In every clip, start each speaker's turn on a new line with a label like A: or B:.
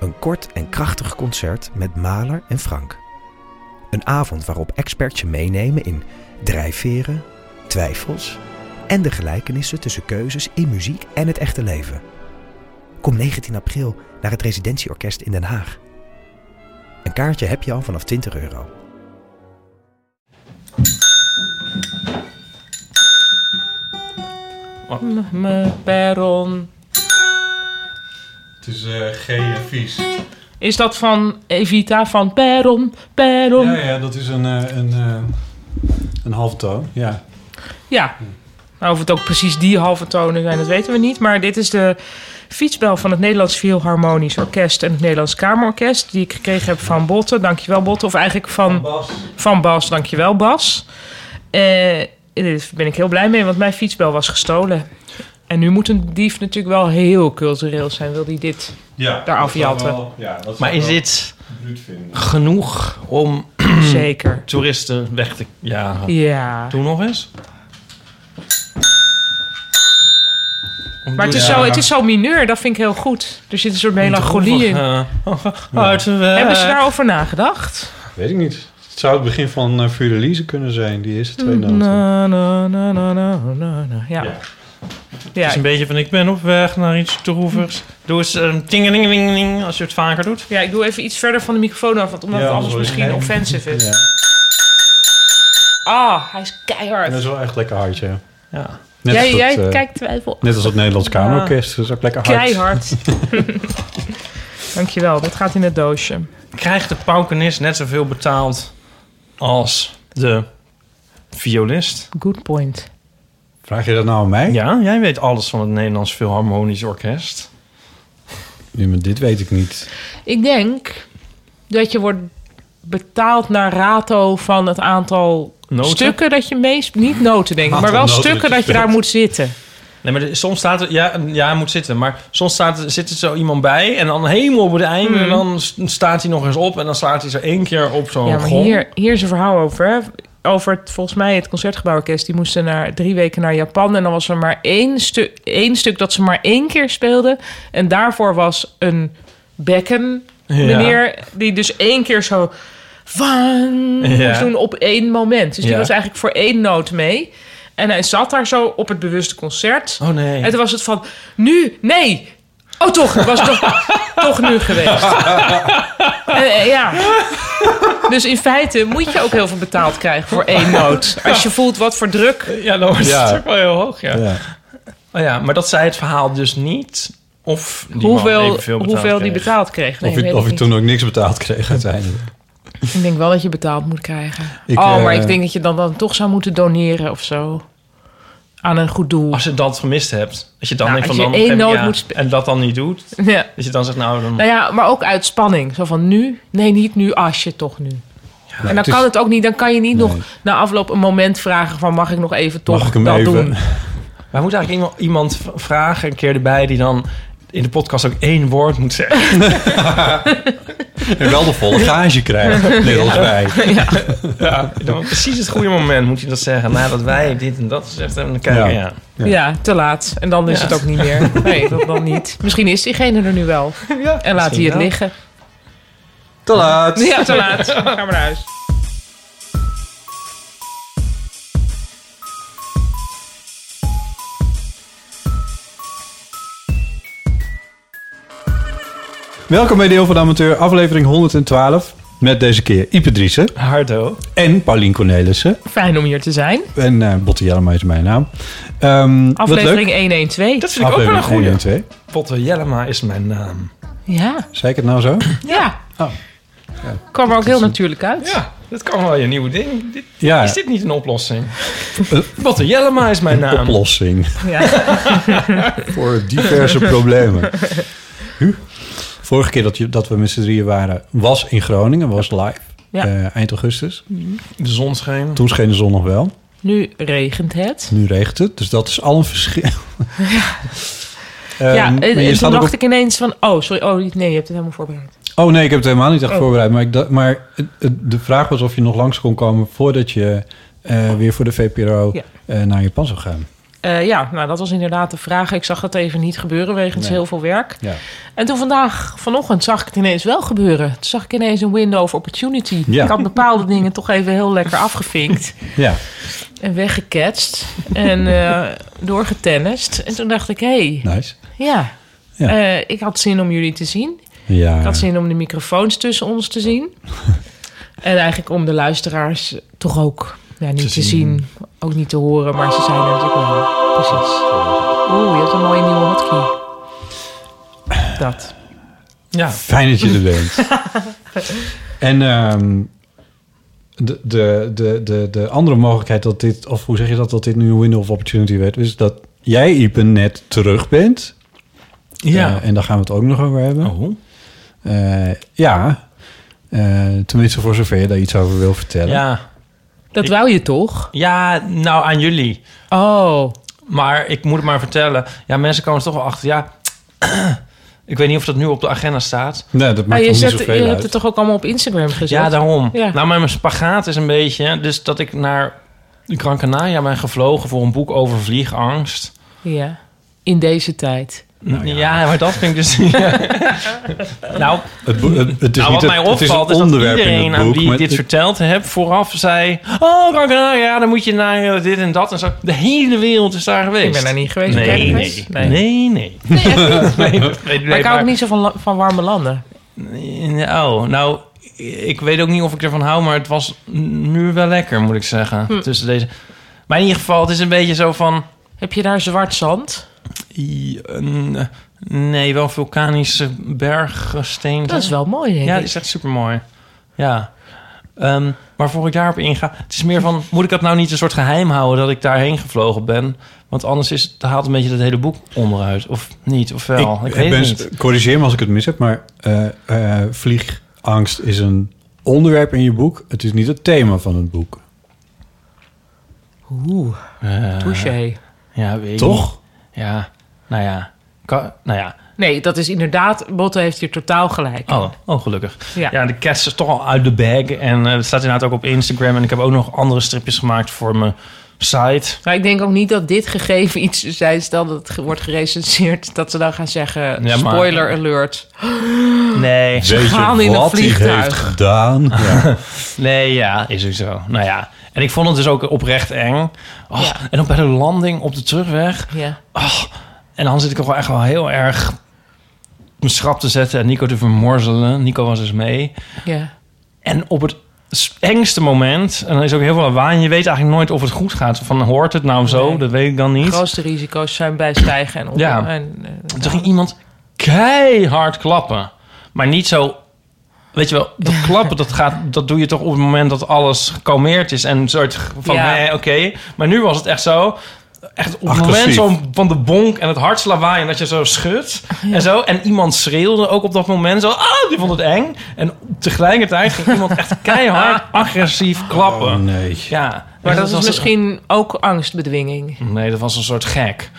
A: Een kort en krachtig concert met Maler en Frank. Een avond waarop experts je meenemen in drijfveren, twijfels en de gelijkenissen tussen keuzes in muziek en het echte leven. Kom 19 april naar het Residentieorkest in Den Haag. Een kaartje heb je al vanaf 20 euro.
B: M- Me peron.
C: Het is eh G en vies.
B: Is dat van Evita van peron, peron?
C: Ja,
B: Ja.
C: ja, dat is een, eh, een, eh, een halftoon. Ja.
B: Nou, of het ook precies die halve tonen zijn, dat weten we niet. Maar dit is de fietsbel van het Nederlands Philharmonisch Orkest en het Nederlands Kamerorkest. Die ik gekregen heb van Botte. Dankjewel Botte. Of eigenlijk van...
C: Bas.
B: Van Bas, dankjewel Bas. Eh daar ben ik heel blij mee, want mijn fietsbel was gestolen. En nu moet een dief natuurlijk wel heel cultureel zijn, wil hij dit.
C: Ja,
B: Daar afjatten.
C: dat zou wel- Ja, dat
D: Maar
C: zou
D: is
C: wel
D: dit
C: bruut vinden.
D: genoeg om
C: Hmm.
B: Zeker.
D: toeristen weg te... Ja,
B: Ja.
D: doe nog eens.
B: Maar het is,
C: Ja.
B: zo, het is zo mineur, dat vind ik heel goed. Er zit een soort melancholie in.
D: eh,
B: Oh,
D: Uit de
C: Eh.
D: weg.
B: Hebben ze daarover nagedacht?
C: Weet ik niet. Het zou het begin van eh Vuur Elise kunnen zijn, die eerste
B: Mm,
C: twee noten.
B: Na, na, na, na, na, na, na. Ja.
D: Het
B: Ja.
D: is een beetje van ik ben op weg naar iets droevigs. Doe eens een tingelingeling als je het vaker doet.
B: ja, ik doe even iets verder van de microfoon af, want omdat
C: Ja,
B: het anders
C: sorry.
B: misschien
C: Nee.
B: offensive is.
C: Ja.
B: Ah, hij is
C: En Dat
B: keihard.
C: is wel echt lekker hard, ja.
D: Ja.
C: Net
B: jij
C: als dat,
B: jij
C: eh,
B: kijkt twijfel.
C: Net als het Nederlands Kamerorkest, dat is ook lekker hard.
B: Keihard. Dankjewel, dat gaat in het doosje.
D: Krijgt de paukenist net zoveel betaald als de violist?
B: Good point.
C: Vraag je dat nou aan mij?
D: Ja, jij weet alles van het Nederlands Philharmonisch Orkest.
C: Nee, maar dit weet ik niet.
B: Ik denk dat je wordt betaald naar rato van het aantal
D: Noten?
B: stukken dat je meest... Niet noten, denk ik, maar
C: Aantal
B: wel
C: noten
B: stukken
C: dat je
B: dat je daar
C: speelt.
B: moet zitten.
D: Nee, maar de- soms staat er... Ja, ja, hij moet zitten. Maar soms staat er, zit er zo iemand bij en dan helemaal op het einde.
C: Hmm.
D: En dan s- staat hij nog eens op en dan slaat hij zo één keer op zo'n
B: ja, maar
D: gong.
B: hier, hier is een verhaal over, hè. Over het, volgens mij het Concertgebouworkest. Die moesten naar, drie weken naar Japan. En dan was er maar één, stu één stuk dat ze maar één keer speelden. En daarvoor was een bekken
D: Ja.
B: meneer... die dus één keer zo... Van,
D: Ja.
B: moest doen op één moment. Dus die
D: Ja.
B: was eigenlijk voor één noot mee. En hij zat daar zo op het bewuste concert.
D: Oh nee.
B: En toen was het van, nu, nee. Oh, toch, het was toch, toch nu geweest. Eh, eh, ja. Dus in feite moet je ook heel veel betaald krijgen voor één noot. Als je voelt wat voor druk.
D: Ja, dan wordt
C: Ja.
D: het ook wel heel hoog, ja.
C: Ja.
D: Oh ja, maar dat zei het verhaal dus niet. Of die man
B: hoeveel
D: evenveel betaald
B: hoeveel die
D: kreeg.
B: betaald kreeg. Nee,
C: of je,
B: weet
C: of
B: ik
C: je
B: niet.
C: toen ook niks betaald kreeg uiteindelijk.
B: Ik denk wel dat je betaald moet krijgen.
C: Ik,
B: oh,
C: eh,
B: maar ik denk dat je dan, dan toch zou moeten doneren of zo. Aan een goed doel.
D: Als je dat gemist hebt, dat je dan
B: Ja,
D: denkt
B: Nou, als
D: van
B: je één
D: dan heb ik-
B: noot
D: ja,
B: moet spe-
D: en dat dan niet doet,
B: Ja.
D: dat je dan zegt nou dan
B: Nou ja, maar ook uit spanning. Zo van nu, nee, niet nu, alsje toch nu. en dan
C: het is-
B: kan het ook niet, dan kan je niet
C: Nee.
B: nog na afloop een moment vragen van mag ik nog even toch
C: Mag ik hem
B: dat
C: even?
B: doen.
D: Maar moet eigenlijk iemand, iemand v- vragen een keer erbij die dan in de podcast ook één woord moet zeggen.
C: En wel de volle gage krijgen, net als wij.
D: Ja, dan precies het goede moment moet je dat zeggen. Nadat wij dit en dat gezegd hebben, dan kijken
C: Ja.
D: ja.
B: Ja. te laat. En dan is
D: Ja.
B: het ook niet meer. Nee, dat dan niet. Misschien is diegene er nu wel. en laat hij
D: misschien
B: het
D: wel.
B: liggen.
C: Te laat.
B: Ja, te laat. Ga maar naar huis.
C: Welkom bij Deel van de Amateur, aflevering 112. Met deze keer Ipe Driessen
D: Hardo.
C: en Paulien Cornelissen.
B: Fijn om hier te zijn.
C: En eh Botte Jellema is mijn naam. Ehm, wat
B: Aflevering
C: leuk.
B: 112.
D: Dat vind ik ook wel een
C: Aflevering 1 en
D: goede.
C: 2.
D: Potter Jellema is mijn naam.
B: Ja.
C: Zei ik het nou zo?
B: Ja.
C: Oh.
B: Kwam er ook heel natuurlijk uit.
D: Ja, dat kan wel je nieuwe ding. Dit,
C: Ja,
D: Is dit niet een oplossing? Potter Jellema is mijn naam.
C: oplossing
B: Ja.
C: voor diverse problemen. Huh? Vorige keer dat, je, dat we met z'n drieën waren, was in Groningen, was live.
B: Ja.
C: eh, eind augustus.
D: De zon scheen.
C: Toen scheen de zon nog wel.
B: Nu regent het.
C: Nu regent het. Dus dat is al een verschil. Ehm, Ja,
B: ja, en, en
D: eh,
B: toen dacht ik ineens van... Oh, sorry. Oh, niet- nee, je hebt het helemaal voorbereid.
C: Oh nee, ik heb het helemaal niet echt voorbereid. Maar, ik dacht, maar het- het- de vraag was of je nog langs kon komen voordat je eh, weer voor de VPRO
B: Ja.
C: eh, naar Japan zou gaan.
B: Eh, ja, nou, dat was inderdaad de vraag. Ik zag dat even niet gebeuren wegens
C: Nee.
B: heel veel werk.
C: Ja.
B: En toen vandaag, vanochtend, zag ik het ineens wel gebeuren. Toen zag ik ineens een window of opportunity.
C: Ja.
B: Ik had bepaalde dingen toch even heel lekker afgevinkt.
C: ja.
B: en weggeketst. En eh doorgetennist. En toen dacht ik, hé, hey,
C: Nice.
B: ja.
C: Nou. Ja.
B: Eh, ik had zin om jullie te zien.
C: Ja.
B: Ik had zin om de microfoons tussen ons te zien. en eigenlijk om de luisteraars toch ook ja, niet te, zien. ook niet te horen, maar ze zijn er natuurlijk wel. Precies. Oeh, je hebt een mooie nieuwe hotkey. Dat.
D: Ja.
C: Fijn dat je er bent. en ehm, de, de, de, de, de andere mogelijkheid dat dit, of hoe zeg je dat, dat dit nu een window of opportunity werd, is dat jij, Ipen, net terug bent.
D: Ja.
C: Eh, en daar gaan we het ook nog over hebben.
D: oh.
C: Eh, ja. Eh, tenminste, voor zover je daar iets over wil vertellen.
D: Ja.
B: Dat wou je toch?
D: ja, nou aan jullie.
B: Oh,
D: Maar ik moet het maar vertellen. Ja, mensen komen er toch wel achter. Ja, ik weet niet of dat nu op de agenda staat.
C: Nee, dat
B: maar
C: maakt
B: Ah, je,
C: toch niet
B: zet, je
C: zoveel
B: hebt
C: uit.
B: het toch ook allemaal op Instagram gezet?
D: Ja, daarom.
B: Ja.
D: Nou, mijn spagaat is een beetje... Dus dat ik naar Gran Canaria ben gevlogen voor een boek over vliegangst.
B: Ja. In deze tijd.
C: Nou
D: ja. maar dat vind ik dus... nou,
C: Het, bo- het- het is
D: nou,
C: niet
D: wat
C: het,
D: mij
C: het is
D: opvalt
C: een
D: is, dat
C: onderwerp in
D: iedereen
C: het
D: aan
C: boek.
D: wie
C: maar
D: ik dit
C: het-
D: verteld heb vooraf zei... Oh, Gran Canaria, dan moet je naar eh, dit en dat. En zo. De hele wereld is daar geweest.
B: Ik ben daar niet geweest. Ben jij
D: Nee,
B: er
D: nee.
B: geweest?
D: Nee, nee. nee. Nee, nee,
B: Maar ik hou
D: maar-
B: ook niet zo van, la- van warme landen.
D: Oh, nou, ik weet ook niet of ik ervan hou, maar het was nu wel lekker, moet ik zeggen.
B: Hm.
D: Tussen deze. Maar in ieder geval, het is een beetje zo van.
B: Heb je daar zwart zand?
D: i- een- Nee, wel vulkanische bergsteenten.
B: Dat is wel mooi, denk
D: Ja,
B: ik.
D: dat is echt super mooi. Ja. Ehm, maar voor ik daarop inga, het is meer van: moet ik dat nou niet een soort geheim houden dat ik daarheen gevlogen ben? Want anders is, het- haalt een beetje dat hele boek onderuit. Of niet, of wel. Ik,
C: ik,
D: weet
C: ben,
D: het niet.
C: Corrigeer me als ik het mis heb, maar eh, eh, vliegangst is een onderwerp in je boek. Het is niet het thema van het boek.
B: Oeh,
D: Eh,
B: touché.
D: ja, weet ik niet.
C: Toch?
D: Ja, nou ja. Ka- nou ja.
B: Nee, dat is inderdaad... Botte heeft hier totaal gelijk.
D: Oh, oh gelukkig.
B: Ja.
D: Ja. de kerst is toch al uit de bag. En eh, dat staat inderdaad ook op Instagram. En ik heb ook nog andere stripjes gemaakt voor mijn site.
B: Maar ik denk ook niet dat dit gegeven iets zijn... stel dat het ge- wordt gerecenseerd... dat ze dan gaan zeggen...
D: Ja, maar-
B: spoiler alert.
D: Nee,
C: Weet
B: gaan in
C: je
B: een
C: wat hij
B: vliegtuig.
C: heeft gedaan? Ja.
D: nee, ja, is ook zo. Nou ja. En ik vond het dus ook oprecht eng. Oh, En dan bij de landing op de terugweg.
B: Ja.
D: En dan zit ik toch wel echt wel heel erg mijn schrap te zetten en Nico te vermorzelen. Nico was dus mee.
B: ja.
D: En op het engste moment, en dan is ook heel veel lawaai... en je weet eigenlijk nooit of het goed gaat. Van, hoort het nou zo?
B: Nee.
D: Dat weet ik dan niet.
B: De grootste risico's zijn bij stijgen en op.
D: Ja.
B: En, eh,
D: En toen ging iemand keihard klappen. Maar niet zo... Weet je wel, dat klappen, dat, gaat, dat doe je toch op het moment dat alles gekalmeerd is. En een soort van,
B: Ja.
D: hé, oké. Maar nu was het echt zo... Echt op het moment
C: Agressief.
D: zo van de bonk en het hartslawaai en dat je zo schudt en zo. En iemand schreeuwde ook op dat moment zo, ah, die vond het eng. En tegelijkertijd ging iemand echt keihard agressief klappen.
C: Oh, nee.
D: Ja.
B: maar
D: En
B: dat is
D: was-
B: misschien ook angstbedwinging.
D: Nee, dat was een soort gek.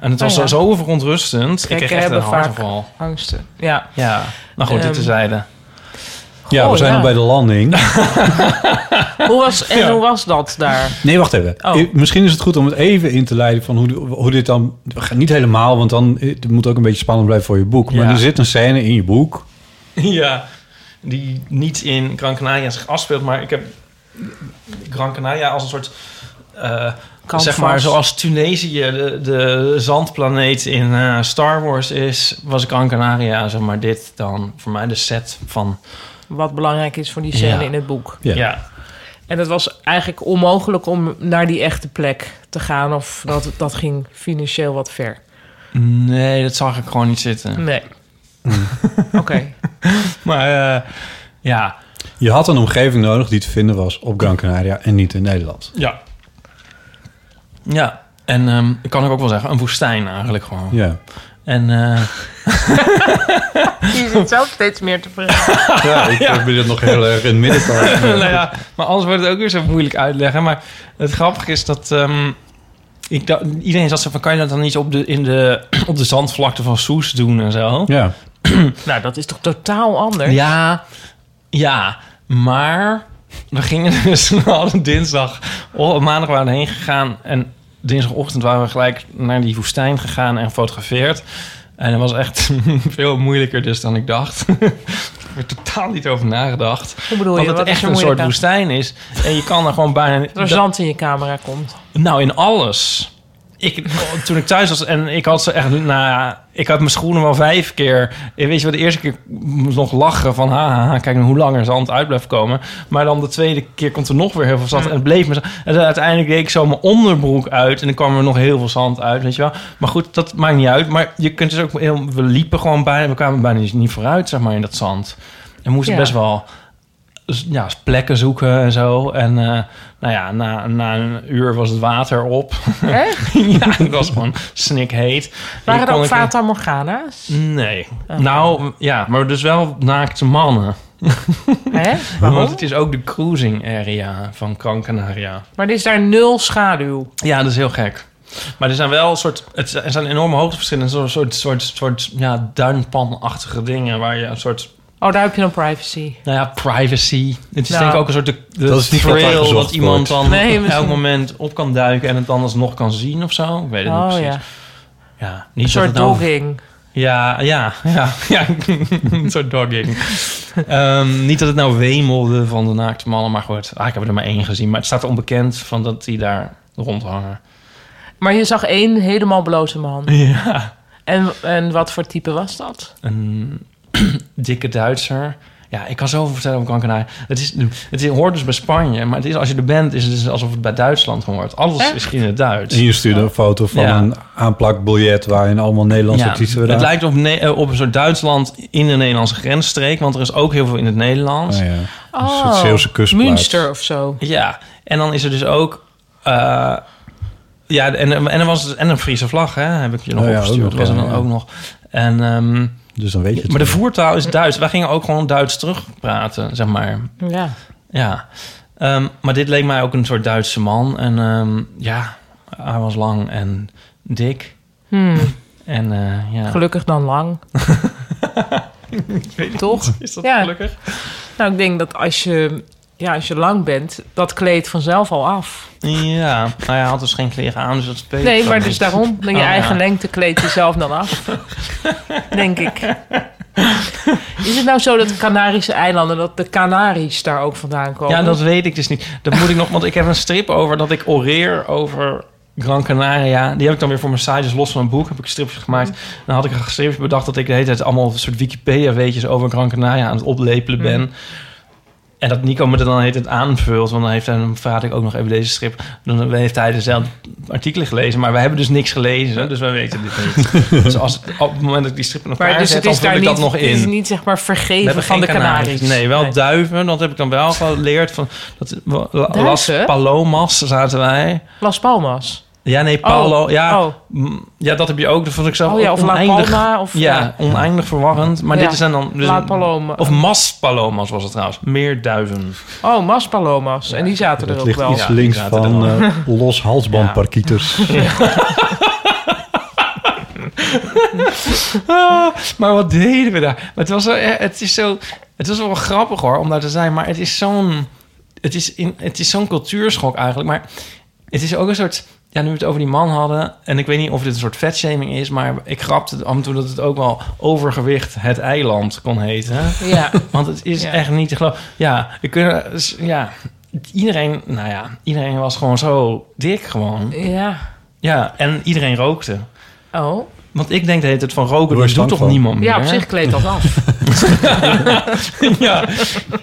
D: En het was
B: Oh, ja.
D: zo zo verontrustend. ik
B: Gekken
D: kreeg echt een
B: hebben vaak
D: hartaanval.
B: angsten. Ja.
D: Ja, nou goed,
B: Ehm,
D: dit tezijde.
C: Ja, we
B: Goh,
C: zijn
B: ja.
C: al bij de landing.
B: Hoe was, en hoe was dat daar?
C: Nee, wacht even.
B: Oh.
C: Eh, Misschien is het goed om het even in te leiden van hoe, hoe dit dan... Niet helemaal, want dan eh, het moet ook een beetje spannend blijven voor je boek. Maar
D: Ja.
C: er zit een scène in je boek.
D: Ja, die niet in Gran Canaria zich afspeelt, maar ik heb Gran Canaria als een soort... eh,
B: Canvas.
D: zeg maar zoals Tunesië de, de zandplaneet in eh, Star Wars is, was Gran Canaria zeg maar dit dan voor mij de set van...
B: Wat belangrijk is voor die scène
D: Ja.
B: in het boek.
C: Ja.
B: En het was eigenlijk onmogelijk om naar die echte plek te gaan. Of dat, dat ging financieel wat ver.
D: Nee, dat zag ik gewoon niet zitten.
B: Nee. Oké.
D: Maar eh, ja,
C: Je had een omgeving nodig die te vinden was op Gran Canaria en niet in Nederland.
D: ja. Ja, en ehm, ik kan ook wel zeggen, een woestijn eigenlijk gewoon.
C: Ja.
D: En eh,
B: Je zit zelf steeds meer te vragen.
C: Ja, ik ben het nog heel erg in het midden. te houden.
D: nou ja, maar anders wordt het ook weer zo moeilijk uitleggen. Maar het grappige is dat ehm, ik dacht- iedereen zat zo van... kan je dat dan niet op de, in de, op de zandvlakte van Soes doen en zo?
C: Ja.
B: Nou, dat is toch totaal anders?
D: Ja, ja, maar we gingen dus we hadden dinsdag, oh, maandag waren we heen gegaan en dinsdagochtend waren we gelijk naar die woestijn gegaan en gefotografeerd. En dat was echt veel moeilijker dus dan ik dacht. ik heb er totaal niet over nagedacht.
B: Hoe bedoel
D: Want
B: je?
D: het
B: Wat
D: echt
B: is er
D: een soort
B: moeilijk aan?
D: woestijn is. En je kan er gewoon bijna...
B: Dat er zand in je camera komt.
D: Nou, in alles. Ik, toen ik thuis was en ik had ze echt, nou, ik had mijn schoenen wel vijf keer. En Weet je wel, de eerste keer moest nog lachen van, ha, ha, ha, kijk nou hoe lang er zand uit blijft komen. Maar dan de tweede keer komt er nog weer heel veel zand en het bleef me. zo- En dan uiteindelijk deed ik zo mijn onderbroek uit en dan kwam er nog heel veel zand uit, weet je wel. Maar goed, dat maakt niet uit. Maar je kunt dus ook heel, we liepen gewoon bijna, we kwamen bijna niet vooruit, zeg maar, in dat zand. En we moesten
B: Ja.
D: best wel z- ja, plekken zoeken en zo. En eh, nou ja, na, na een uur was het water op.
B: Echt?
D: ja, het was gewoon snikheet.
B: Waren
D: En
B: er
D: kon
B: ook Oh.
D: ik-
B: Fata Morgana's?
D: Nee. Nou, ja, maar dus wel naakte mannen.
B: Hè?
D: Want
B: Waarom?
D: het is ook de cruising area van Gran Canaria.
B: Maar er is daar nul schaduw.
D: Ja, dat is heel gek. Maar er zijn wel een soort, het zijn- er zijn enorme hoogteverschillen. Een soort, soort, soort ja, duinpanachtige dingen waar je een soort
B: Oh, daar heb je dan privacy.
D: Nou ja, privacy. Het is
B: Nou,
D: denk ik ook een soort de, de
C: dat is niet wat daar
D: trail
C: gezocht
D: dat iemand dan
B: Nee,
D: op
B: misschien-
D: elk moment op kan duiken en het dan alsnog kan zien of zo. Ik weet het niet
B: Oh
D: precies.
B: ja.
D: Ja, niet
B: Een
D: dat
B: soort
D: het nou-
B: dogging.
D: Ja, ja, ja, ja. een soort dogging. Ehm, niet dat het nou wemelde van de naakte mannen, maar goed. Ah, ik heb er maar één gezien. Maar het staat onbekend van dat die daar rondhangen.
B: Maar je zag één helemaal blote man.
D: Ja.
B: En, en wat voor type was dat?
D: Een dikke Duitser. Ja, ik kan zoveel vertellen over Gran Canaria. Het, is, het is- hoort dus bij Spanje, maar het is, als je er bent, is het dus alsof het bij Duitsland hoort. Alles
B: Echt?
D: is in het Duits.
C: En je stuurde een foto van
D: Ja.
C: een aanplakbiljet waarin allemaal Nederlandse
D: Ja,
C: artiesten
D: het
C: werden
D: lijkt op, Ne- eh, op een soort Duitsland in de Nederlandse grensstreek, want er is ook heel veel in het Nederlands.
C: aangepakt. Ah, ja. Een
D: Oh.
C: soort Zeeuwse kustplaats.
B: Münster of zo.
D: Ja, en dan is er dus ook. eh, ja, en, en er was dus, en een Friese vlag, hè, heb ik je nog
C: Oh ja,
D: opgestuurd.
C: ook nog,
D: was er
C: ja,
D: dan
C: ja.
D: ook nog. En, ehm,
C: Dus dan weet je het.
D: maar de
C: wel.
D: voertaal is Duits. Wij gingen ook gewoon Duits terugpraten, zeg maar.
B: Ja.
D: Ja. Ehm, maar dit leek mij ook een soort Duitse man. En ehm, ja, hij was lang en dik.
B: Hmm,
D: En eh, ja.
B: Gelukkig dan lang. Toch?
D: Is dat
B: Ja.
D: gelukkig?
B: Nou, ik denk dat als je, ja, als je lang bent, dat kleedt vanzelf al af.
D: Ja, nou ja, hij had dus geen kleren aan, dus dat speelt
B: Nee,
D: ook
B: maar
D: niet.
B: dus daarom. Dan je
D: Oh, ja.
B: eigen lengte kleedt jezelf dan af. denk ik. Is het nou zo dat de Canarische eilanden, dat de Canaries daar ook vandaan komen?
D: Ja, dat weet ik dus niet. Dat moet ik nog, want ik heb een strip over dat ik oreer over Gran Canaria. Die heb ik dan weer voor mijn site, dus los van een boek heb ik stripjes
B: Mm.
D: gemaakt. Dan had ik een stripje bedacht dat ik de hele tijd allemaal een soort Wikipedia-weetjes over Gran Canaria aan het oplepelen ben.
B: Mm.
D: En dat Nico me er dan heet het aanvult, want dan heeft hij, dan verraad ik ook nog even deze strip. Dan heeft hij dezelfde artikelen gelezen, maar wij hebben dus niks gelezen, dus wij weten dit niet. dus als, op het moment dat ik die strip nog
B: maar
D: elkaar
B: dus het
D: zet, dan
B: is
D: vul
B: daar
D: ik
B: niet,
D: dat nog in.
B: Het is niet zeg maar
D: We
B: vergeven
D: hebben
B: van de Canaries.
D: Nee, wel duiven. Dat heb ik dan wel geleerd. Van, dat, la- Las
B: Duiven?
D: Palomas zaten wij.
B: Las Palmas.
D: Ja, nee, Palo. ja,
B: Oh,
D: mm, ja, dat heb je ook. Dat vond ik zelf
B: oh ja,
D: ook
B: of La
D: oneindig.
B: Palma. Of,
D: ja, oneindig verwarrend. Maar
B: Ja.
D: dit zijn dan... Dus,
B: La Paloma.
D: Of Mas Palomas was het trouwens. Meer duiven.
B: Oh, Maspalomas. en die zaten er
C: Het
B: ook
C: ligt
B: wel.
C: iets
D: Ja,
C: links
D: die zaten
C: van
D: er
C: eh, los halsbandparkieters.
D: Ah, maar wat deden we daar? Maar het, was, zo- eh, het, is zo, het was wel grappig hoor, om daar te zijn. Maar het is zo'n... Het is, in, het is zo'n cultuurschok eigenlijk. Maar het is ook een soort... Ja, nu we het over die man hadden... En ik weet niet of dit een soort vetshaming is... Maar ik grapte af en toe dat het ook wel overgewicht het eiland kon heten.
B: Ja.
D: Want het is
B: Ja.
D: echt niet te geloven. Ja, ik kun, ja, iedereen... Nou ja, iedereen was gewoon zo dik gewoon.
B: ja.
D: Ja, en iedereen rookte.
B: Oh.
D: Want ik denk dat het van roken,
C: Word
D: dat
C: je
D: doet
C: bang
D: toch
C: van?
D: niemand meer?
B: Ja, op zich kleedt dat af.
D: ja.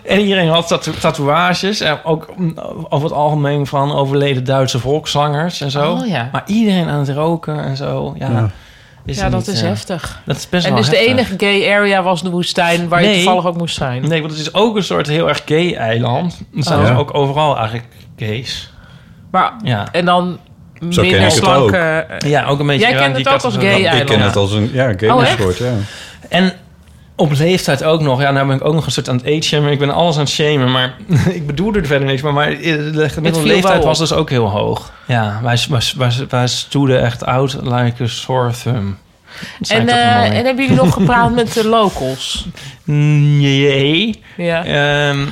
D: En iedereen had tatu- tatoeages. En ook mm, over het algemeen van overleden Duitse volkszangers en zo.
B: Oh, ja.
D: Maar iedereen aan het roken en zo. Ja,
C: Ja.
D: Is
B: ja,
D: het
B: dat
D: niet,
B: is
D: eh,
B: heftig.
D: Dat is best
B: En
D: wel
B: dus de
D: heftig.
B: enige gay area was de woestijn waar je
D: Nee.
B: toevallig ook moest zijn.
D: Nee, want het is ook een soort heel erg gay eiland. Er zijn
C: Oh.
D: dus
C: Ja.
D: ook overal eigenlijk gays.
B: Maar,
D: Ja.
B: en dan Eh,
C: Zo ken
B: minder
C: ik het
B: slanke...
D: Ja, ook een beetje.
B: Jij
D: ja,
B: kent
D: die
B: het ook als
D: categorie.
B: gay
C: ik ken
B: eiland.
C: het als een ja,
B: Oh,
C: gamer
B: echt?
C: sport. Ja.
D: En op leeftijd ook nog. Ja, nou ben ik ook nog een soort aan het age-shamen. Ik ben alles aan het shamen. Maar ik bedoel er verder niks. Maar, maar eh, de
B: viel
D: gemiddelde
B: wel
D: leeftijd
B: op.
D: was dus ook heel hoog. Ja, wij, wij, wij, wij stoeden echt out like a sore thumb. Dat zei
B: En,
D: ik ook
B: eh,
D: mooi.
B: en hebben jullie nog gepraat met de locals?
D: Nee.
B: Ja.
D: Ehm,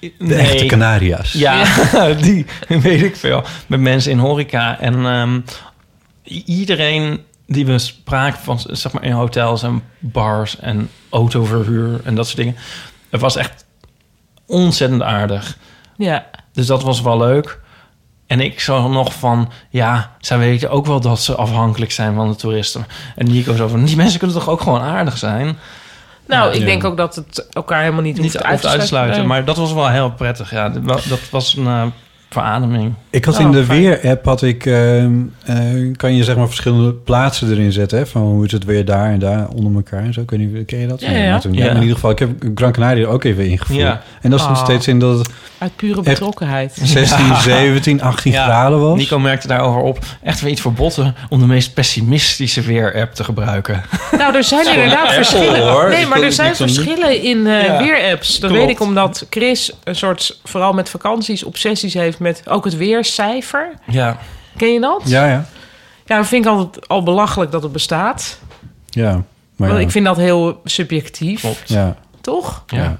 C: De
D: nee.
C: echte Canaria's.
D: Ja, die weet ik veel. Met mensen in horeca. En ehm, i- iedereen die we spraken van, zeg maar in hotels en bars en autoverhuur en dat soort dingen. Het was echt ontzettend aardig.
B: Ja.
D: Dus dat was wel leuk. En ik zag nog van, ja, zij weten ook wel dat ze afhankelijk zijn van de toeristen. En Nico zo van, die mensen kunnen toch ook gewoon aardig zijn?
B: Nou, ik
C: Ja.
B: denk ook dat het elkaar helemaal niet,
D: Niet
B: hoeft uit
D: uit
B: te
D: te uitsluiten.
B: nee.
D: Maar dat was wel heel prettig. Ja, dat wa- dat was een eh, verademing.
C: Ik had
B: Oh,
C: in de
B: fijn.
C: weer-app had ik ehm, eh, kan je zeg maar verschillende plaatsen erin zetten hè, van hoe is het weer daar en daar onder elkaar en zo. Ik weet niet, ken je dat?
B: Ja, ja.
C: toen-
D: Ja.
C: maar In ieder geval, ik heb Gran Canaria er ook even ingevoerd.
D: Ja.
C: En dat is nog
B: Ah.
C: steeds in dat het
B: Uit pure betrokkenheid.
C: 16, 17, 18
D: Ja,
C: graden was.
D: Nico merkte daarover op. Echt weer iets voor botten om de meest pessimistische weer-app te gebruiken.
B: Nou, er zijn inderdaad verschillen.
C: hoor.
B: Nee,
C: Ik
B: maar
C: wil
B: er
C: het
B: zijn
C: niet zo noemen.
B: verschillen in eh,
D: Ja,
B: weerapps. Dat
D: klopt.
B: weet ik omdat Chris een soort, vooral met vakanties, obsessies heeft met ook het weercijfer.
D: Ja,
B: Ken je dat?
C: Ja, ja.
B: Ja, dat vind ik altijd al belachelijk dat het bestaat.
C: Ja, maar
B: Want
C: ja.
B: Oh, ik vind dat heel subjectief,
D: klopt.
C: ja.
B: toch?
D: Ja.
C: Ja.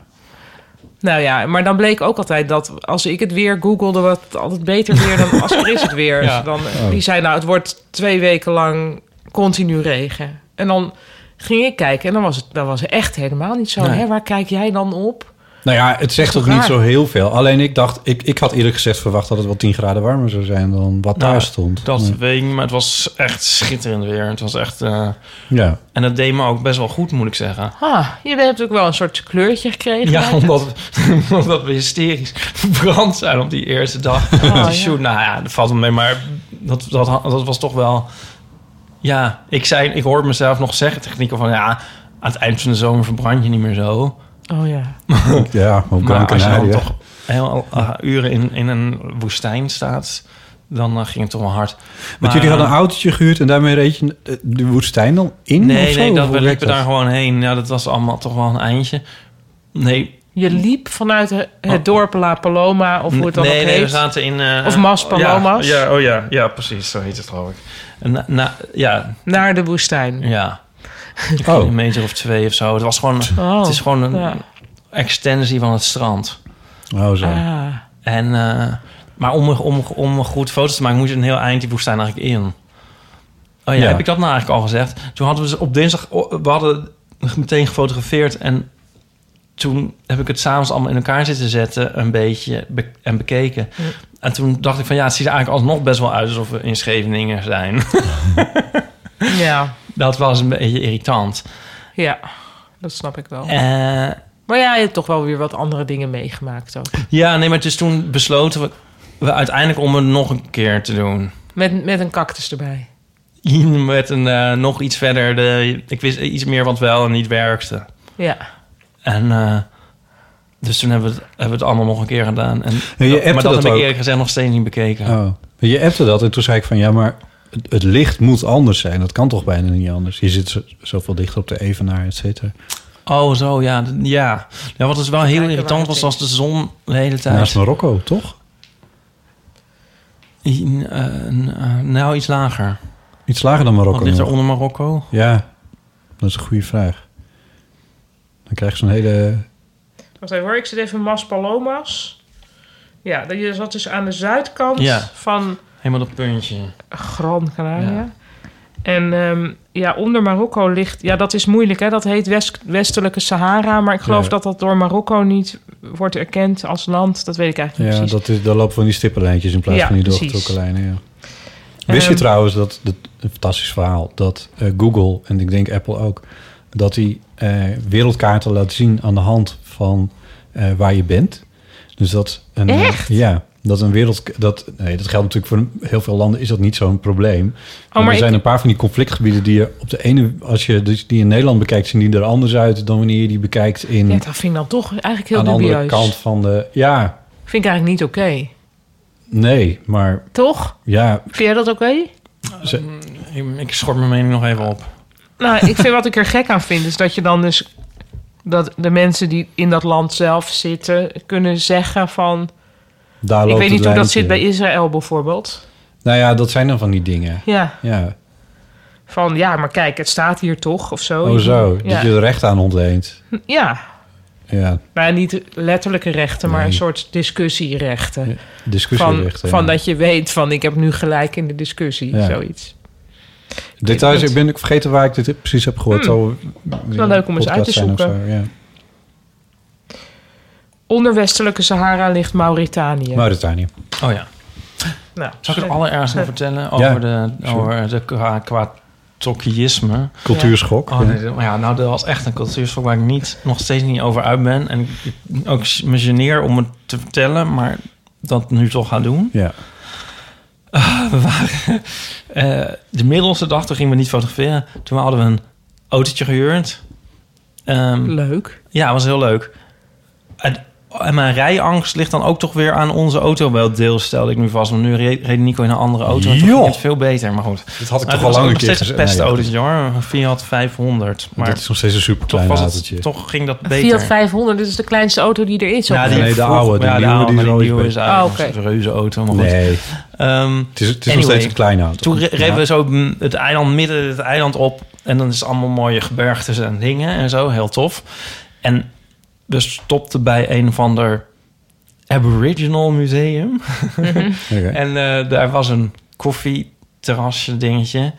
B: Nou ja, maar dan bleek ook altijd dat als ik het weer googelde, was het altijd beter weer dan als er is het weer. Dus
D: Ja. Oh.
B: Dan, die zei nou, het wordt twee weken lang continu regen. En dan ging ik kijken en dan was het, dan was het echt helemaal niet zo.
D: Nee.
B: Hè, waar kijk jij dan op?
C: Nou ja, het zegt
B: Toch
C: toch niet
B: raar?
C: zo heel veel. Alleen ik dacht, ik, ik had eerlijk gezegd verwacht dat het wel 10 graden warmer zou zijn dan wat
D: Nou,
C: daar stond.
D: Dat
C: Ja.
D: weet ik niet, maar het was echt schitterend weer. Het was echt... eh,
C: ja.
D: en dat deed me ook best wel goed, moet ik zeggen.
B: Ah, je hebt ook wel een soort kleurtje gekregen.
D: Ja,
B: lijkt
D: omdat, omdat we hysterisch verbrand zijn op die eerste dag.
B: Oh,
D: Die shoot, nou ja, dat valt me mee. Maar dat, dat, dat was toch wel... Ja, ik, zei, ik hoorde mezelf nog zeggen tegen Nico van... Ja, aan het eind van de zomer verbrand je niet meer zo.
B: het. Oh ja.
C: ja, op Gran
D: Maar als je dan
C: Canaria.
D: toch heel eh, uren in, in een woestijn staat, dan eh, ging het toch wel hard.
C: Want jullie hadden een
D: eh,
C: autootje gehuurd en daarmee reed je eh, de woestijn dan
B: Mm,
C: in? of
D: Nee,
C: zo?
D: nee,
C: Of
D: dat
C: hoe
D: we
C: werkt
D: liepen daar gewoon heen. Ja, dat was allemaal toch wel een eindje. Nee,
B: Je liep vanuit he- het
D: Oh.
B: dorp La Paloma of hoe het dan
D: nee,
B: ook
D: nee, we
B: heet.
D: zaten in... eh,
B: Of Mas Palomas.
D: Ja, ja, oh ja, ja, precies, zo heet het geloof ik. En na, na- ja,
B: Naar de woestijn.
D: ja, een
C: Oh,
D: meter of twee of zo. Het was gewoon,
B: Oh,
D: het is gewoon een
B: ja.
D: extensie van het strand.
C: oh zo.
B: Ah.
D: En, eh, maar om, om, om goed foto's te maken, moet je een heel eind die woestijn eigenlijk in. Oh ja,
C: Ja.
D: heb ik dat nou eigenlijk al gezegd? Toen hadden we ze op dinsdag, oh, we hadden meteen gefotografeerd en toen heb ik het s'avonds allemaal in elkaar zitten zetten, een beetje be- en bekeken. En toen dacht ik van ja, het ziet er eigenlijk alsnog best wel uit alsof we in Scheveningen zijn.
B: Ja,
D: dat was een beetje irritant.
B: ja, dat snap ik wel.
D: Eh,
B: Maar ja, je hebt toch wel weer wat andere dingen meegemaakt ook.
D: ja, nee, maar dus toen besloten we, we uiteindelijk om het nog een keer te doen.
B: Met, met een cactus erbij.
D: met een eh, nog iets verder. De, ik wist iets meer wat wel en niet werkte.
B: Ja.
D: En eh, dus toen hebben we, het, hebben we het allemaal nog een keer gedaan. En,
C: je appte
D: maar dat,
C: dat
D: heb
C: ook.
D: ik eerlijk gezegd nog steeds niet bekeken.
C: Oh. Je appte dat en toen zei ik van ja, maar het, het licht moet anders zijn. Dat kan toch bijna niet anders. Je zit zo, zoveel dichter op de evenaar, et cetera.
D: Oh, zo, ja. d- ja. ja wat dus wel heel
B: Kijken waar
D: irritant
B: het
D: was,
B: is.
D: was de zon de hele tijd.
C: Naast Marokko, toch?
D: I- eh, n- eh, nou, iets lager.
C: Iets lager dan Marokko.
D: Wat ligt er
C: nog.
D: onder Marokko?
C: Ja, dat is een goede vraag. Dan krijg je zo'n hele...
B: Wacht even hoor, ik zit even Mas Palomas. Ja, dat je zat dus aan de zuidkant
D: Ja.
B: van
D: Helemaal dat puntje.
B: Gran Canaria.
D: Ja.
B: En ehm, ja, onder Marokko ligt... Ja, dat is moeilijk, hè. Dat heet West- Westelijke Sahara. Maar ik geloof
C: Ja.
B: dat dat door Marokko niet wordt erkend als land. Dat weet ik eigenlijk
C: Ja,
B: niet precies.
C: dat is, daar lopen van die stippenlijntjes in plaats
B: Ja,
C: van die
B: precies.
C: doorgetrokken lijnen. Ja. Wist je
B: Ehm,
C: trouwens dat, dat een fantastisch verhaal, dat eh, Google en ik denk Apple ook, dat die eh, wereldkaarten laat zien aan de hand van eh, waar je bent. Dus dat een, Ja, dat een wereld. Dat, nee, dat geldt natuurlijk voor heel veel landen, is dat niet zo'n probleem. maar
B: Oh, maar
C: er
B: ik-
C: zijn een paar van die conflictgebieden die je op de ene, als je dus die in Nederland bekijkt, zien die er anders uit dan wanneer je die bekijkt in,
B: Ja, dat vind ik dan toch eigenlijk heel
C: aan de
B: dubieus.
C: andere kant van de. Ja,
B: Vind ik eigenlijk niet oké.
C: Nee, maar
B: Toch?
C: ja,
B: Vind jij dat oké?
D: Ik, ik schort mijn mening nog even op.
B: Nou, ik vind wat ik er gek aan vind, is dat je dan dus dat de mensen die in dat land zelf zitten, kunnen zeggen van.
C: daar
B: Ik
C: loopt
B: weet
C: het
B: niet hoe dat
C: lijntje.
B: zit bij Israël bijvoorbeeld.
C: Nou ja, dat zijn dan van die dingen.
B: Ja,
C: Ja,
B: van ja, maar kijk, het staat hier toch of zo.
C: oh zo,
B: Ja,
C: dat je er recht aan ontleent.
B: ja.
C: Ja,
B: Nou, niet letterlijke rechten, maar
C: Nee.
B: een soort discussierechten. Van,
C: discussierecht.
B: van dat je weet van ik heb nu gelijk in de discussie,
C: Ja.
B: zoiets.
C: Details,
B: Punt.
C: ik ben ook vergeten waar ik dit precies heb gehoord.
B: Hmm.
C: Zo,
B: wel leuk om eens uit te
C: podcast zijn of
B: zoeken.
C: zo, ja.
B: Onder westelijke Sahara ligt Mauritanië.
C: Mauritanië.
D: Oh ja.
B: nou,
D: Zal ik het allerergst nog vertellen over de, over de qua, qua tokkieïsme?
C: Cultuurschok.
D: Oh, nee, maar ja, nou, dat was echt een cultuurschok waar ik niet, nog steeds niet over uit ben. En ik ook me geneer om het te vertellen, maar dat nu toch ga doen.
C: Ja.
D: We waren, eh, de middelste dag, toen gingen we niet fotograferen. Toen hadden we een autootje gehuurd. Ehm,
B: Leuk.
D: ja, was heel leuk. En, en mijn rijangst ligt dan ook toch weer aan onze auto. Wel deels stelde ik nu vast, want nu reed, reed Nico in een andere auto. En toen ging
C: Joh!
D: het veel beter, maar goed.
C: Dat had ik
D: Maar
C: Oh, toch
D: het
C: al
D: was ook
C: lang een
D: nog
C: keer
D: steeds een
C: gezegd.
D: peste
C: Nee,
D: autootje hoor. Een Fiat 500. Maar
C: Dat is nog steeds een super
D: toch,
C: klein
D: was het,
C: autootje.
D: toch ging dat beter.
B: Fiat 500, dit is de kleinste auto die er is. of
D: Ja, die
C: Nee, de
D: vroeg-
C: oude, de
D: ja,
C: nieuwe, die
D: maar
C: is al iets
D: nieuwe is
C: beter.
B: Ah,
D: eigenlijk
B: oké.
D: een soort reuze auto. Maar goed.
C: Nee,
D: Ehm,
C: het is, het is nog
D: Anyway.
C: steeds een klein auto.
D: Toen re- reden
C: Ja.
D: we zo mm, het eiland midden het eiland op. En dan is het allemaal mooie gebergtes en dingen en zo. Heel tof. En we stopten bij een van de Aboriginal Museum.
C: Oké.
D: En eh, daar was een koffieterrasje dingetje.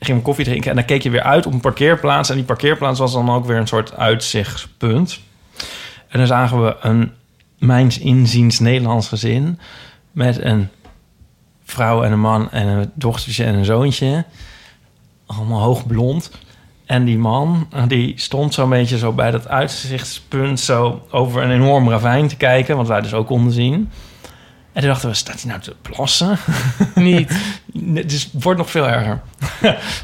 D: Ging we koffie drinken en dan keek je weer uit op een parkeerplaats. En die parkeerplaats was dan ook weer een soort uitzichtpunt. En dan zagen we een, mijns inziens, Nederlands gezin... met een vrouw en een man en een dochtertje en een zoontje. Allemaal hoogblond. En die man, eh, die stond zo'n beetje zo bij dat uitzichtspunt... zo over een enorm ravijn te kijken, wat wij dus ook konden zien. En toen dachten we, staat hij nou te plassen?
B: Niet.
D: Nee, Dus het wordt nog veel erger.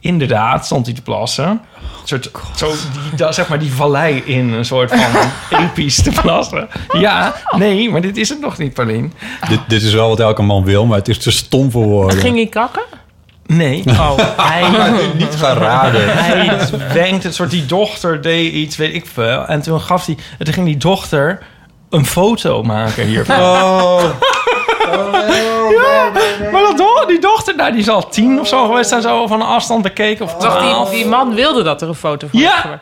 D: Inderdaad, stond hij te plassen. Een soort,
B: Oh,
D: zo die, da- zeg maar die vallei in, een soort van episch te plassen. Ja, nee, maar dit is het nog niet, Paulien.
C: Dit, dit is wel wat elke man wil, maar het is te stom voor woorden.
B: Ging hij kakken?
D: Nee. Oh, hij,
C: niet gaan raden.
D: hij wenkt een soort, die dochter deed iets, weet ik veel. En toen gaf hij, en toen ging die dochter een foto maken hiervan.
B: Oh.
D: Oh.
C: Oh.
D: ja, maar dat, do- die dochter, nou, die is al tien of zo geweest en zo van een afstand bekeken. Of
B: Dacht
D: twaalf.
B: die, die man wilde dat er een foto van
D: Ja.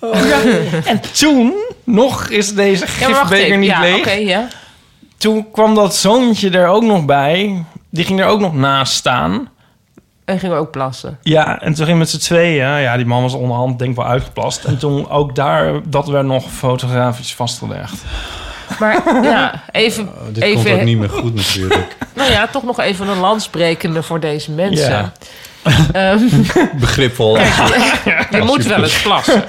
B: werd gemaakt.
D: En toen, nog is deze
B: Ja, maar wacht
D: gifbeker
B: even.
D: niet
B: ja,
D: leeg.
B: oké, ja.
D: Toen kwam dat zoontje er ook nog bij. Die ging er ook nog naast staan.
B: En gingen we ook plassen.
D: Ja, en toen ging met z'n tweeën. Ja, die man was onderhand denk ik wel uitgeplast. En toen ook daar, dat werd nog fotografisch vastgelegd.
B: Maar ja,
D: Oh,
B: even,
C: Dit komt ook
B: even,
C: niet meer goed natuurlijk.
B: nou ja, toch nog even een landsbrekende voor deze mensen.
D: Ja.
B: Ehm,
C: Begripvol.
B: je moet wel eens plassen.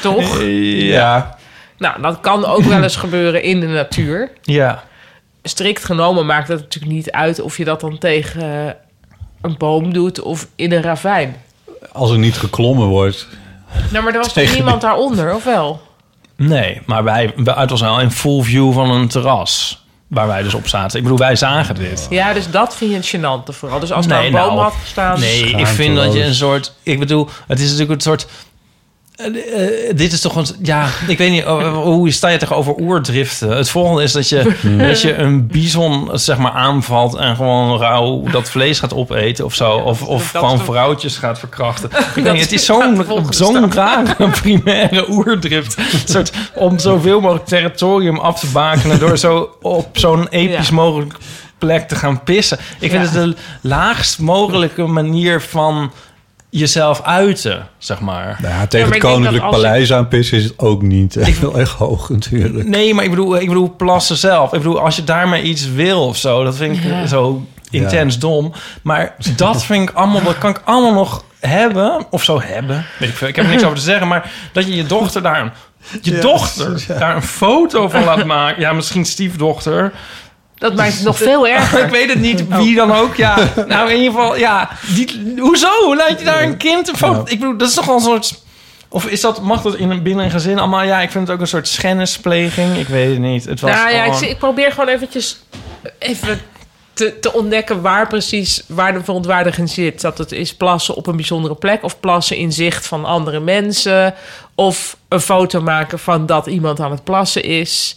B: toch?
D: Ja.
B: Nou, dat kan ook wel eens gebeuren in de natuur.
D: Ja.
B: Strikt genomen maakt het natuurlijk niet uit of je dat dan tegen eh, een boom doet of in een ravijn.
C: Als er niet geklommen wordt.
B: Nou, maar er was toch
C: Tegen-
B: niemand daaronder, of wel?
D: Nee, maar wij, wij- het was wel in full view van een terras. Waar wij dus op zaten. Ik bedoel, wij zagen dit.
B: Ja, dus dat vind je het gênant vooral. Dus als daar
D: Nee,
B: een boom
D: nou,
B: had gestaan...
D: Nee, ik vind dat je een soort. Ik bedoel, het is natuurlijk een soort. eh, eh, dit is toch een. Ja, ik weet niet. eh, hoe sta je tegenover oerdriften? Het volgende is dat je. dat je een bison, eh, zeg maar, aanvalt. en gewoon rauw dat vlees gaat opeten of zo. Of, of
B: dat
D: gewoon
B: is toch-
D: vrouwtjes gaat verkrachten. Ik denk, het is
B: gaat
D: zo'n
B: de volgende
D: zo'n rare primaire oerdrift. Een soort. om zoveel mogelijk territorium af te bakenen. door zo op zo'n episch
B: Ja.
D: mogelijk plek te gaan pissen. Ik
B: Ja.
D: vind het de laagst mogelijke manier van jezelf uiten, zeg maar.
C: Nou
B: maar
C: ja, tegen het
B: ik denk
C: Koninklijk
B: dat als je-
C: Paleis aan pissen is het ook niet. Ik wil echt hoog natuurlijk.
D: Nee, maar ik bedoel, ik bedoel plassen zelf. Ik bedoel, als je daarmee iets wil of zo, dat vind ik
B: Ja.
D: zo intens dom. Maar dat vind ik allemaal, dat kan ik allemaal nog hebben of zo hebben. Weet ik, veel, ik heb er niks over te zeggen, maar dat je je dochter daar, een- je dochter daar een foto van laat maken. Ja, misschien stiefdochter.
B: Dat maakt het nog veel erger.
D: Ik weet het niet, wie
C: Oh.
D: dan ook. Ja,
C: Oh.
D: nou in ieder geval, ja. Die, hoezo? Hoe laat je daar een kind een foto? Ik bedoel, dat is toch wel een soort. Of is dat, mag dat in een, binnen een gezin allemaal? Ja, ik vind het ook een soort schennispleging. Ik weet het niet. Het was
B: nou ja, ik,
D: gewoon-
B: zie- ik probeer gewoon eventjes even te, te ontdekken waar precies waar de verontwaardiging zit. Dat het is plassen op een bijzondere plek of plassen in zicht van andere mensen. Of een foto maken van dat iemand aan het plassen is.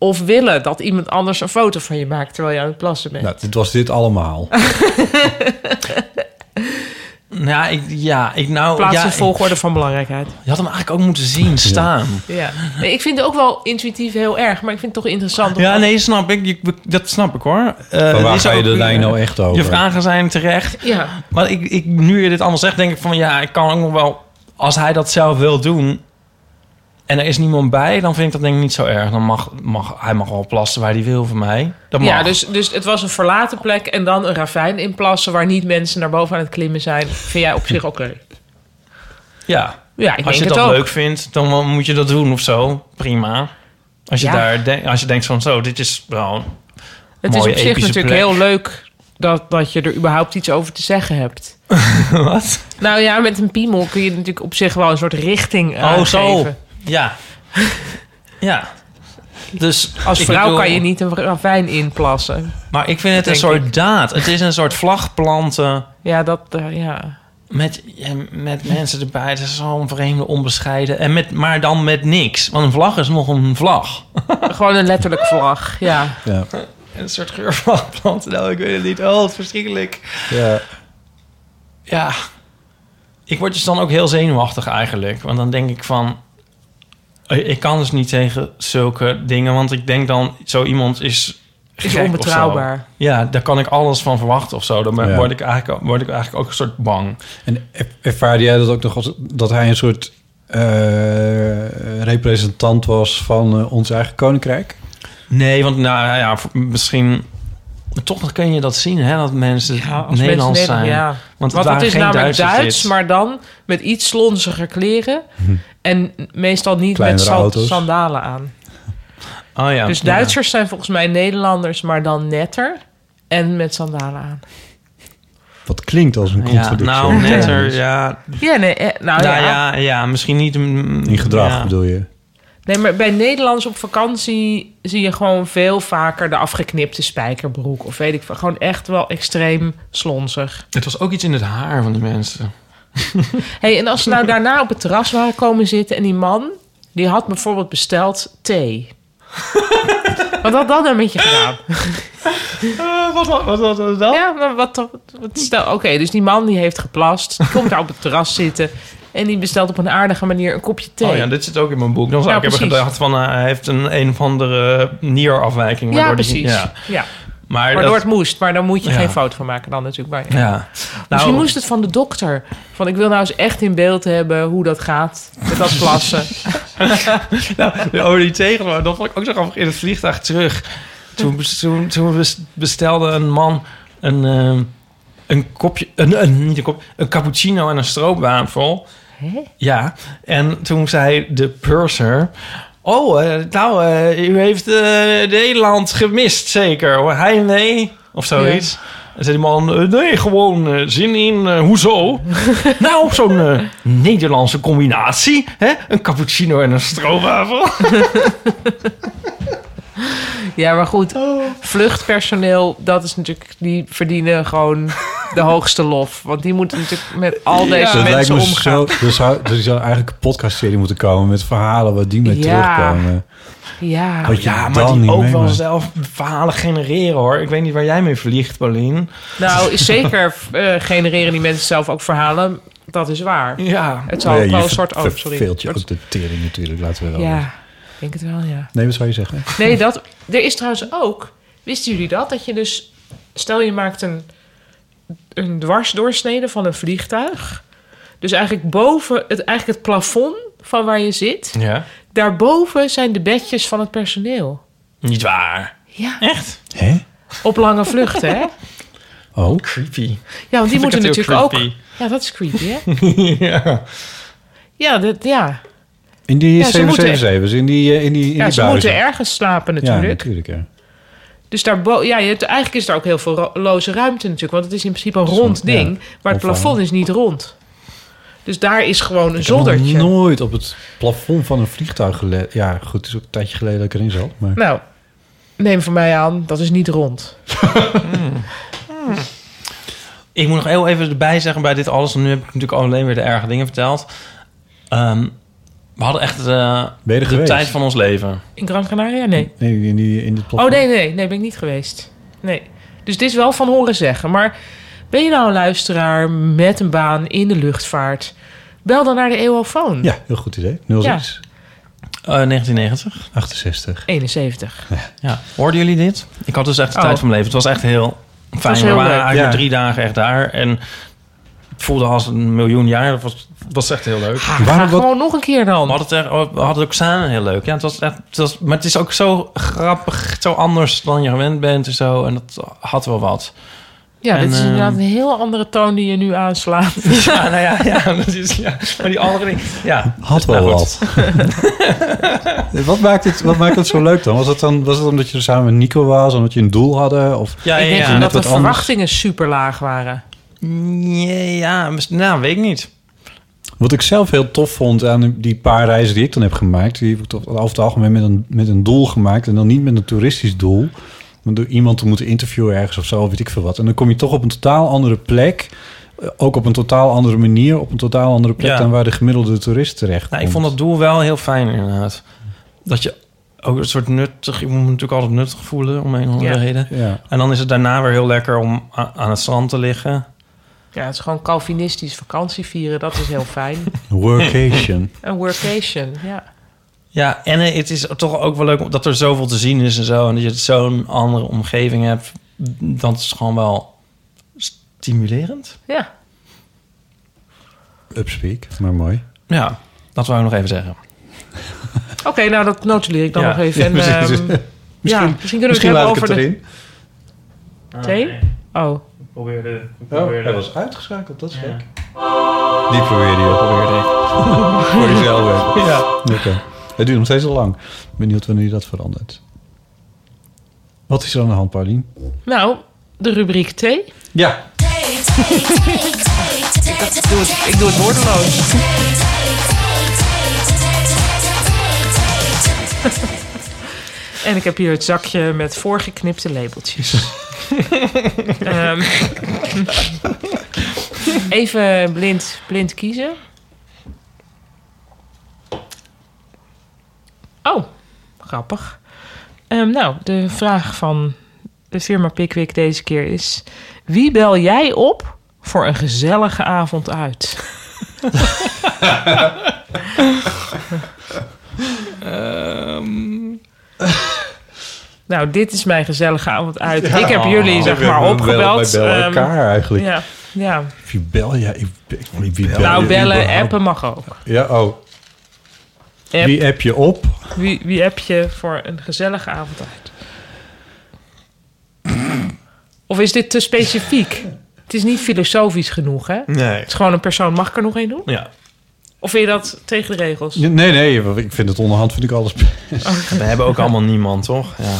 B: Of willen dat iemand anders een foto van je maakt terwijl je aan het plassen bent.
C: Nou, dit was dit allemaal.
D: Nou Ja, ik, ja, ik nou...
B: Plaats
D: ja,
B: in
D: ik-
B: volgorde van belangrijkheid.
D: je had hem eigenlijk ook moeten zien staan.
B: Ja. Nee, Ik vind het ook wel intuïtief heel erg, maar ik vind het toch interessant. om-
D: Ja, nee, snap ik. Ik- Dat snap ik hoor. Eh,
C: maar
D: het
C: waar
D: is
C: ga je
D: ook-
C: de lijn nou echt over?
D: Je vragen zijn terecht.
B: Ja.
D: Maar ik, ik, nu je dit allemaal zegt, denk ik van ja, ik kan ook nog wel. Als hij dat zelf wil doen en er is niemand bij, dan vind ik dat denk ik niet zo erg. Dan mag, mag hij mag wel plassen waar hij wil van mij. Dat mag.
B: Ja, dus, dus het was een verlaten plek en dan een ravijn inplassen waar niet mensen naar boven aan het klimmen zijn. Vind jij op zich oké?
D: ja.
B: Ja, ik
D: als je
B: denk
D: dat
B: het ook.
D: leuk vindt, dan moet je dat doen of zo. Prima. Als je,
B: Ja.
D: daar denk- als je denkt van zo, dit is wel.
B: Het is
D: mooie
B: op zich
D: epische
B: natuurlijk
D: plek.
B: heel leuk dat, dat je er überhaupt iets over te zeggen hebt.
D: Wat?
B: Nou ja, met een piemel kun je natuurlijk op zich wel een soort richting eh,
D: Oh,
B: aangeven.
D: zo. Ja. ja. Dus
B: Als
D: ik
B: vrouw
D: bedoel-
B: kan je niet een ravijn inplassen.
D: Maar ik vind het een
B: Denk
D: soort daad. Het is een soort vlag planten.
B: Ja, dat, eh, ja.
D: Met, ja, met mensen erbij. Het is zo'n vreemde onbescheiden. En met, maar dan met niks. Want een vlag is nog een vlag.
B: Gewoon een letterlijk vlag, ja.
C: Ja.
D: Een soort geur van planten. Nou, ik weet het niet. Oh, het is verschrikkelijk.
C: Ja.
D: Ja. Ik word dus dan ook heel zenuwachtig eigenlijk. Want dan denk ik van... Ik kan dus niet tegen zulke dingen. Want ik denk dan, zo iemand is...
B: Is
D: gek of zo.
B: onbetrouwbaar.
D: Ja, daar kan ik alles van verwachten of zo. Dan ben-
C: Ja.
D: word, ik eigenlijk, word ik eigenlijk ook een soort bang.
C: En er- ervaarde jij dat ook nog als dat hij een soort eh, representant was van eh, ons eigen koninkrijk?
D: Nee, want nou ja, v- misschien... maar Toch kun je dat zien, hè? Dat mensen
B: als
D: Nederlands
B: mensen
D: zijn.
B: Nederland- ja.
D: Want
B: Want
D: het
B: het,
D: waren
B: is
D: geen
B: namelijk
D: Duitsers
B: Duits,
D: dit.
B: maar dan met iets slonziger kleren. En meestal niet
C: Kleinere
B: met sa-
C: auto's.
B: sandalen aan.
D: Oh ja.
B: dus
D: ja.
B: Duitsers zijn volgens mij Nederlanders, maar dan netter. En met sandalen aan.
C: Wat klinkt als een
D: Ja,
C: contradictie.
D: nou, netter, ja.
B: Ja, nee, eh, nou
D: Nou
B: ja.
D: ja, ja, misschien niet... mm,
C: In gedrag
D: ja.
C: bedoel je?
B: Nee, maar bij Nederlands op vakantie zie je gewoon veel vaker de afgeknipte spijkerbroek. Of weet ik veel. Gewoon echt wel extreem slonzig.
D: Het was ook iets in het haar van die mensen.
B: hey, en als ze nou daarna op het terras waren komen zitten en die man, die had bijvoorbeeld besteld thee. Wat had dat nou met je gedaan?
D: Eh, wat, wat, wat, wat, dan?
B: Ja, maar wat, wat stel, oké, dus die man die heeft geplast, die komt daar op het terras zitten en die bestelt op een aardige manier een kopje thee.
D: Oh ja, dit zit ook in mijn boek. Dan zou
B: Ja,
D: ik hebben
B: precies.
D: gedacht van... eh, hij heeft een, een of andere nierafwijking.
B: Ja,
D: waardoor die-
B: precies.
D: ja.
B: Ja.
D: Maar
B: Waardoor
D: dat-
B: het moest, maar dan moet je
D: Ja.
B: geen foto van maken dan natuurlijk. Maar,
D: Ja. Nou,
B: Misschien moest het van de dokter. Van ik wil nou eens echt in beeld hebben hoe dat gaat met dat plassen.
D: Nou, de olie tegen me. Dat vond ik ook zo grappig in het vliegtuig terug. Toen, toen, toen bes- bestelde een man een, ehm, een kopje, een, een- niet een kop, een cappuccino en een stroopwafel. Ja, en toen zei de purser... Oh, eh, nou, eh, u heeft eh, Nederland gemist, zeker. Heimwee of zoiets. En zei die man, eh, nee, gewoon eh, zin in, eh, hoezo? nou, zo'n eh, Nederlandse combinatie. Hè? Een cappuccino en een stroopwafel.
B: Ja, maar goed,
C: Oh.
B: vluchtpersoneel, dat is natuurlijk, die verdienen gewoon de hoogste lof. Want die moeten natuurlijk met al deze
C: dat Dus lijkt
B: mensen
C: me
B: omgaan.
C: zo. dus Er zou, er zou eigenlijk een podcastserie moeten komen met verhalen waar die mee
B: Ja.
C: terugkomen.
B: Ja.
C: Wat je
D: Ja, maar
C: dan
D: die
C: niet Oh
D: ook wel
C: meemaakt.
D: zelf verhalen genereren, hoor. Ik weet niet waar jij mee vliegt, Paulien.
B: Nou, zeker eh, genereren die mensen zelf ook verhalen. Dat is waar.
D: Ja,
B: Het zal
C: Ja,
B: ook
C: je
B: wel een
C: ver-
B: soort... Oh, sorry.
C: verveelt je ook de tering natuurlijk, laten we wel.
B: Ja,
C: wezen.
B: ik denk het wel, ja.
C: Nee, wat zou je zeggen?
B: Nee, dat... Er is trouwens ook... Wisten jullie dat? Dat je dus... Stel, je maakt een, een dwarsdoorsnede van een vliegtuig. Dus eigenlijk boven... Het, eigenlijk het plafond van waar je zit.
D: ja.
B: Daarboven zijn de bedjes van het personeel.
D: Niet waar.
B: Ja.
D: Echt?
C: Hè?
B: Op lange vluchten, hè?
C: Oh,
D: Creepy.
B: Ja, want die
D: Vind ik
B: moeten
D: het heel
B: natuurlijk ook...
D: creepy.
B: Ja, dat is creepy, hè?
D: ja.
B: Ja, dat, ja.
C: in die
B: Ja, ze moeten-
C: 777's, in die, eh, in die, in
B: ja
C: die
B: ze
C: buizen.
B: moeten ergens slapen
C: Ja,
B: natuurlijk.
C: natuurlijk. Ja.
B: Dus daar bo- ja, je hebt, eigenlijk is er ook heel veel ro- loze ruimte natuurlijk. Want het is in principe een
C: Soms,
B: rond ding.
C: ja.
B: Maar het
C: Of,
B: plafond is niet rond. Dus daar is gewoon een
C: Ik heb nog
B: zoldertje.
C: nooit op het plafond van een vliegtuig gelet. Ja, goed, het is ook een tijdje geleden dat ik erin zat. Maar...
B: Nou, neem voor mij aan, dat is niet rond.
D: Ik moet nog heel even erbij zeggen bij dit alles. Want nu heb ik natuurlijk alleen weer de erge dingen verteld. Ehm, we hadden echt eh,
C: Ben je er
D: de
C: geweest?
D: tijd van ons leven.
B: In Gran Canaria? Nee.
C: Nee, in, die, in dit
B: Oh
C: plafond.
B: nee, nee, nee, ben ik niet geweest. Nee. Dus dit is wel van horen zeggen. Maar ben je nou een luisteraar met een baan in de luchtvaart? Bel dan naar de EOFoon.
C: Ja, heel goed idee. 06
D: Eh, 1990.
C: 68.
B: 71.
D: Ja. Hoorden jullie dit? Ik had dus echt de
B: Oh.
D: tijd van mijn leven. Het was echt heel fijn.
B: was
D: we
B: heel
D: waren
B: leuk.
D: eigenlijk
C: Ja.
D: drie dagen echt daar. En het voelde als een miljoen jaar. Dat was, was echt heel leuk.
B: Ah, ga
C: Waarom- wat-
B: gewoon nog een keer dan.
D: We hadden, het echt- we hadden het ook samen heel leuk. Ja, het was echt, het was, maar het is ook zo grappig, zo anders dan je gewend bent en zo. En dat had wel wat.
B: Ja,
D: En,
B: dit is
C: ehm,
D: eh,
B: inderdaad een heel andere toon die je nu aanslaat.
D: Ja, nou ja, ja, dat is, ja. maar die andere ding. Ja,
C: Had wel
D: Nou,
C: wat. Eh, wat, maakt het, wat maakt het zo leuk dan? Was het, dan? was het omdat je er samen met Nico was? Omdat je een doel hadden? Of...
D: ja,
B: ik denk
D: ja,
B: dat
C: net
B: de
C: wat anders.
B: verwachtingen super laag waren.
D: ja, ja, mis- nou, weet ik niet.
C: Wat ik zelf heel tof vond aan die paar reizen die ik dan heb gemaakt... die heb ik toch over het algemeen met een, met een doel gemaakt... en dan niet met een toeristisch doel. Maar door iemand te moeten interviewen ergens of zo, weet ik veel wat. En dan kom je toch op een totaal andere plek... eh, ook op een totaal andere manier, op een totaal andere plek...
D: Ja.
C: dan waar de gemiddelde toerist terecht
D: Nou, ik vond dat doel wel heel fijn inderdaad. Dat je ook een soort nuttig... Je moet natuurlijk altijd nuttig voelen om een of andere
B: Ja.
D: reden.
C: Ja.
D: En dan is het daarna weer heel lekker om a- aan het strand te liggen.
B: Ja, het is gewoon Calvinistisch vakantie vieren. Dat is heel fijn.
C: Workation.
B: Een workation, ja.
D: Ja, en eh, het is toch ook wel leuk dat er zoveel te zien is en zo. En dat je het zo'n andere omgeving hebt. Dat is gewoon wel stimulerend.
B: Ja,
C: Upspeak, maar mooi.
D: Ja, dat wou ik nog even zeggen.
B: oké, nou dat notuleer ik dan
D: Ja,
B: nog even.
C: ja,
B: En,
C: precies.
B: ehm, ja, misschien kunnen we het hebben over de
D: Ah,
B: thee. Oh,
D: Probeerde, ik
C: Oh, was uitgeschakeld, dat is gek. Die probeerde je
D: probeerde ik.
C: voor jezelf.
D: Ja.
C: Oké. Het duurt nog steeds al lang. Benieuwd wanneer dat verandert. Wat is er aan de hand, Paulien?
B: nou, de rubriek thee.
C: Ja.
B: Ik doe het, ik doe het woordeloos. En ik heb hier het zakje met voorgeknipte labeltjes. Ehm, even blind, blind kiezen. Oh, grappig. Ehm, nou, de vraag van de firma Pickwick deze keer is... Wie bel jij op voor een gezellige avond uit? Nou, dit is mijn gezellige avond uit. ik heb jullie, zeg maar, opgebeld.
C: Wij bellen
B: Ehm,
C: elkaar eigenlijk.
B: ja, ja.
C: Wie bel jij? Ik- ik- Wie bel
B: Nou,
C: je
B: bellen,
C: überhaupt?
B: appen mag ook.
C: Ja, oh.
B: App.
C: Wie app je op?
B: Wie, wie heb je voor een gezellige avond uit? Of is dit te specifiek? Het is niet filosofisch genoeg, hè? Het
D: Nee.
B: is gewoon een persoon. Mag ik er nog één doen?
D: Ja,
B: Of vind je dat tegen de regels?
C: Nee, nee. Ik vind het onderhand vind ik alles...
B: Oh.
D: we hebben ook allemaal niemand, toch? Ja.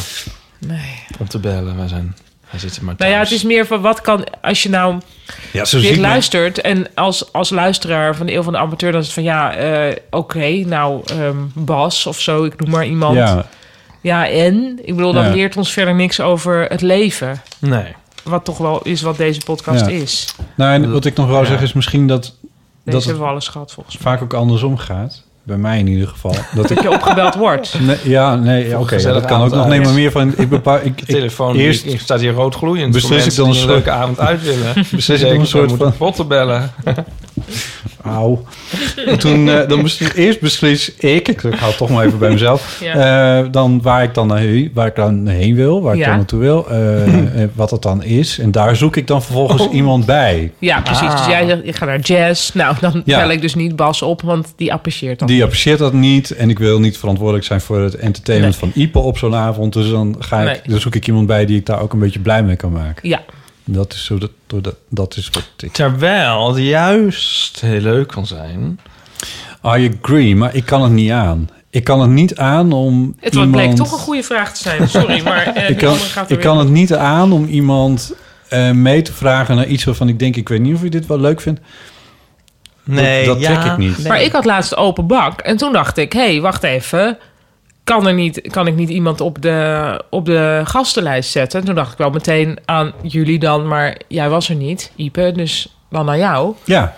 B: Nee.
D: Om te bellen, wij zijn... Wij zitten maar
B: Nou ja, het
D: thuis.
B: is meer van wat kan... Als je nou
C: Ja, zo
B: dit
C: zie ik me.
B: luistert en als, als luisteraar van de Eeuw van de Amateur... dan is het van ja, eh, oké, nou ehm, Bas of zo, ik noem maar iemand. Ja,
C: Ja,
B: en? Ik bedoel, dat
C: Ja.
B: leert ons verder niks over het leven.
D: Nee.
B: Wat toch wel is wat deze podcast
C: Ja.
B: is.
C: nou, en wat ik nog wou
D: Ja.
C: zeggen is misschien dat...
B: Deze
C: dat het
B: hebben we alles gehad volgens mij.
C: vaak ook andersom gaat. Bij mij in ieder geval. Dat ik,
B: Dat je opgebeld wordt.
C: nee, ja, nee, ja, oké. ja, dat
D: gezellige
C: kan ook nog.
D: avond
C: Nee,
D: uit.
C: maar meer van... Ik bepaal, ik,
D: De
C: ik-
D: telefoon
C: eerst-
D: eerst, staat hier rood gloeiend.
C: Beslis ik dan
D: een
C: een soort-
D: leuke avond uit willen.
C: Beslis ik dan een soort van...
D: botten bellen.
C: Auw. En Toen, eh, dan beslis, eerst beslis ik... Ik hou het toch maar even bij mezelf. eh, dan waar ik dan naar heen, waar ik dan heen wil, waar ik
B: Ja.
C: dan naartoe wil, eh, eh, wat dat dan is. En daar zoek ik dan vervolgens iemand bij.
B: Ja, precies. Dus jij zegt, ik ga naar jazz. Nou, dan
C: Ah. Ja.
B: bel ik dus niet Bas op, want die apprecieert dan.
C: Die apprecieert dat niet en ik wil niet verantwoordelijk zijn voor het entertainment van Ipe op zo'n avond. Dus dan, ga ik,
B: Nee.
C: dan zoek ik iemand bij die ik daar ook een beetje blij mee kan maken.
B: Ja,
C: Dat is, zo dat, door dat, dat is wat ik...
D: Terwijl het juist heel leuk kan zijn.
C: I agree, maar ik kan het niet aan. Ik kan het niet aan om
B: het
C: iemand...
B: bleek toch een goede vraag te zijn. Sorry, maar eh, die
C: Ik kan,
B: andere gaat er
C: ik
B: weer-
C: kan het niet aan om iemand eh, mee te vragen naar iets waarvan ik denk... ik weet niet of je dit wel leuk vindt.
D: Nee,
C: dat
D: ja,
C: trek ik niet.
D: nee.
B: Maar ik had laatst open bak. En toen dacht ik, hé, hey, wacht even. Kan, er niet, kan ik niet iemand op de, op de gastenlijst zetten? En toen dacht ik wel meteen aan jullie dan. Maar jij was er niet, Ipe. Dus dan aan jou.
C: Ja,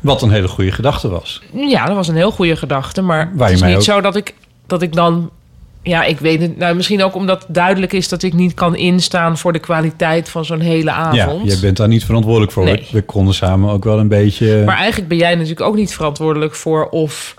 C: wat een hele goede gedachte was.
B: Ja, dat was een heel goede gedachte. Maar
C: Waar
B: het
C: je
B: is
C: mij
B: niet
C: ook-
B: zo dat ik, dat ik dan... Ja, ik weet het. Nou, misschien ook omdat het duidelijk is dat ik niet kan instaan... voor de kwaliteit van zo'n hele avond.
C: Ja, jij bent daar niet verantwoordelijk voor.
B: Nee.
C: We konden samen ook wel een beetje...
B: Maar eigenlijk ben jij natuurlijk ook niet verantwoordelijk voor of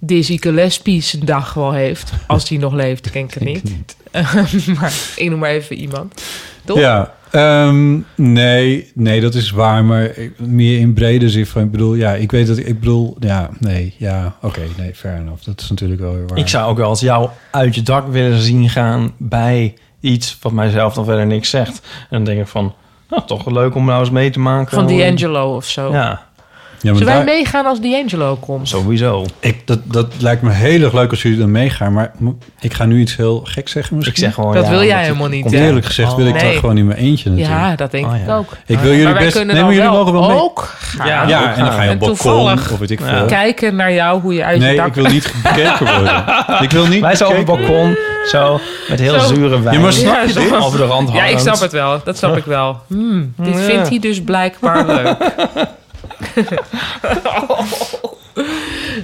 B: Dizzy Gillespie zijn dag wel heeft. Als die nog leeft, ik denk het niet. maar ik noem maar even iemand. Toch?
C: Ja, ehm, nee, nee, dat is waar, maar ik- meer in brede zin van, ik bedoel, ja, ik weet dat ik, ik bedoel, ja, nee, ja, oké, nee, fair enough. Dat is natuurlijk wel weer waar.
D: Ik zou ook wel eens jou uit je dak willen zien gaan bij iets wat mijzelf dan verder niks zegt. En dan denk ik van, nou, toch wel leuk om nou eens mee te maken.
B: Van
D: Hoe-
B: D'Angelo of zo.
D: Ja,
C: ja, maar
B: Zullen wij
C: daar-
B: meegaan als D'Angelo komt?
D: sowieso.
C: ik, dat, dat lijkt me heel erg leuk als jullie dan meegaan, maar mo- ik ga nu iets heel gek zeggen misschien.
D: Ik zeg gewoon
B: Dat
D: ja,
B: wil jij
D: omdat
B: helemaal
D: ik-
B: niet.
C: Want
B: hè?
C: eerlijk gezegd wil ik
B: Oh.
C: daar
B: Nee.
C: gewoon in mijn eentje natuurlijk.
B: Ja, dat denk
D: Oh,
B: ik
D: ja.
B: ook.
C: Ik wil jullie
B: maar wij
C: best-
B: kunnen dan
C: nee, maar jullie
B: wel
C: mogen wel mee.
B: ook gaan.
D: Ja,
C: Ja, en dan ga je
B: En
C: op balkon
B: toevallig-
C: of weet ik veel.
D: Ja.
B: Kijken naar jou, hoe je uit je
C: Nee,
B: dak...
C: ik wil niet bekeken worden. Ik wil niet
D: Wij zijn op het
C: bekeken-
D: balkon, zo, met heel
B: Zo.
D: zure wijn.
C: Ja, maar snap
B: Ja,
C: je
B: zo.
C: dit?
D: Over de rand
B: Ja, ik
D: hangend.
B: snap het wel. Dat snap ik wel. Hmm, dit
D: Ja.
B: vindt hij dus blijkbaar leuk.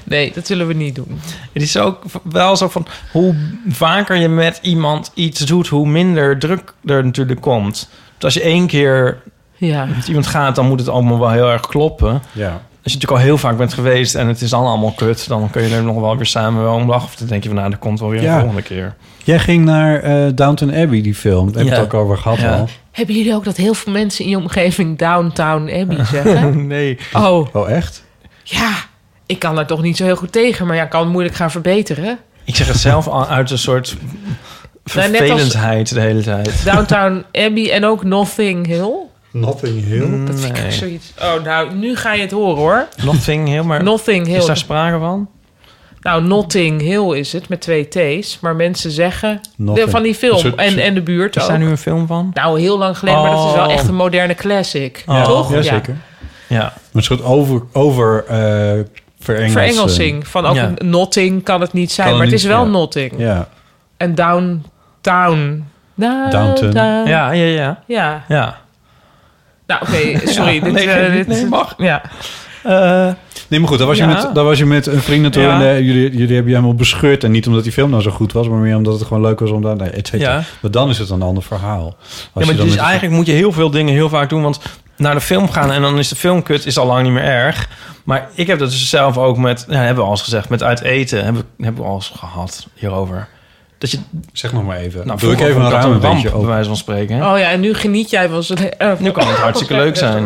B: nee, dat zullen we niet doen.
D: Het is ook wel zo van hoe vaker je met iemand iets doet, hoe minder druk er natuurlijk komt. Dus als je één keer
B: Ja.
D: met iemand gaat, dan moet het allemaal wel heel erg kloppen. Als
C: Ja.
D: je natuurlijk al heel vaak bent geweest en het is dan allemaal kut, dan kun je er nog wel weer samen wel om lachen. Of dan denk je van nou, dat komt wel weer
C: Ja.
D: een volgende keer.
C: Jij ging naar eh Downton Abbey, die film. Daar heb ik
D: Ja.
C: het ook over gehad
D: Ja.
C: al.
B: Hebben jullie ook dat heel veel mensen in je omgeving Downtown Abbey zeggen?
D: Nee.
B: Oh,
C: Oh, echt?
B: ja. Ik kan daar toch niet zo heel goed tegen, maar ja, ik kan het moeilijk gaan verbeteren.
D: Ik zeg het zelf al uit een soort
B: Nou, net als-
D: vervelendheid de hele tijd.
B: Downtown Abbey en ook Nothing Hill.
C: Nothing Hill.
B: Dat vind ik ook
D: Nee.
B: zoiets. Oh, nou, nu ga je het horen hoor.
D: Nothing heel, maar
B: Nothing Hill.
D: is daar sprake van?
B: Nou, Notting Hill is het, met twee T's. Maar mensen zeggen...
C: Notting.
B: De, van die
C: Een
B: film
C: soort-
B: en, en de buurt
D: Is
B: ook.
D: daar nu een film van?
B: Nou, heel lang geleden, maar dat is wel
D: Oh.
B: echt een moderne classic.
D: Ja,
B: toch?
C: Ja, zeker.
D: Ja.
C: Een soort over, over eh verengelsing.
B: Verengelsing. Van ook
D: eh, Ja.
B: een Notting kan het niet zijn,
C: Kan het
B: maar het
C: niet,
B: is wel
C: ja.
B: Notting.
C: Ja.
B: En Downtown.
C: Downton.
B: Ja.
D: Ja, ja, ja.
B: ja.
D: ja.
B: Nou, oké, sorry.
D: Ja,
B: dit,
D: nee,
B: eh,
D: nee,
B: dit,
D: nee, mag.
B: Ja.
D: Eh,
C: Nee, maar goed, daar was,
D: Ja.
C: je, met, daar was je met een vriend naartoe.
D: Ja.
C: En, eh, jullie, jullie hebben je helemaal bescheurd. En niet omdat die film nou zo goed was, maar meer omdat het gewoon leuk was om daar... Nee, et cetera.
D: Ja.
C: Maar dan is het een ander verhaal. Als
D: ja, maar
C: je dan
D: dus
C: met-
D: eigenlijk moet je heel veel dingen heel vaak doen. Want naar de film gaan en dan is de film kut, is al lang niet meer erg. Maar ik heb dat dus zelf ook met, ja, hebben we al eens gezegd, met uit eten. Hebben, hebben we al eens gehad hierover. Dat je,
C: Zeg nog maar even.
D: nou,
C: Doe ik
D: vroeger
C: even
D: vond
C: een
D: dat
C: raam een
D: ramp,
C: beetje
D: bij
C: open.
D: wijze van spreken. hè?
B: Oh ja, en nu geniet jij wel zo. eh,
D: Nu kan het hartstikke leuk zijn.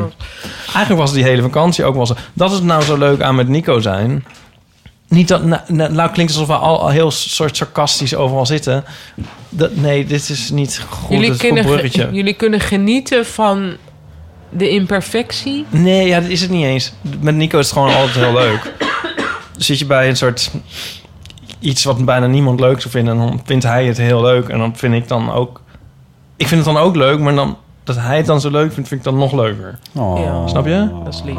D: Eigenlijk was die hele vakantie ook wel zo. Dat is nou zo leuk aan met Nico zijn. Niet dat, nou, nou nou klinkt alsof we al, al heel soort sarcastisch overal zitten. Dat, nee, dit is niet goed.
B: Jullie,
D: dit is een goed
B: kunnen,
D: bruggetje.
B: ge- jullie kunnen genieten van de imperfectie.
D: Nee, ja, dat is het niet eens. Met Nico is het gewoon altijd heel leuk. Dan Zit je bij een soort iets wat bijna niemand leuk zou vinden, en dan vindt hij het heel leuk. En dan vind ik dan ook. Ik vind het dan ook leuk, maar dan dat hij het dan zo leuk vindt, vind ik dan nog leuker.
C: Oh.
B: Ja.
D: Snap je?
B: Dat is lief.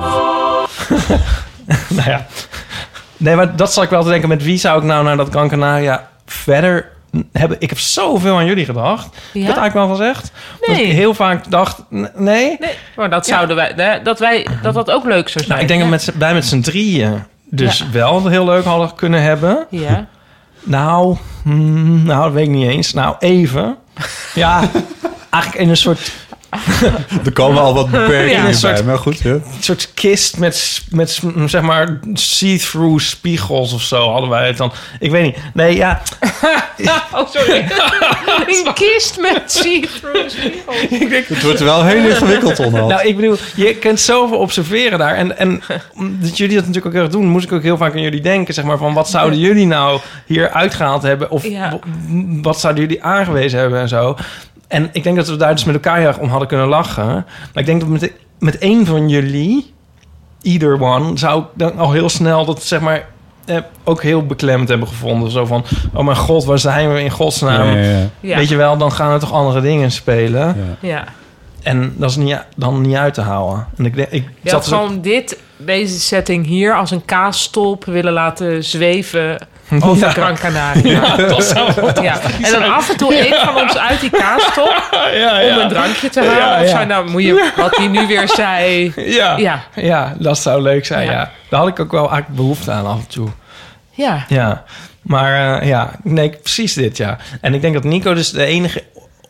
D: nou ja. Nee, maar dat zal ik wel te denken. Met wie zou ik nou naar dat Gran Canaria verder hebben? Ik heb zoveel aan jullie gedacht.
B: Ja?
D: Ik heb het eigenlijk wel gezegd. Dat
B: Nee.
D: ik heel vaak dacht, n- nee.
B: Nee, maar Oh, dat zouden wij, hè, dat wij, dat dat ook leuk zou zijn.
D: Nou, ik denk dat met, z'n- wij met z'n drieën dus wel heel leuk hadden kunnen hebben.
B: Ja.
D: Nou, mm, nou, dat weet ik niet eens. Nou, even. Ja, eigenlijk in een soort,
C: Er komen al wat beperkingen
D: Ja, een soort-
C: bij, maar goed. Ja.
D: soort kist met, met mm, zeg maar see-through spiegels of zo hadden wij het dan. Ik weet niet. Nee, ja,
B: Oh, sorry. Een kist met see-through spiegels.
C: Het wordt wel heel ingewikkeld onderhand.
D: nou, ik bedoel, je kunt zoveel observeren daar. En, en omdat jullie dat natuurlijk ook heel erg doen, moest ik ook heel vaak aan jullie denken. Zeg maar van wat zouden jullie nou hier uitgehaald hebben? Of
B: Ja.
D: w- wat zouden jullie aangewezen hebben en zo? En ik denk dat we daar dus met elkaar heel erg om hadden kunnen lachen. Maar ik denk dat met, met één van jullie, either one, zou ik dan al heel snel dat zeg maar. eh, ook heel beklemd hebben gevonden. Zo van, oh mijn god, waar zijn we in godsnaam?
C: Ja, ja, ja.
B: Ja.
D: Weet je wel, dan gaan er toch andere dingen spelen.
C: Ja.
B: Ja.
D: En dat is niet, dan niet uit te houden. En ik, denk- ik
B: Je
D: zat
B: had
D: er ook-
B: gewoon dit, deze setting hier, als een kaasstolp willen laten zweven over
D: Ja.
B: Gran Canaria. Ja, En dan af en toe een van ons uit die kaasstolp
D: Ah, ja,
B: om een drankje te halen.
D: Ja,
B: Of
D: ja.
B: zo, nou moet je, wat hij nu weer zei.
D: Ja. Ja.
B: Ja,
D: dat zou leuk zijn.
B: Ja.
D: Ja. Daar had ik ook wel eigenlijk behoefte aan af en toe.
B: ja.
D: Ja, maar eh, ja, nee, precies dit, ja. En ik denk dat Nico dus de enige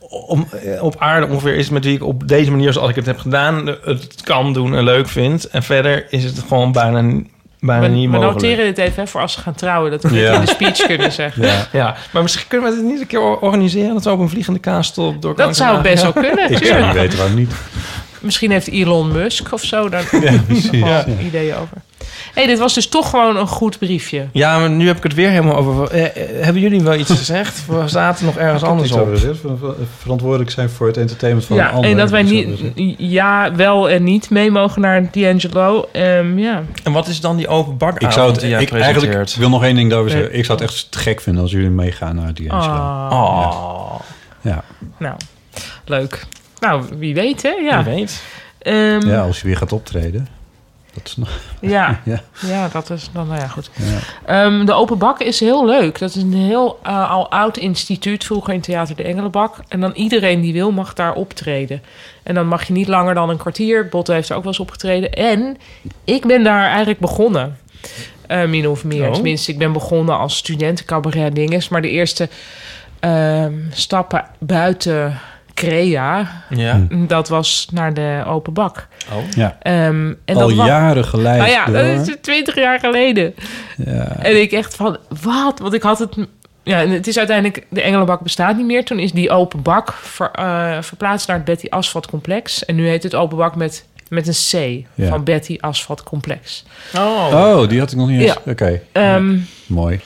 D: om, eh, op aarde ongeveer is met wie ik op deze manier, zoals ik het heb gedaan, eh, het kan doen en leuk vind. En verder is het gewoon bijna, bijna
B: We, we
D: niet mogelijk.
B: noteren dit even hè, voor als ze gaan trouwen, dat we dit
C: Ja.
B: in de speech kunnen zeggen.
C: Ja.
D: Ja, maar misschien kunnen we het niet een keer or- organiseren dat we op een vliegende kaastop door
B: Dat zou best wel kunnen,
C: Ik zou niet
B: tuurlijk.
C: weten waarom niet.
B: Misschien heeft Elon Musk of zo daar
C: Precies.
B: nog wel ideeën over. hey, dit was dus toch gewoon een goed briefje.
D: Ja, maar nu heb ik het weer helemaal over. eh, eh, hebben jullie wel iets gezegd? We zaten nog ergens anders
C: Anders
D: op.
C: Verantwoordelijk zijn voor het entertainment van
B: ja,
C: een ander. dus-
B: en dat wij
C: Iets
B: niet,
C: over zeggen.
B: ja, wel en niet mee mogen naar D'Angelo. Ehm, ja.
D: En wat is dan die open bak
C: Ik zou het,
D: die jij
C: ik, eigenlijk
D: presenteert?
C: ik wil nog één ding daarover zeggen.
B: Nee.
C: Ik zou het echt te gek vinden als jullie meegaan naar die Angela.
B: Ah,
D: Oh,
C: Ja.
B: Nou, leuk. Nou, wie weet, hè? Ja.
D: ja. weet.
B: Ehm,
D: Hm.
C: ja,
B: ja.
C: als je weer gaat optreden. Dat is nog...
B: Ja,
C: Ja.
B: dat is dan, nou ja, goed.
C: Ja.
B: Ehm, de Open Bak is heel leuk. Dat is een heel eh, al oud instituut, vroeger in Theater de Engelenbak. En dan iedereen die wil mag daar optreden. En dan mag je niet langer dan een kwartier. Botte heeft er ook wel eens opgetreden. En ik ben daar eigenlijk begonnen. Eh, min of meer.
D: Oh.
B: Tenminste, ik ben begonnen als student cabaret dinges. Maar de eerste ehm, stappen buiten Crea,
C: Hm.
D: Ja.
B: dat was naar de Open Bak.
D: Oh.
B: Ehm, en
C: Al
B: dat was-
C: jaren geleid.
B: nou ja,
C: door.
B: dat is twintig jaar geleden. En ik echt van, wat? Want ik had het... Ja, en het is uiteindelijk... De Engelenbak bestaat niet meer. Toen is die open bak ver- eh, verplaatst naar het Betty Asphalt Complex. En nu heet het open bak met, met een C.
C: Ja.
B: Van Betty Asphalt Complex.
D: Oh.
C: Oh, die had ik nog niet eens. Oké,
B: Ehm,
C: mooi.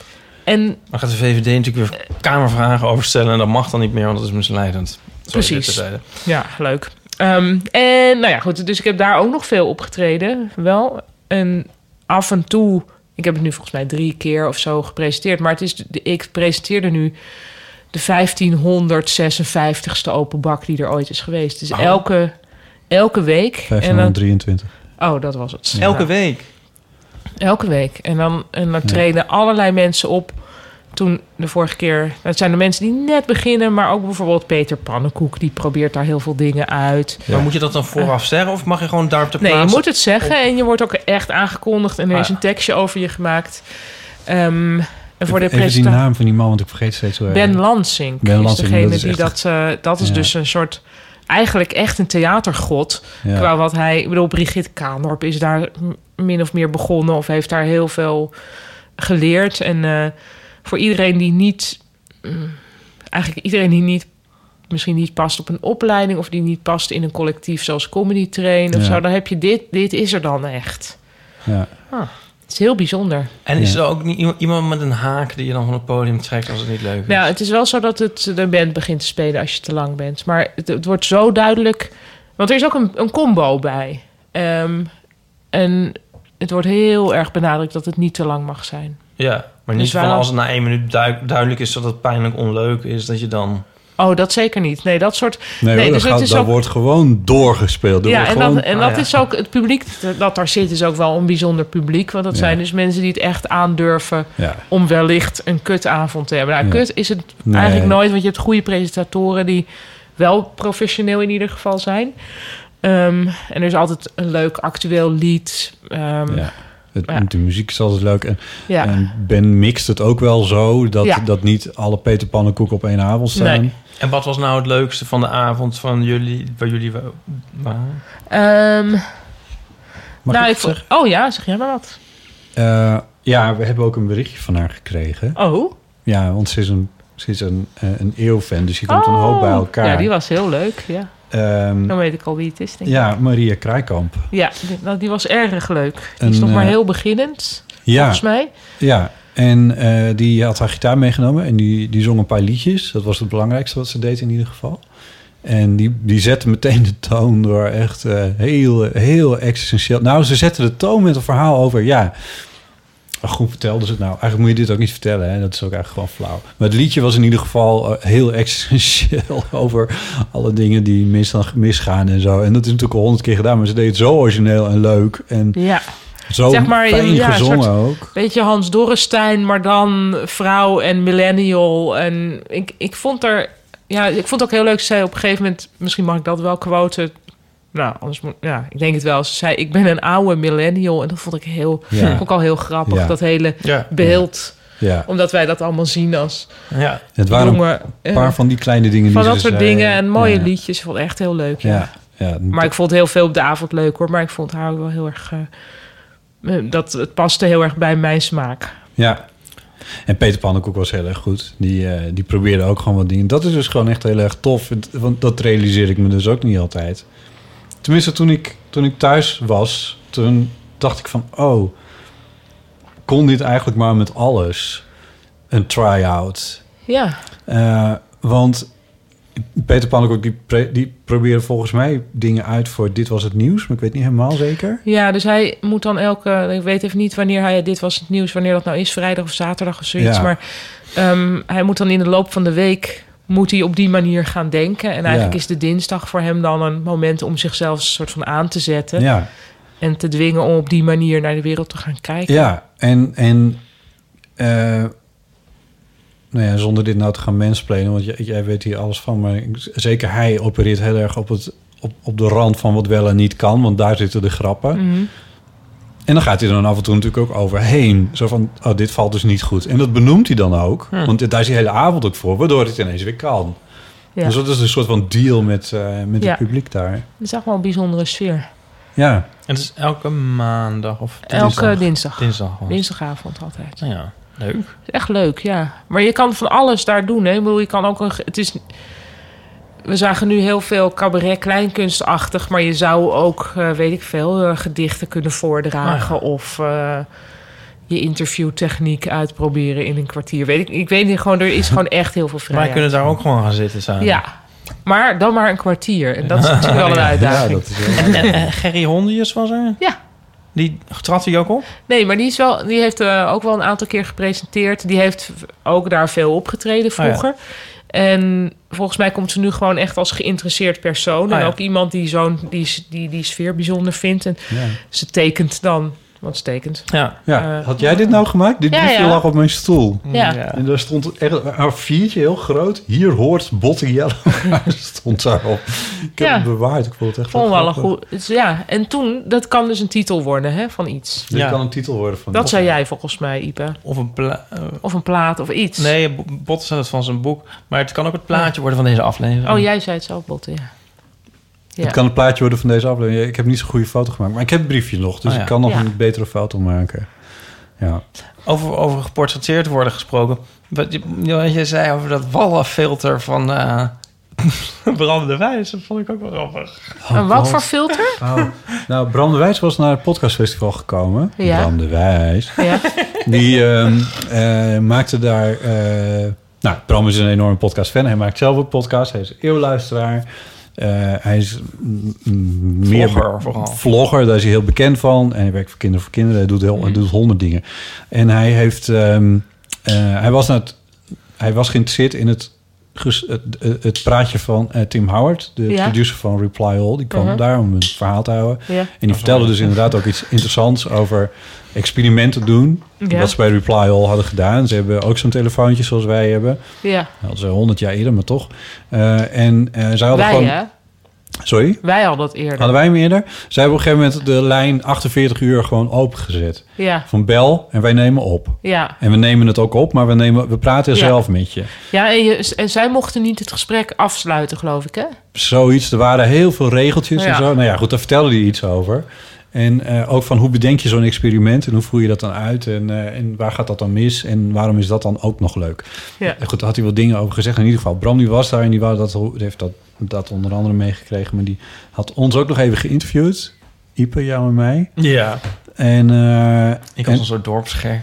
B: En
D: Dan gaat de VVD natuurlijk weer kamervragen over stellen. En dat mag dan niet meer, want dat is misleidend. Sorry,
B: Precies.
D: dit terzijde.
B: Ja, leuk. Ehm, en nou ja, goed. Dus ik heb daar ook nog veel opgetreden. Wel. En af en toe. Ik heb het nu volgens mij drie keer of zo gepresenteerd. Maar het is, de- ik presenteerde nu de 1556ste open bak die er ooit is geweest. Dus
D: Oh.
B: elke, elke week. En dan,
C: 1523.
B: oh, dat was het.
D: Elke
B: Nou,
D: week.
B: elke week. En dan, en dan treden allerlei mensen op. Toen de vorige keer, dat zijn de mensen die net beginnen, maar ook bijvoorbeeld Peter Pannenkoek, die probeert daar heel veel dingen uit.
D: Maar moet je dat dan vooraf zeggen? Of mag je gewoon daar op de
B: Eh. Nee,
D: plaats?
B: je moet het zeggen en je wordt ook echt aangekondigd en er
D: Ah,
B: is
D: ja.
B: een tekstje over je gemaakt. Ehm, en voor de
C: Even die
B: presentatie.
C: naam van die man, want ik vergeet steeds wel.
B: Ben Lansing
C: Ben
B: is
C: Lansing,
B: degene
C: dat is
B: die
C: echt-
B: dat. eh, dat is
C: Ja.
B: dus een soort. Eigenlijk echt een theatergod.
C: Ja.
B: Qua wat hij. Ik bedoel, Brigitte Kaandorp is daar m- min of meer begonnen. Of heeft daar heel veel geleerd. En eh, voor iedereen die niet. mm, eigenlijk iedereen die niet. Misschien niet past op een opleiding. Of die niet past in een collectief zoals Comedy Train. Of
C: Ja.
B: zo. Dan heb je dit. Dit is er dan echt.
C: Ja.
B: Het is heel bijzonder.
D: En is
C: Ja.
D: er ook niet iemand- iemand met een haak die je dan van het podium trekt als het niet leuk is?
B: Nou, het is wel zo dat het, de band begint te spelen als je te lang bent. Maar het, het wordt zo duidelijk. Want er is ook een, een combo bij. Ehm, en het wordt heel erg benadrukt dat het niet te lang mag zijn.
D: Ja, maar niet
B: Dus wij
D: van
B: hadden-
D: als het na één minuut duik- duidelijk is dat het pijnlijk onleuk is, dat je dan...
B: Oh, dat zeker niet. Nee, dat soort.
C: Nee, hoor,
B: dus
C: dat, gaat,
B: het is
C: dat
B: ook-
C: wordt gewoon doorgespeeld. Er
B: ja,
C: wordt
B: en,
C: gewoon...
B: dat, en
D: ah,
B: dat
D: ja.
B: is ook het publiek dat- dat daar zit, is ook wel een bijzonder publiek. Want dat
C: Ja.
B: zijn dus mensen die het echt aandurven
C: ja.
B: om wellicht een kutavond te hebben. Nou,
C: Ja.
B: kut is het
C: Nee.
B: eigenlijk nooit, want je hebt goede presentatoren die wel professioneel in ieder geval zijn. Ehm, en er is altijd een leuk actueel lied. Ehm, ja.
C: Ja. Het,
B: Ja.
C: De muziek is altijd leuk. En, en Ben mixt het ook wel zo dat,
B: Ja.
C: dat niet alle Peter Pannenkoek op één avond staan.
B: Nee.
D: En wat was nou het leukste van de avond van jullie, waar jullie wa- waren?
B: Ehm,
C: Mag
B: nou,
C: ik
B: ik vo- oh ja, zeg jij maar wat.
C: Eh, ja, we hebben ook een berichtje van haar gekregen.
B: Oh,
C: Ja, want ze is een, ze is een, eh, een eeuwfan, dus je komt een
B: Oh.
C: hoop bij elkaar.
B: Ja, die Oh, was heel leuk. Ja.
C: Ehm,
B: Dan weet ik al wie het is, denk ik.
C: ja, Maria Krijkamp.
B: Ja, die, nou, die was erg leuk. Die is
C: En,
B: nog maar
C: eh,
B: heel beginnend,
C: Ja,
B: volgens mij.
C: ja. En eh, die had haar gitaar meegenomen en die, die zong een paar liedjes. Dat was het belangrijkste wat ze deed in ieder geval. En die, die zette meteen de toon door echt eh, heel, heel existentieel. Nou, ze zette de toon met een verhaal over, ja, Maar goed vertelde ze het nou. Eigenlijk moet je dit ook niet vertellen. Hè? Dat is ook eigenlijk gewoon flauw. Maar het liedje was in ieder geval eh, heel essentieel over alle dingen die mis, misgaan en zo. En dat is natuurlijk al honderd keer gedaan. Maar ze deed het zo origineel en leuk. En
B: Ja.
C: zo
B: Zeg maar,
C: fijn
B: ja, een
C: gezongen
B: soort-
C: ook.
B: Beetje Hans Dorrestein, maar dan vrouw en millennial. En ik, ik vond er... Ja, ik vond het ook heel leuk. Ze zei op een gegeven moment... Misschien mag ik dat wel quoten. Nou, anders moet... Ja, ik denk het wel. Ze zei, ik ben een oude millennial. En dat vond ik heel...
C: Ja.
B: Vond ik al heel grappig.
C: Ja.
B: Dat hele
D: Ja.
B: beeld.
C: Ja.
B: Omdat wij dat allemaal zien als
D: Ja.
C: Het waren een
B: jonge... eh,
C: paar van die kleine dingen.
B: van
C: die
B: dat
C: ze
B: soort
C: zei.
B: dingen. En mooie
C: Ja.
B: liedjes. Ik vond het echt heel leuk, ja.
C: Ja. ja.
B: Maar ik vond heel veel op de avond leuk, hoor. Maar ik vond haar ook wel heel erg... eh, eh, dat, het paste heel erg bij mijn smaak.
C: Ja. En Peter Pannenkoek was heel erg goed. Die, eh, die probeerde ook gewoon wat dingen. Dat is dus gewoon echt heel erg tof. Het- Want dat realiseer ik me dus ook niet altijd. Tenminste, toen ik, toen ik thuis was, toen dacht ik van... Oh, kon dit eigenlijk maar met alles? Een try-out.
B: Ja,
C: Eh, want Peter Pannenkoek die, pre- die probeerde volgens mij dingen uit voor Dit Was Het Nieuws. Maar ik weet niet helemaal zeker.
B: ja dus hij moet dan elke... Ik weet even niet wanneer hij... Dit was het nieuws, wanneer dat nou is. Vrijdag of zaterdag of zoiets.
C: Ja.
B: Maar ehm, hij moet dan in de loop van de week... moet hij op die manier gaan denken. En eigenlijk
C: Ja.
B: is de dinsdag voor hem dan een moment... om zichzelf een soort van aan te zetten.
C: Ja.
B: En te dwingen om op die manier naar de wereld te gaan kijken.
C: Ja, en, en eh, nou ja, zonder dit nou te gaan mensplenen, want jij, jij weet hier alles van, maar ik- zeker hij opereert heel erg op, het, op, op de rand van wat wel en niet kan, want daar zitten de grappen.
B: Mhm.
C: En dan gaat hij er dan af en toe natuurlijk ook overheen. Zo van, oh, dit valt dus niet goed. En dat benoemt hij dan ook, want daar is hij hele avond ook voor, waardoor het ineens weer kan.
B: Ja.
C: Dus dat is een soort van deal met, eh, met
B: Ja.
C: het publiek daar.
B: Dat is echt wel een bijzondere sfeer.
C: Ja,
D: En het is elke maandag of
B: Elke
D: dinsdag?
B: dinsdag.
D: Dinsdag. was het.
B: Dinsdagavond altijd.
D: Nou ja, leuk.
B: Is Echt leuk, ja. Maar je kan van alles daar doen. Hè? Ik bedoel, je kan ook een. ge- Het is, we zagen nu heel veel cabaret kleinkunstachtig, maar je zou ook, eh, weet ik veel, eh, gedichten kunnen voordragen
C: Ah,
B: of eh, je interviewtechniek uitproberen in een kwartier. Weet ik, ik weet niet, gewoon, er is gewoon echt heel veel
D: Wij
B: vrijheid.
D: kunnen daar ook gewoon gaan zitten samen.
B: Ja, maar dan maar een kwartier. En dat is natuurlijk wel een
C: ja
B: uitdaging.
C: dat is wel.
D: En, eh, Gerry Hondius was er?
B: Ja.
D: Die trad hij ook op?
B: Nee, maar die, is wel, die heeft eh, ook wel een aantal keer gepresenteerd. Die heeft ook daar veel opgetreden
D: ja.
B: vroeger. En volgens mij komt ze nu gewoon echt als geïnteresseerd persoon.
D: Ah,
B: en
D: ja.
B: ook iemand die, zo'n, die, s- die die sfeer bijzonder vindt. En
C: Ja.
B: ze tekent dan, want ze tekent.
D: Ja.
C: Ja,
B: Eh,
C: had jij dit nou gemaakt? Dit
B: ja,
C: briefje
B: ja.
C: lag op mijn stoel.
B: Ja.
C: En daar stond echt een A4'tje heel groot. Hier hoort Botte Jellema. stond daarop. Ik heb
B: Ja.
C: het bewaard. Ik vond het echt
B: Vond wel een
C: grappig.
B: goed. dus ja, en toen, dat kan dus een titel worden hè, van iets.
C: Dit
D: Ja.
C: kan een titel worden van
B: Dat
C: dit.
B: zei jij volgens mij, Ipe.
D: Of een pla- eh,
B: Of een plaat of iets.
D: Nee, Bo- Botten zei dat van zijn boek. Maar het kan ook het plaatje worden van deze aflevering.
B: Oh, jij zei het zo, Botte, ja. Ja.
C: Het kan een plaatje worden van deze aflevering. Ik heb niet zo'n goede foto gemaakt. Maar ik heb het briefje nog. Dus
D: Oh, ja.
C: ik kan nog
B: Ja.
C: een betere foto maken. Ja.
D: Over, over geportretteerd worden gesproken. Wat je, wat je zei over dat wallenfilter van eh Bram de Wijs. Dat vond ik ook wel grappig.
B: en wat voor filter?
C: Oh. Nou, Bram de Wijs was naar het podcastfestival gekomen.
B: Ja.
C: Bram de Wijs.
B: Ja.
C: Die ehm, eh, maakte daar... eh, nou, Bram is een enorme podcastfan. Hij maakt zelf ook podcast. Hij is eeuwluisteraar. Eh, hij is mm, mm, meer
D: Vlogger vooral.
C: vlogger, daar is hij heel bekend van. En hij werkt voor Kinderen voor Kinderen. Hij doet, heel, hij
D: Mhm.
C: doet honderd dingen. En hij heeft... ehm, eh, hij, was naar het- hij was geïnteresseerd in het, ges- het, het- het praatje van eh, Tim Howard. De
B: Ja.
C: producer van Reply All. Die kwam
B: Mhm.
C: daar om een verhaal te houden.
B: ja.
C: En die vertelde dus inderdaad ook iets interessants over experimenten doen.
B: Ja.
C: Wat ze bij Reply All hadden gedaan. Ze hebben ook zo'n telefoontje zoals wij hebben.
B: ja.
C: Dat hadden ze 100 jaar eerder, maar toch. Eh, en eh, zij hadden
B: Wij,
C: gewoon...
B: hè?
C: Sorry?
B: Wij hadden dat eerder.
C: Hadden wij hem eerder? Zij hebben op een gegeven moment de lijn 48 uur gewoon opengezet.
B: Ja,
C: Van bel en wij nemen op.
B: ja.
C: En we nemen het ook op, maar we, nemen, we praten
B: Ja.
C: zelf met je.
B: Ja, en, je, en zij mochten niet het gesprek afsluiten, geloof ik, hè?
C: zoiets. Er waren heel veel regeltjes en
B: Ja.
C: zo. Nou ja, goed, daar vertelde hij iets over. En eh, ook van hoe bedenk je zo'n experiment en hoe voer je dat dan uit en, eh, en waar gaat dat dan mis en waarom is dat dan ook nog leuk?
B: Ja.
C: En goed, daar had hij wel dingen over gezegd. In ieder geval, Bram die was daar en die, wou dat, die heeft dat, dat onder andere meegekregen, maar die had ons ook nog even geïnterviewd. Ipe, jou en mij.
D: Ja.
C: En, eh,
D: Ik
C: en,
D: was een soort dorpsgek.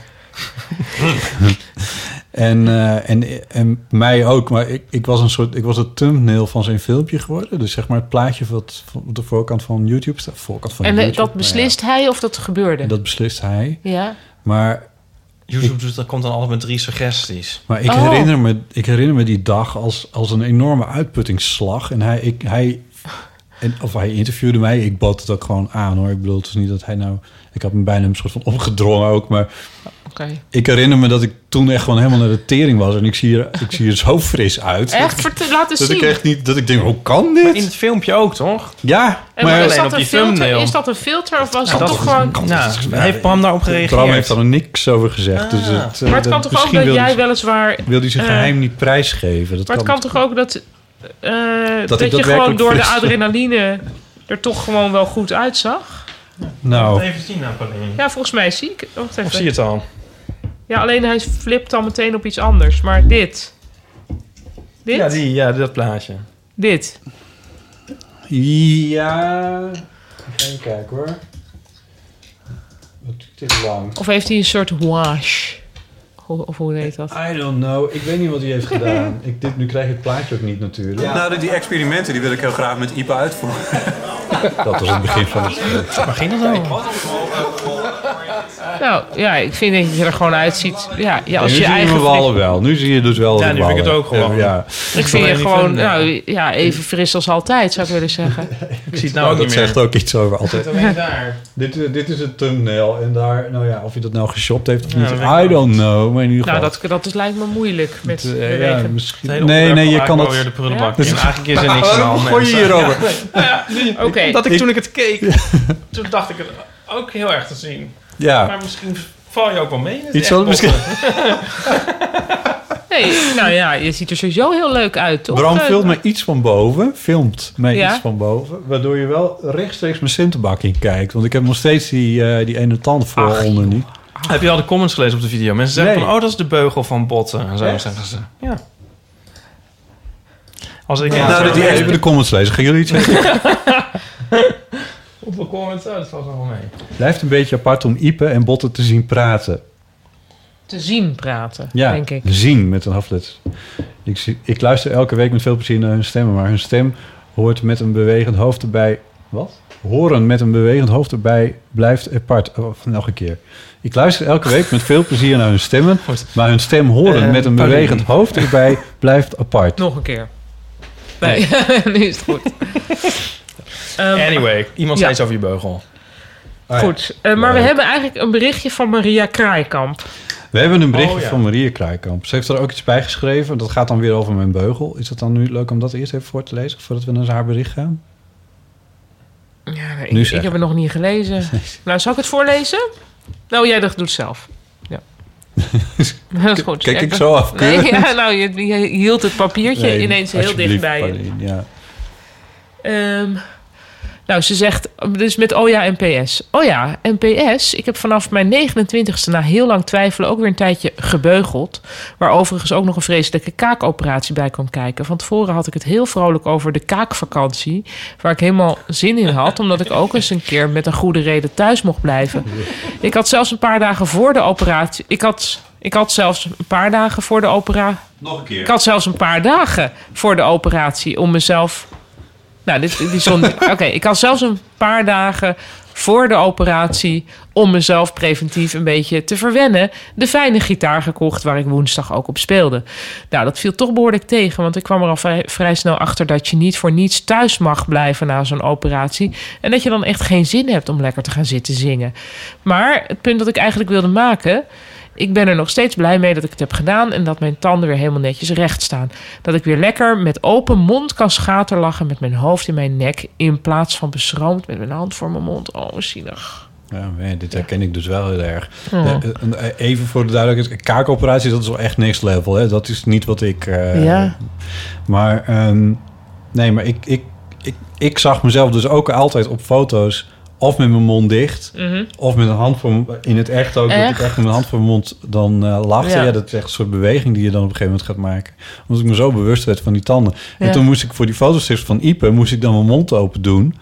C: En, eh, en, en mij ook, maar ik, ik was een soort, ik was het thumbnail van zijn filmpje geworden. Dus zeg maar het plaatje wat op de voorkant van YouTube staat. Voorkant van
B: En eh,
C: YouTube,
B: dat
C: nou ja.
B: beslist hij of dat gebeurde?
C: En dat beslist hij.
B: Ja,
C: Maar
D: YouTube doet, dat komt dan altijd met drie suggesties.
C: Maar ik,
B: Oh.
C: herinner, me, ik herinner me die dag als, als een enorme uitputtingsslag. En hij, ik, hij, en, of hij interviewde mij. Ik bood het ook gewoon aan hoor. Ik bedoel, het is niet dat hij nou... Ik had me bijna een soort van opgedrongen ook. Maar
B: Oké.
C: ik herinner me dat ik toen echt gewoon helemaal naar de tering was. En ik zie er, ik zie er zo fris uit.
B: Echt, vertel- laat eens
C: Dat
B: zien.
C: ik echt niet... Dat ik denk, hoe kan dit?
D: In het filmpje ook, toch?
C: ja,
B: En maar is,
D: alleen
B: dat
D: op
B: een
D: die
B: filter,
D: thumbnail.
B: is dat een filter of was
D: Nou,
B: dat,
D: dat
B: toch
D: is-
B: gewoon...
D: Nou, heeft Bram daarop gereageerd?
C: Bram heeft daar nog niks over gezegd. dus het, eh,
B: Ah. Maar het kan
C: dat-
B: toch ook
C: misschien
B: dat
C: wil
B: jij
C: hij-
B: weliswaar...
C: Wil hij zijn
B: eh,
C: geheim niet prijsgeven? Dat
B: Maar het kan toch ook dat... eh, dat,
C: ik
B: je gewoon
C: dat werkelijk
B: door de
C: fris-
B: adrenaline er toch gewoon wel goed uitzag?
C: Nou,
D: Even zien, nou, Pauline.
B: Ja, volgens mij zie ik... Wacht
D: Of zie je
B: even.
D: het al?
B: Ja, alleen hij flipt dan meteen op iets anders. Maar dit. Dit?
D: Ja, die, ja, dat plaatje.
B: Dit.
C: ja... Even kijken hoor. Het is lang.
B: Of heeft hij een soort wash? Hoe- Of hoe heet dat?
C: I don't know. Ik weet niet wat hij heeft gedaan. Ik, dit, nu krijg ik het plaatje ook niet natuurlijk.
E: Nou, die experimenten die wil ik heel graag met IPA uitvoeren.
C: Dat was het begin van het...
D: Waar ging dat over?
B: Nou, ja, ik vind dat je er gewoon uitziet. Ja, ja als
C: nu
B: je
C: zie je
B: eigen... Nou,
C: mijn wallen wel. Nu zie je dus wel
D: Ja,
C: de
D: nu vind ik het
C: wallen.
D: ook gewoon.
C: Ja,
B: Ik vind je
D: Alleen die
B: gewoon
D: thumbnail.
B: nou, ja, even fris als altijd, zou ik willen zeggen.
D: Ik zie het nou ook
C: Oh, dat
D: niet meer.
C: zegt ook iets over altijd.
D: alleen daar.
C: Dit, eh, dit is het thumbnail. En daar, nou ja, of je dat nou geshopt heeft of
D: Ja, dat
C: niet,
D: weet ik
C: I
D: wel.
C: don't know. Maar in ieder
B: Nou,
C: geval...
B: dat, dat is, lijkt me moeilijk met
C: eh, ja,
B: bewegen.
C: misschien... Nee, nee, je kan
D: weer de
C: het...
D: prullenbak
C: Ja.
D: in. Eigenlijk is
C: Ah,
D: er niks aan de hand,
C: Gooi je
D: Nou, mensen.
C: hierover?
B: Oké,
D: Dat ik,
C: Ik-
D: toen ik het keek, toen dacht ik het ook heel erg te zien.
C: Ja,
D: Maar misschien val je ook wel mee. in het
C: iets
D: echt
C: wat misschien...
B: nee, nou ja, je ziet er sowieso heel leuk uit, toch?
C: Bram
B: Eh,
C: filmt mij iets van boven, filmt mij
B: Ja.
C: iets van boven, waardoor je wel rechtstreeks mijn centenbak in kijkt. Want ik heb nog steeds die, eh, die ene tand voor
D: Ach,
C: onder niet.
D: Heb je al de comments gelezen op de video? Mensen zeggen
C: Nee.
D: van, oh, dat is de beugel van botten. En zo
C: Echt?
D: zeggen ze. Ja. Als ik
C: nou, dat die
D: echt
C: even de comments lezen. Gaan jullie iets zeggen?
D: Hoeveel comments? Oh, dat valt nog wel mee.
C: Blijft een beetje apart om Ipe en Botten te zien praten.
B: Te zien praten,
C: Ja,
B: denk ik.
C: zien met een hoofdletter. Ik, zie- ik luister elke week met veel plezier naar hun stemmen, maar hun stem hoort met een bewegend hoofd erbij. Wat? Horen met een bewegend hoofd erbij blijft apart. Oh, nog een keer. Ik luister elke week met veel plezier naar hun stemmen, maar hun stem horen
D: Eh,
C: met een
D: Pauline.
C: bewegend hoofd erbij blijft apart.
B: Nog een keer. Nee, nu is het goed. Ehm,
D: Anyway, iemand
B: Ja.
D: zei iets over je beugel.
B: Goed, Eh, maar we
C: Oh, Leuk.
B: hebben eigenlijk een berichtje van Maria Kraaikamp.
C: We hebben een berichtje
D: Oh, ja.
C: van Maria Kruikamp. Ze heeft er ook iets bij geschreven. Dat gaat dan weer over mijn beugel. Is het dan nu leuk om dat eerst even voor te lezen voordat we naar haar bericht gaan?
B: Ja, ik,
C: Nu
B: ik
C: zeggen.
B: heb het nog niet gelezen. Nou, zal ik het voorlezen? Nou, jij dat doet zelf. Ja. dat is goed.
C: Kijk ik
B: Ja,
C: zo af.
B: Nee, ja, nou, je, je hield het papiertje
C: Nee,
B: ineens heel
C: alsjeblieft,
B: dichtbij je.
C: Pauline, ja.
B: Ehm, nou, ze zegt dus met oh ja, NPS. Oh ja, NPS. Ik heb vanaf mijn 29ste na heel lang twijfelen ook weer een tijdje gebeugeld. Waar overigens ook nog een vreselijke kaakoperatie bij kwam kijken. Van tevoren had ik het heel vrolijk over de kaakvakantie. Waar ik helemaal zin in had, omdat ik ook eens een keer met een goede reden thuis mocht blijven. Ik had zelfs een paar dagen voor de operatie. Ik had, ik had zelfs een paar dagen voor de operatie.
E: Nog een
B: Ik
E: keer.
B: had zelfs een paar dagen voor de operatie om mezelf. Nou, dit, die zon. Oké, ik had zelfs een paar dagen voor de operatie om mezelf preventief een beetje te verwennen. De fijne gitaar gekocht waar ik woensdag ook op speelde. Nou, dat viel toch behoorlijk tegen, want ik kwam er al vrij, vrij snel achter dat je niet voor niets thuis mag blijven na zo'n operatie en dat je dan echt geen zin hebt om lekker te gaan zitten zingen. Maar het punt dat ik eigenlijk wilde maken ik ben er nog steeds blij mee dat ik het heb gedaan en dat mijn tanden weer helemaal netjes recht staan. Dat ik weer lekker met open mond kan schaterlachen met mijn hoofd in mijn nek in plaats van beschroomd met mijn hand voor mijn mond. Oh, zielig.
C: Ja, man, dit herken ik dus wel heel erg. Eh, eh, eh, Even voor de duidelijkheid, een kaakoperatie, dat is wel echt next level. Hè? Dat is niet wat ik... eh,
B: Ja.
C: Maar ehm, nee, maar ik, ik, ik, ik zag mezelf dus ook altijd op foto's... of met mijn mond dicht, of met een hand voor mijn- In het echt ook, dat ik
B: Echt?
C: echt met mijn hand voor mijn mond dan eh, lachte. Ja.
B: Ja.
C: dat is echt een soort beweging die je dan op een gegeven moment gaat maken. Omdat ik me zo bewust werd van die tanden. En
B: Ja.
C: toen moest ik voor die fotostrips van Ipe... moest ik dan mijn mond open doen...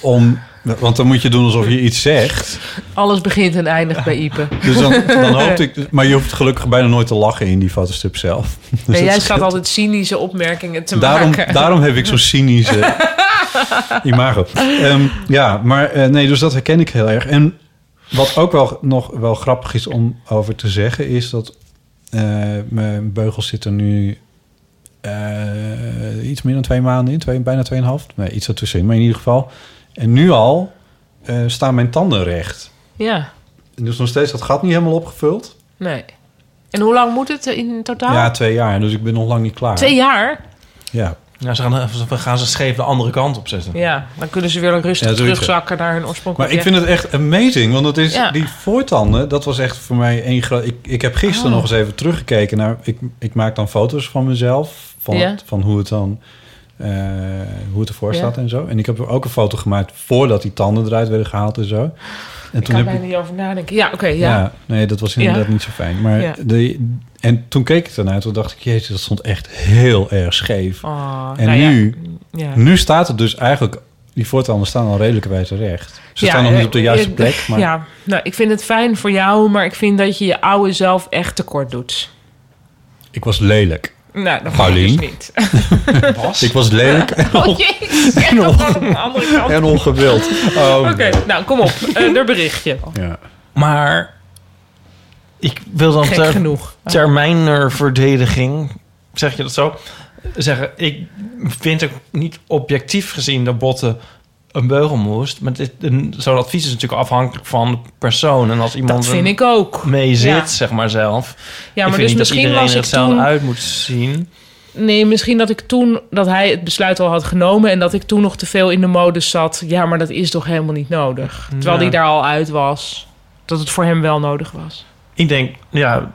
C: om... Want dan moet je doen alsof je iets zegt.
B: Alles begint en eindigt bij Ipe.
C: Dus dan, dan hoopte ik... Maar je hoeft gelukkig bijna nooit te lachen in die fotostrip zelf. Dus
B: Nee,
C: dat
B: jij
C: scheelt.
B: staat altijd cynische opmerkingen te
C: daarom,
B: maken.
C: daarom heb ik zo'n eh, cynische imago. Ehm, ja, maar eh, nee, dus dat herken ik heel erg. En Wat ook wel, nog wel grappig is om over te zeggen, is dat eh, mijn beugels zitten nu eh, iets meer dan twee maanden in, twee, bijna tweeënhalf. Nee, iets ertussenin, maar in ieder geval. En nu al eh, staan mijn tanden recht.
B: Ja,
C: En Dus nog steeds dat gat niet helemaal opgevuld.
B: nee. En hoe lang moet het in totaal?
C: Ja, twee jaar, dus ik ben nog lang niet klaar.
B: Twee jaar?
C: Ja.
D: Nou, ze gaan, we gaan ze scheef de andere kant op zetten.
B: Ja, dan kunnen ze weer rustig
C: Ja, zoiets,
B: terugzakken naar hun oorspronkelijke...
C: Maar ik vind het echt amazing, want het is
B: Ja.
C: die voortanden, dat was echt voor mij één groot... Ik, ik heb
B: Oh.
C: gisteren nog eens even teruggekeken naar... Ik, ik maak dan foto's van mezelf, van,
B: Ja.
C: het- van hoe het dan... eh, hoe het ervoor
B: Ja.
C: staat en zo. En ik heb ook een foto gemaakt voordat die tanden eruit werden gehaald en zo. En
B: Ik kan bijna niet over nadenken. Ja, oké, ja.
C: nee, dat was inderdaad
B: Ja.
C: niet zo fijn. Maar
B: Ja.
C: de, en toen keek ik ernaar, toen dacht ik, jezus, dat stond echt heel erg scheef.
B: Oh,
C: En
B: nou ja.
C: nu?
B: Ja.
C: Nu staat het dus eigenlijk, die voortanden staan al redelijk bij terecht. Ze
B: Ja,
C: staan nog niet op de
B: eh,
C: juiste
B: eh,
C: plek, maar
B: Ja, nou, ik vind het fijn voor jou, maar ik vind dat je je oude zelf echt tekort doet.
C: ik was lelijk.
B: Nou, dat gaat
C: Paulien?
B: dus niet.
C: Ik was lelijk en,
B: Oh jee, ik zeg dat gewoon op de andere kant.
C: en ongewild. Oh.
B: Oké, nou, kom op. Eh er berichtje.
C: Ja.
D: Maar ik wil dan
B: Gek
D: ter,
B: genoeg.
D: termijnerverdediging, zeg je dat zo? Zeggen, ik vind ook niet objectief gezien dat botten een beugel moest. Maar dit- een- zo'n advies is natuurlijk afhankelijk van de persoon. En als iemand
B: Dat vind
D: er
B: ik ook.
D: mee zit,
B: Ja.
D: zeg maar zelf.
B: Ja,
D: eh, ik
B: maar
D: vind
B: dus
D: niet dat
B: misschien
D: iedereen
B: was
D: er
B: ik
D: hetzelfde
B: toen...
D: uit moet zien.
B: Nee, misschien dat ik toen... dat hij het besluit al had genomen... en dat ik toen nog te veel in de mode zat. Ja, maar dat is toch helemaal niet nodig. Terwijl
D: Ja.
B: hij daar al uit was. Dat het voor hem wel nodig was.
D: Ik denk, ja,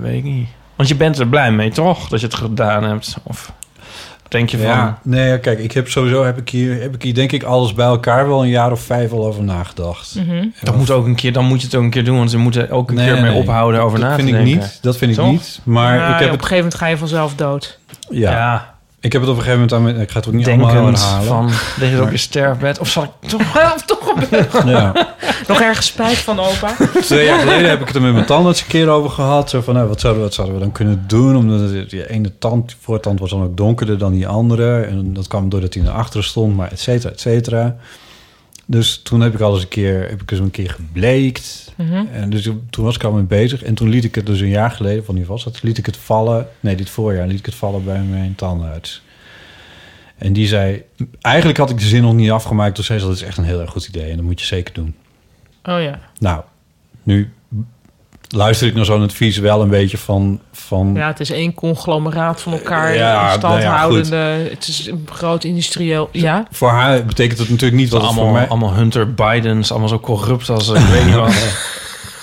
D: weet ik niet. Want je bent er blij mee, toch? Dat je het gedaan hebt. Of denk je van...
C: Ja, nee, ja, kijk, ik heb sowieso heb ik hier, heb ik hier denk ik alles bij elkaar wel een jaar of vijf al over nagedacht.
D: Mhm. Dat moet ook een keer, dan moet je het ook een keer doen, want ze moeten ook een
C: Nee,
D: keer mee
C: nee.
D: ophouden over na
C: dat
D: te
C: vind ik
D: denken.
C: niet. Dat vind ik
D: Toch?
C: niet. Maar
B: Nou, ja,
C: ik heb
B: op een
C: het.
B: gegeven moment ga je vanzelf dood.
C: Ja,
D: Ja,
C: Ik heb het op een gegeven moment aan. mijn- Ik ga het ook niet allemaal
D: denkend
C: herhalen.
D: van, lig je op je sterfbed? Of zal ik toch...
B: of toch een beugel.
C: Ja.
B: Nog ergens spijt van opa.
C: Twee jaar geleden heb ik het er met mijn tandarts een keer over gehad. Zo van, nou, wat, zouden we, wat zouden we dan kunnen doen? Omdat het, die ene tand, die voortand was dan ook donkerder dan die andere. En dat kwam doordat hij naar achteren stond, maar et cetera, et cetera. Dus toen heb ik alles een keer, heb ik eens een keer gebleekt. En dus toen was ik al mee bezig. En toen liet ik het dus een jaar geleden, van die was dat, liet ik het vallen. Nee, dit voorjaar liet ik het vallen bij mijn tandarts. En die zei, eigenlijk had ik de zin nog niet afgemaakt. Toen zei ze, dat is echt een heel erg goed idee en dat moet je zeker doen.
B: Oh ja.
C: Nou, nu luister ik naar zo'n advies wel een beetje van... van
B: Ja, het is één conglomeraat van elkaar.
C: Ja,
B: Ja, standhoudende.
C: nou
B: het is een groot industrieel. Ja.
C: Voor haar betekent het natuurlijk niet wat het
D: allemaal,
C: voor mij...
D: allemaal Hunter Bidens, allemaal zo corrupt als eh, ik weet niet wat.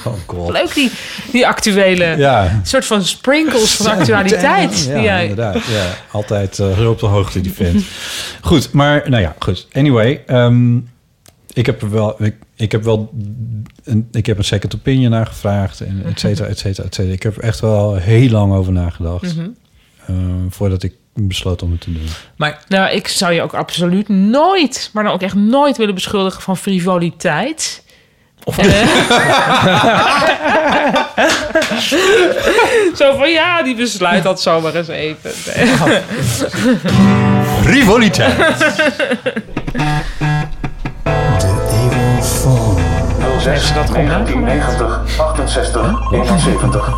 C: Oh, God.
B: Leuk die, die actuele.
C: Ja.
B: soort van sprinkles van actualiteit.
C: Ja,
B: die jij-
C: inderdaad. Ja. Altijd eh, heel op de hoogte, die vent. Goed, maar nou ja, goed. Anyway, ehm, ik heb er wel... Ik, ik heb wel een, ik heb een second opinion naar gevraagd en et cetera, et cetera, et cetera. Ik heb er echt wel heel lang over nagedacht. ehm, voordat ik besloot om het te doen.
D: Maar
B: Nou, ik zou je ook absoluut nooit, maar dan ook echt nooit willen beschuldigen van frivoliteit. Eh. zo van ja, die besluit dat zomaar eens even. Nee.
C: Frivoliteit!
B: ze Oh, dat gewoon nagaan?
F: 1990, 68, 71.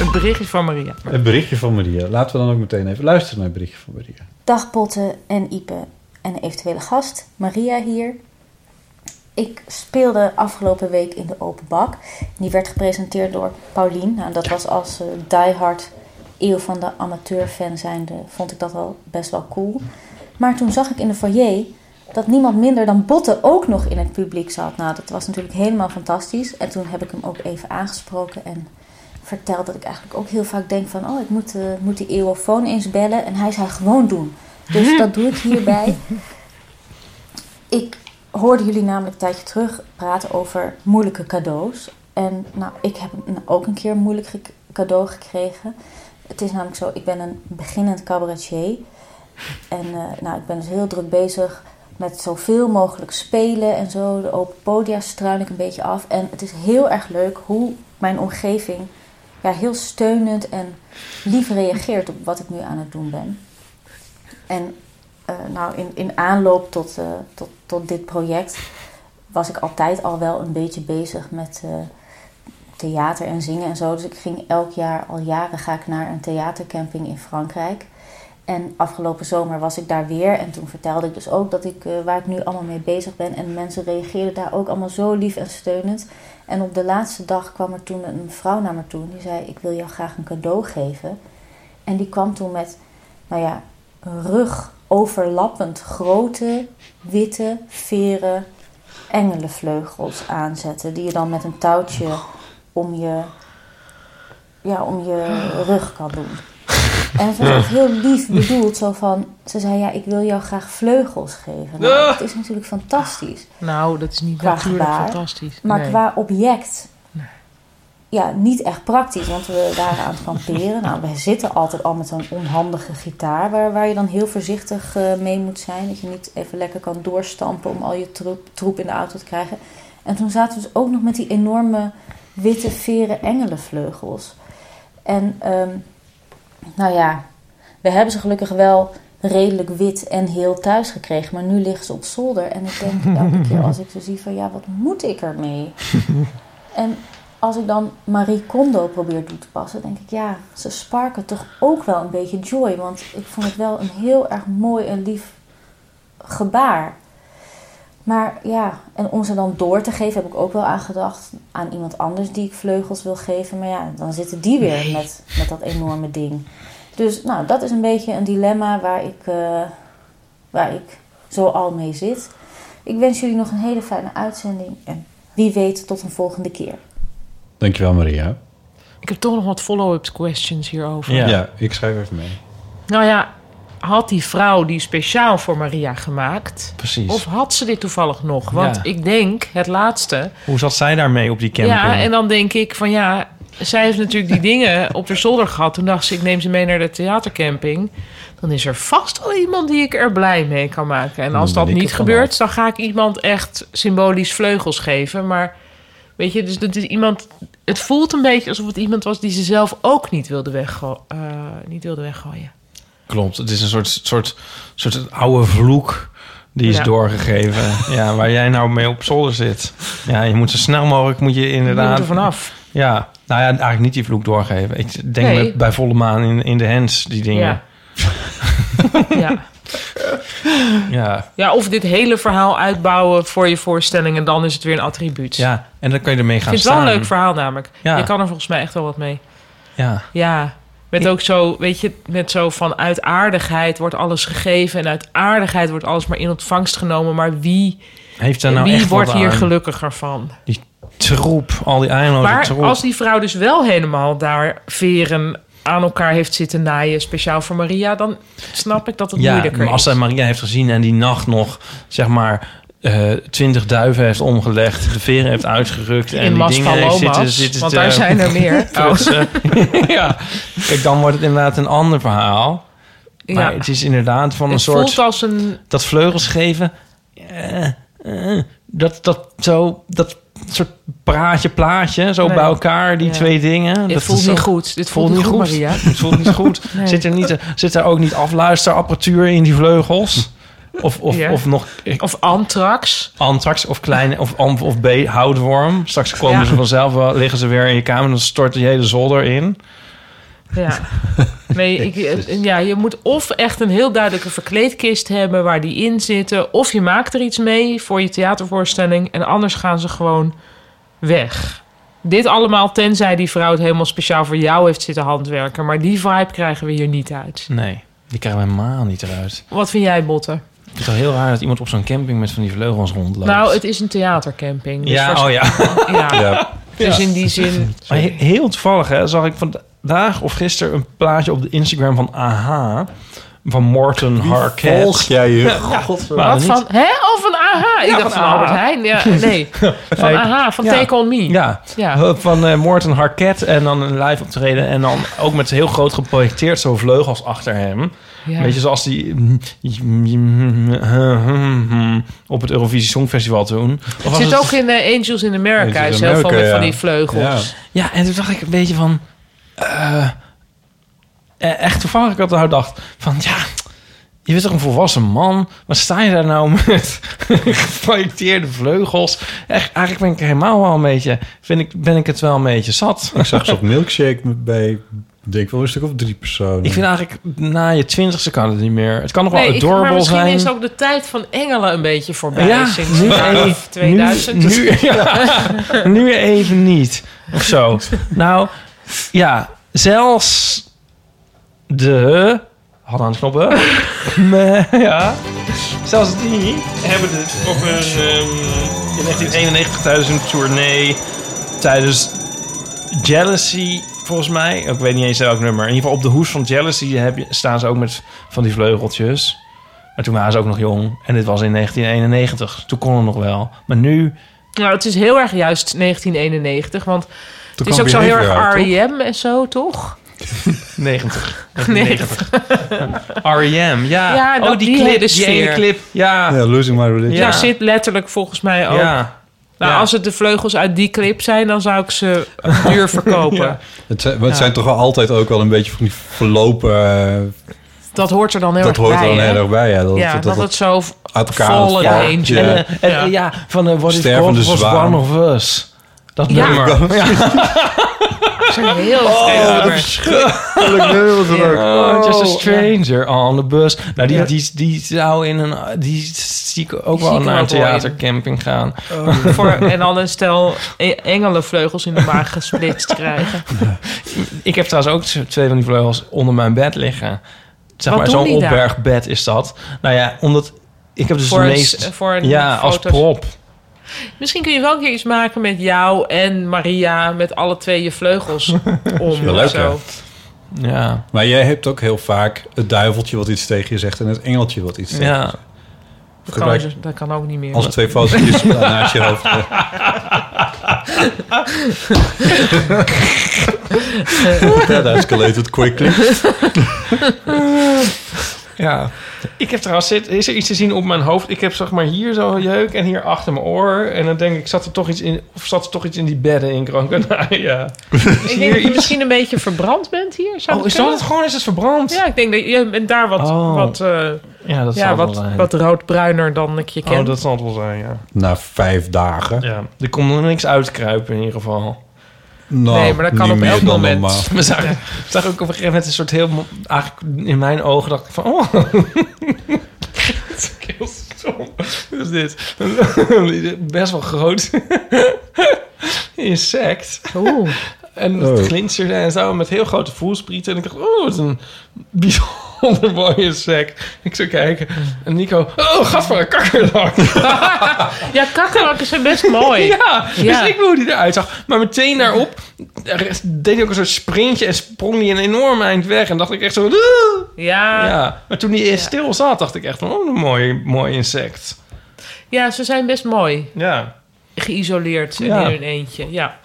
B: Een berichtje van Maria.
C: Het berichtje van Maria. Laten we dan ook meteen even luisteren naar het berichtje van Maria.
G: Dag Botte en Ipe en eventuele gast, Maria hier. Ik speelde afgelopen week in de Open Bak. Die werd gepresenteerd door Paulien. Nou, dat was als eh, diehard eeuw van de amateurfan zijnde, vond ik dat wel best wel cool. Maar toen zag ik in de foyer dat niemand minder dan Botte ook nog in het publiek zat. Nou, dat was natuurlijk helemaal fantastisch. En toen heb ik hem ook even aangesproken en verteld dat ik eigenlijk ook heel vaak denk van... oh, ik moet, eh, moet die eeuwofoon eens bellen. En hij zei gewoon doen. Dus dat doe ik hierbij. Ik hoorde jullie namelijk een tijdje terug praten over moeilijke cadeaus. En nou, ik heb een- ook een keer een moeilijk ge- cadeau gekregen. Het is namelijk zo, ik ben een beginnend cabaretier. En eh, nou, ik ben dus heel druk bezig met zoveel mogelijk spelen en zo. De open podia struin ik een beetje af. En het is heel erg leuk hoe mijn omgeving ja, heel steunend en lief reageert op wat ik nu aan het doen ben. En eh, nou, in, in aanloop tot, eh, tot, tot dit project was ik altijd al wel een beetje bezig met eh, theater en zingen en zo. Dus ik ging elk jaar, al jaren ga ik naar een theatercamping in Frankrijk. En afgelopen zomer was ik daar weer en toen vertelde ik dus ook dat ik, eh, waar ik nu allemaal mee bezig ben. En mensen reageerden daar ook allemaal zo lief en steunend. En op de laatste dag kwam er toen een vrouw naar me toe en die zei: Ik wil jou graag een cadeau geven. En die kwam toen met, nou ja, rugoverlappend grote witte veren engelenvleugels aanzetten. Die je dan met een touwtje om je, ja, om je rug kan doen. En het was echt heel lief bedoeld. Zo van, ze zei, ja, ik wil jou graag vleugels geven. Nou, dat is natuurlijk fantastisch.
B: Nou, dat is niet
G: Qua
B: natuurlijk
G: gebaar,
B: fantastisch.
G: Maar
B: Nee.
G: qua object, ja, niet echt praktisch. Want we waren aan het kamperen. Nou, we zitten altijd al met zo'n onhandige gitaar. Waar, waar je dan heel voorzichtig eh, mee moet zijn. Dat je niet even lekker kan doorstampen om al je troep, troep in de auto te krijgen. En toen zaten we dus ook nog met die enorme witte veren engelenvleugels. En, ehm, nou ja, we hebben ze gelukkig wel redelijk wit en heel thuis gekregen. Maar nu liggen ze op zolder. En ik denk elke keer als ik ze zie van, ja, wat moet ik ermee? En als ik dan Marie Kondo probeer toe te passen, denk ik ja, ze sparken toch ook wel een beetje joy. Want ik vond het wel een heel erg mooi en lief gebaar. Maar ja, en om ze dan door te geven, heb ik ook wel aan gedacht aan iemand anders die ik vleugels wil geven. Maar ja, dan zitten die weer met, met dat enorme ding. Dus nou, dat is een beetje een dilemma waar ik, eh, waar ik zo al mee zit. Ik wens jullie nog een hele fijne uitzending en wie weet tot een volgende keer.
C: Dankjewel, Maria.
B: Ik heb toch nog wat follow-up questions hierover.
D: Ja.
C: Ja. ik schrijf even mee.
B: Nou ja, had die vrouw die speciaal voor Maria gemaakt...
D: Precies.
B: Of had ze dit toevallig nog? Want
D: Ja.
B: ik denk, het laatste...
D: Hoe zat zij daarmee op die camping?
B: Ja, en dan denk ik van ja, zij heeft natuurlijk die dingen op de zolder gehad. Toen dacht ze, ik neem ze mee naar de theatercamping. Dan is er vast al iemand die ik er blij mee kan maken. En als
C: Dan
B: dat
C: ben ik
B: niet
C: er vanaf.
B: gebeurt, dan ga ik iemand echt symbolisch vleugels geven. Maar weet je, dus dat is iemand. Het voelt een beetje alsof het iemand was die ze zelf ook niet wilde, weggo- eh, niet wilde weggooien.
D: Klopt, het is een soort, soort, soort oude vloek die is
B: Ja.
D: doorgegeven. ja, waar jij nou mee op zolder zit. Ja, je moet zo snel mogelijk, moet je
B: Je moet
C: nou,
D: inderdaad...
B: er vanaf.
D: Ja, nou ja, eigenlijk niet die vloek doorgeven. Ik denk
B: Nee.
D: met, bij volle maan in, in de hens, die dingen.
B: Ja.
D: Ja.
B: ja.
D: ja,
B: ja, of dit hele verhaal uitbouwen voor je voorstelling en dan is het weer een attribuut.
D: en dan kan je ermee
B: Ik
D: gaan
B: vind het
D: staan.
B: wel een leuk verhaal namelijk.
D: Ja.
B: Je kan er volgens mij echt wel wat mee.
D: Ja,
B: Ja, met ook zo, weet je, met zo van uit aardigheid wordt alles gegeven en uit aardigheid wordt alles maar in ontvangst genomen. Maar wie,
D: heeft daar nou
B: wie
D: echt
B: wordt
D: wat
B: hier
D: aan? Oh,
B: gelukkiger van?
D: Troep, al die eindeloze
B: maar
D: troep.
B: als die vrouw dus wel helemaal daar veren aan elkaar heeft zitten naaien, speciaal voor Maria, dan snap ik dat het
D: ja,
B: moeilijker
D: maar als
B: is.
D: zij Maria heeft gezien en die nacht nog, zeg maar... eh, twintig duiven heeft omgelegd, de veren heeft uitgerukt... en
B: in
D: die
B: Mas
D: dingen
B: van
D: heeft
B: Lomas,
D: zitten, zitten
B: want
D: te-
B: daar zijn er meer. Oh,
D: prutsen. ja, kijk, dan wordt het inderdaad een ander verhaal.
B: ja.
D: Maar het is inderdaad van een
B: het
D: soort...
B: voelt als een
D: dat vleugels geven. eh, eh, dat, dat, zo, dat soort praatje, plaatje, zo
B: Nee.
D: bij elkaar, die
B: Ja.
D: twee dingen.
B: Dit
D: dat
B: voelt
D: is
B: niet
D: zo-
B: goed. Dit voelt,
D: voelt
B: niet
D: niet
B: goed,
D: goed.
B: Maria.
D: Het voelt niet goed.
B: Nee.
D: Zit, er niet, zit er ook niet afluisterapparatuur in die vleugels? Of, of,
B: Ja.
D: of nog eh,
B: Of antrax.
D: anthrax of kleine of amf of B, houtworm. Straks komen
B: Ja.
D: ze vanzelf wel, liggen ze weer in je kamer en dan stort je hele zolder in.
B: Ja. Nee, ik, eh, ja, je moet of echt een heel duidelijke verkleedkist hebben waar die in zitten. Of je maakt er iets mee voor je theatervoorstelling. En anders gaan ze gewoon weg. Dit allemaal tenzij die vrouw het helemaal speciaal voor jou heeft zitten handwerken. Maar die vibe krijgen we hier niet uit.
D: Nee, die krijgen we helemaal niet eruit.
B: Wat vind jij, Botte?
D: Ik vind het wel heel raar dat iemand op zo'n camping met van die vleugels rondloopt.
B: Nou, het is een theatercamping. Dus
D: ja,
B: waarsch-
D: oh ja.
B: ja. Dus in die zin...
D: Maar he- heel toevallig hè, zag ik vandaag of gisteren een plaatje op de Instagram van AHA. Van Morten Harket.
C: Volg jij je?
B: Wat van... Hè? Oh, van AHA. Ik dacht van, Albert Heijn. Ja, nee. Van AHA. Van
D: Ja.
B: Take On Me.
D: Ja,
B: Ja.
D: van eh Morten Harket en dan een live optreden. En dan ook met heel groot geprojecteerd zo'n vleugels achter hem.
B: Ja.
D: Weet je, zoals die op het Eurovisie Songfestival toen. Of was
B: Het zit
D: het-
B: ook in eh, Angels in America.
C: Angels
B: is
C: in
B: heel veel
C: America,
B: met van
C: ja.
B: die vleugels.
D: Ja, en toen dacht ik een beetje van... eh, eh, echt toevallig, ik had nou dacht van ja... Je bent toch een volwassen man? Wat sta je daar nou met geprojecteerde vleugels? Echt, eigenlijk ben ik er helemaal wel een beetje... Vind ik, ben ik het wel een beetje zat.
C: Ik zag ze op milkshake bij, denk ik wel, een stuk of drie personen.
D: Ik vind eigenlijk, na je twintigste kan het niet meer. Het kan nog wel
B: Nee, ik, maar
D: adorable
B: misschien
D: zijn.
B: is ook de tijd van engelen een beetje voorbij
D: Ja,
B: sinds eh,
D: nu
B: jaren
D: even-
B: 2000.
D: Nu, nu, ja, nu even niet. Of zo. Nou, ja. Zelfs de... Had aan knoppen. Nee, ja. Zelfs die hebben het over ehm, in 1991 tijdens een tournee. Tijdens Jealousy, volgens mij. Ik weet niet eens welk nummer. In ieder geval op de hoes van Jealousy heb je, staan ze ook met van die vleugeltjes. Maar toen waren ze ook nog jong. En dit was in 1991. Toen kon het nog wel. Maar nu...
B: Nou, het is heel erg juist 1991, want het is
C: kwam
B: ook zo heel
C: Behavior
B: erg
C: uit,
B: R.E.M. en zo, toch?
D: 90. 90. R.E.M. Ja.
B: Ja,
D: oh,
B: dat-
D: die,
B: die
D: clip.
B: hele
D: Die
B: sfeer.
D: ene clip. Ja.
C: Ja, Losing My Religion.
D: Ja.
B: Daar zit letterlijk volgens mij ook.
D: Ja.
B: Nou,
D: Ja.
B: als het de vleugels uit die clip zijn, dan zou ik ze duur verkopen.
D: Ja.
C: Het, zijn, maar het zijn toch wel altijd ook wel een beetje van die verlopen... eh,
B: Dat hoort er dan heel
C: dat
B: erg
C: hoort er
B: bij,
C: dan
B: hè?
C: heel erg bij, ja. Dat,
B: Ja, dat,
C: dat, dat,
B: het zo
C: uit elkaar
B: vol
C: valt.
B: en eentje.
C: Ja.
D: En, eh, en,
B: Ja.
D: eh, ja, van eh, What If
C: Stervende
D: God Was
C: zwaan. Oh,
D: One of Us. Dat
B: Ja.
D: nummer.
B: zijn heel vreemd.
D: Oh, just a stranger on the bus. Nou, die, die, die zou in een... Die zie ik
B: Die
D: ook wel
B: zie ik
D: naar
B: er
D: een
B: ook wel in.
D: theatercamping gaan.
B: voor, en dan een stel e- engelenvleugels in de maag gesplitst krijgen.
D: Ik heb trouwens ook z- twee van die vleugels onder mijn bed liggen. Zeg
B: Wat
D: maar,
B: doen
D: zo'n
B: die daar?
D: opbergbed is dat. Nou ja, omdat... Ik heb dus
B: voor
D: de
B: een,
D: meest...
B: s- voor een
D: ja, als
B: foto's.
D: prop.
B: Misschien kun je wel een keer iets maken met jou en Maria... met alle twee je vleugels om.
C: wel
B: of
C: leuk,
B: zo.
D: Ja.
C: Maar jij hebt ook heel vaak het duiveltje wat iets tegen je zegt... en het engeltje wat iets tegen je
D: ja.
C: zegt.
B: Dat kan,
C: Gebruik-
B: dus- dat kan ook niet meer.
C: Als twee fotootjes naast je hoofd. That escalated quickly.
D: Ja. Ik heb trouwens, zit, is er iets te zien op mijn hoofd? Ik heb zeg maar hier zo jeuk en hier achter mijn oor. En dan denk ik, zat er toch iets in, of zat er toch iets in die bedden in Gran Canaria?
B: ik denk dat je misschien een beetje verbrand bent hier. Zou
D: Oh, is dat het gewoon? Is het verbrand?
B: Ja, ik denk dat je bent daar wat,
D: Oh.
B: wat, eh,
D: Ja, dat
B: ja,
D: zal
B: wat,
D: wel zijn.
B: wat roodbruiner dan ik je ken.
D: oh, dat zal het wel zijn, ja.
C: Na vijf dagen.
D: Ja, er komt nog niks uitkruipen in ieder geval.
C: Nou,
B: Nee, maar dat kan
C: niet
B: op
C: meer
B: elk
C: dan
B: moment.
C: normaal.
D: We zagen, we zagen ook op een gegeven moment een soort heel... mo- Eigenlijk in mijn ogen dacht ik van... Oh. Dat is ook heel stom. Wat is dit? Best wel groot insect.
B: Oeh.
D: En
C: Oh.
D: het glinsterde en zo met heel grote voelsprieten. En ik dacht, oh, wat een bijzonder mooi insect. Ik zou kijken. En Nico, oh, gat voor een kakkerlak.
B: Ja, kakkerlakken zijn best mooi.
D: Ja,
B: Ja.
D: dus ik wil hoe die eruit zag. Maar meteen daarop er deed hij ook een soort sprintje en sprong hij een enorm eind weg. En dacht ik echt zo... "Aah."
B: Ja, ja.
D: Ja, maar toen hij eerst stil zat, dacht ik echt van, oh, een mooi, mooi insect.
B: ze zijn best mooi.
D: Ja,
B: Geïsoleerd en
D: Ja.
B: in hun eentje. Ja.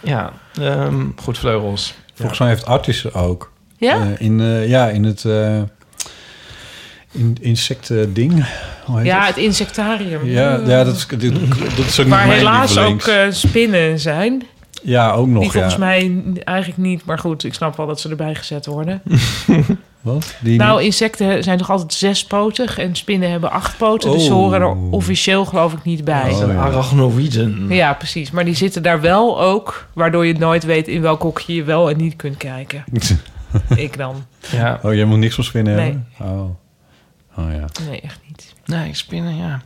D: ja. ehm, goed, vleugels.
C: Volgens mij heeft Artis ze ook.
B: Ja?
C: Eh, in, eh, ja, in het eh in, insecten ding. Hoe heet
B: ja,
C: het?
B: het insectarium. Hmm.
C: Ja, ja, dat is, dit- dat is ook
B: Waar
C: niet mijn
B: helaas ook
C: lievelings.
B: eh, spinnen zijn. Die
C: ja, ook nog, ja.
B: volgens mij n- eigenlijk niet. Maar goed, ik snap wel dat ze erbij gezet worden.
C: Mhm. Wat? Die
B: Nou, insecten zijn toch altijd zespotig. En spinnen hebben achtpoten. Dus ze
C: Oh.
B: horen er officieel geloof ik niet bij.
C: Oh, ja.
D: Arachnoïden.
B: Ja, precies. Maar die zitten daar wel ook. Waardoor je nooit weet in welk hokje je wel en niet kunt kijken. ik dan.
D: Ja.
C: Oh, jij moet niks van spinnen hebben? Oh. oh ja.
B: Nee, echt niet.
D: Nee, spinnen, ja.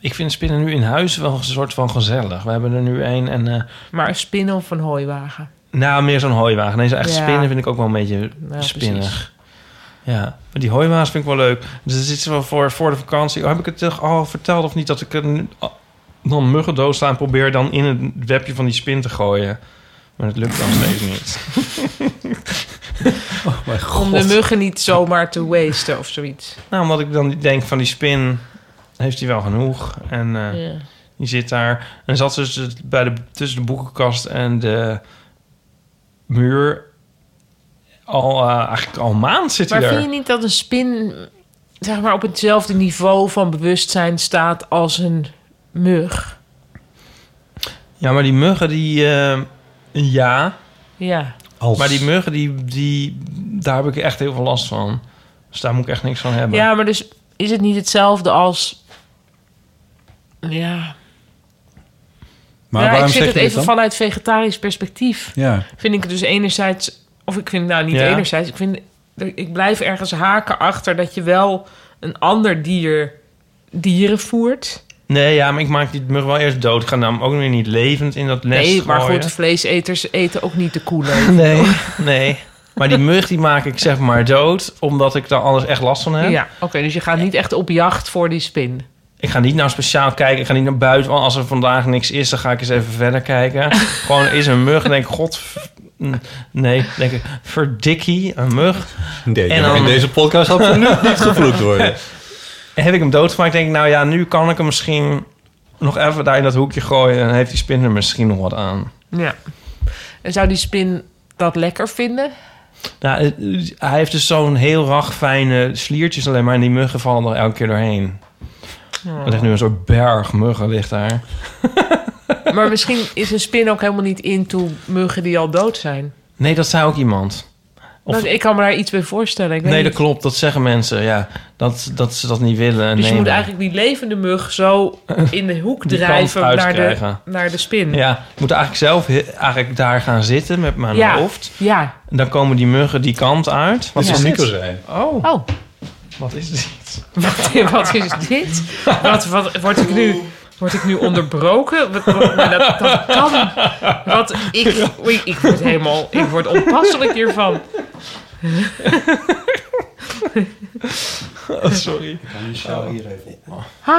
D: Ik vind spinnen nu in huis wel een soort van gezellig. We hebben er nu één en... eh,
B: Maar een spin of een hooiwagen.
D: nou, meer zo'n hooiwagen. Nee, zo'n echt
B: Ja.
D: spinnen vind ik ook wel een beetje
B: precies.
D: spinnig. Ja, maar die hooiwaas vind ik wel leuk. Dus er zit ze wel voor, voor de vakantie. Oh, heb ik het toch al verteld of niet? Dat ik een, dan muggendoos staan probeer dan in het webje van die spin te gooien. Maar dat lukt dan steeds niet.
B: Om de muggen niet zomaar te wasten of zoiets.
D: Nou, omdat ik dan denk van die spin... heeft hij wel genoeg. En... eh,
B: Ja.
D: Die zit daar. En zat dus het- bij de, tussen de boekenkast en de muur. Al, eh, eigenlijk al een maand zit hij
B: Maar
D: daar.
B: vind je niet dat een spin zeg maar, op hetzelfde niveau van bewustzijn staat als een mug?
D: Ja, maar die muggen die... eh, ja,
B: Ja.
C: Als...
D: maar die muggen die, die... Daar heb ik echt heel veel last van. Dus daar moet ik echt niks van hebben.
B: Ja, maar dus is het niet hetzelfde als... Ja,
C: Maar
B: ja ik
C: waarom
B: zit
C: zeg
B: het
C: je dit
B: even
C: dan?
B: vanuit vegetarisch perspectief.
C: Ja,
B: Vind ik het dus enerzijds... Of ik vind, nou niet
D: Ja.
B: enerzijds. Ik, vind, ik blijf ergens haken achter dat je wel een ander dier dieren voert.
D: Nee, ja, maar ik maak die mug wel eerst dood. Ik ga hem ook weer niet levend in dat nest
B: Nee, maar
D: gooien.
B: goed, vleeseters eten ook niet de koe leeg.
D: Nee, nee. Maar die mug die maak ik zeg maar dood, omdat ik daar anders echt last van heb.
B: Ja, oké, dus je gaat niet echt op jacht voor die spin.
D: Ik ga niet nou speciaal kijken. Ik ga niet naar buiten. Want als er vandaag niks is, dan ga ik eens even verder kijken. Gewoon is een mug. Dan denk ik, god... v- n- Nee, dan denk ik, verdikkie, een mug.
C: nee,
D: En
C: maar
D: dan-
C: in deze podcast absoluut niet gevloekt worden.
D: En heb ik hem doodgemaakt, denk ik, nou ja, nu kan ik hem misschien nog even daar in dat hoekje gooien. En dan heeft die spin er misschien nog wat aan.
B: Ja. En zou die spin dat lekker vinden?
D: Nou, het- hij heeft dus zo'n heel rag fijne sliertjes alleen maar. En die muggen vallen er elke keer doorheen. Er ligt nu een soort berg muggen ligt daar.
B: Maar misschien is een spin ook helemaal niet into muggen die al dood zijn.
D: Nee, dat zei ook iemand. Of-
B: Nou, ik kan me daar iets bij voorstellen. Ik weet
D: Nee, dat
B: niet.
D: klopt. Dat zeggen mensen, ja. Dat, dat ze dat niet willen. en
B: Dus je moet
D: nemen.
B: eigenlijk die levende mug zo in de hoek
D: Die
B: drijven
D: kant
B: naar de,
D: uitkrijgen.
B: naar de spin.
D: Ja, ik moet eigenlijk zelf he- eigenlijk daar gaan zitten met mijn
B: Ja.
D: hoofd.
B: Ja.
D: En dan komen die muggen die kant uit. Wat
C: Dat
D: is
C: is Nico
D: dit?
C: zijn.
D: Oh,
B: Oh,
D: wat is dit?
B: wat, wat is dit? Wat, wat, word, ik nu, word ik nu onderbroken? Wat, wat- maar dat, dat kan. Wat, ik, oei, ik word helemaal... Ik word onpasselijk hiervan.
D: Oh, sorry.
B: Hi.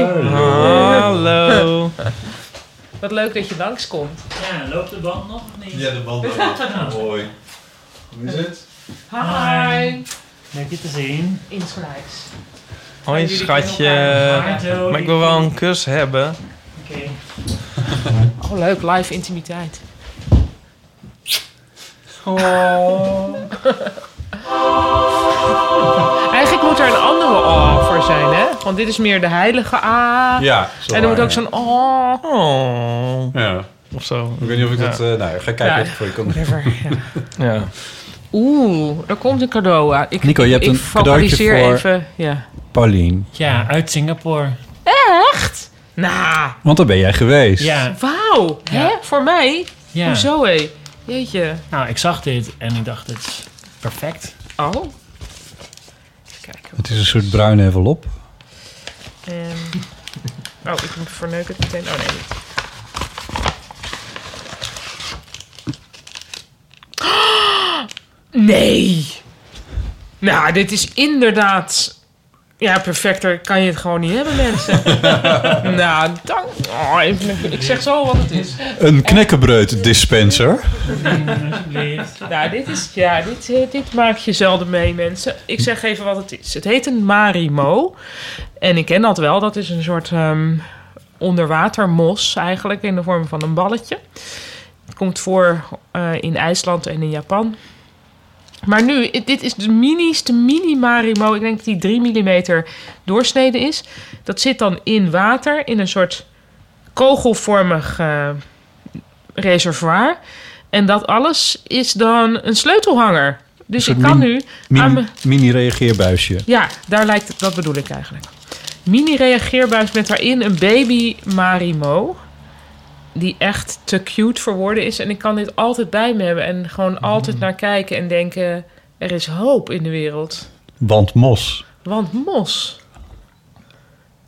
D: Hallo.
B: Wat leuk dat je langskomt.
H: Ja, loopt de band nog of niet?
C: Ja, de bal.
B: Ah,
C: Mooi. Hoe is het?
B: Hi.
H: Leuk je te zien.
B: Insgelijks.
D: Hoi,
B: Jullie kennen
D: schatje.
B: elkaar.
H: Hallo.
D: Maar ik wil wel een kus hebben.
H: Oké.
B: Oh, leuk. Live intimiteit. Oh. Eigenlijk moet er een andere oh voor zijn, hè? Want dit is meer de heilige ah.
C: Ja.
B: en er moet ook zo'n oh.
D: Oh.
C: Ja.
D: Of zo.
C: Ik weet niet of ik
D: Ja.
C: dat... eh, nou, ja, ga kijken
B: Ja.
C: of ik voor je kan...
B: Whatever, ja.
D: Ja.
B: Oeh, er komt een cadeau aan. Ik,
C: Nico, je hebt
B: ik
C: een
B: focaliseer
C: cadeautje voor-
B: even. Ja.
C: Paulien.
H: Ja, uit Singapore.
B: Echt? Nou,
C: Want daar ben jij geweest.
H: Ja,
B: wauw. Hè? Voor mij?
H: ja.
B: Hoezo, hé? Jeetje.
H: Nou, ik zag dit en ik dacht, het is perfect.
B: Oh. Even kijken.
C: Het is een soort bruine envelop.
B: Ehm, oh, ik verneuk het meteen. Oh nee, niet. Nee! Nou, dit is inderdaad... Ja, perfecter kan je het gewoon niet hebben, mensen. nou, dank... Oh, ik- ik zeg zo wat het is.
C: Een knekkenbreud dispenser.
H: Alsjeblieft.
B: Nou, dit is... Ja, dit, eh, dit maak je zelden mee, mensen. Ik zeg even wat het is. Het heet een marimo. En ik ken dat wel. Dat is een soort ehm onderwatermos eigenlijk... in de vorm van een balletje. Het komt voor eh, in IJsland en in Japan. Maar nu, i- dit is de ministe mini marimo. Ik denk dat die 3 mm doorsnede is. Dat zit dan in water in een soort kogelvormig eh, reservoir. En dat alles is dan een sleutelhanger. Dus
C: Een
B: ik
C: soort
B: kan
C: min-
B: nu... aan
C: Mini,
B: mijn-
C: mini reageerbuisje.
B: ja, daar lijkt het, dat bedoel ik eigenlijk. Mini reageerbuis met daarin een baby Marimo. Die echt te cute voor woorden is. En ik kan dit altijd bij me hebben. En gewoon
C: Mm-hmm.
B: altijd naar kijken en denken... Er is hoop in de wereld.
C: Want mos.
B: Want mos.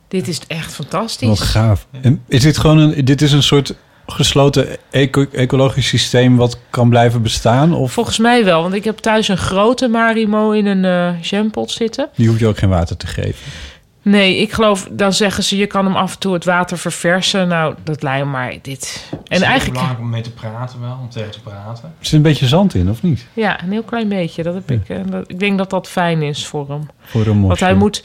B: Dit is echt fantastisch.
C: Wat gaaf. En is dit gewoon een... Dit is een soort gesloten eco- ecologisch systeem wat kan blijven bestaan? Of
B: Volgens mij wel, want ik heb thuis een grote Marimo in een eh jampot zitten.
C: die hoef je ook geen water te geven?
B: Nee, ik geloof, dan zeggen ze, je kan hem af en toe het water verversen. Nou, dat lijkt me maar dit. En eigenlijk,
D: belangrijk om mee te praten wel, om tegen te praten.
C: Er zit een beetje zand in, of niet?
B: ja, een heel klein beetje. Dat heb ik. eh, dat- ik denk dat dat fijn is voor hem.
C: Voor een mos.
B: Want hij moet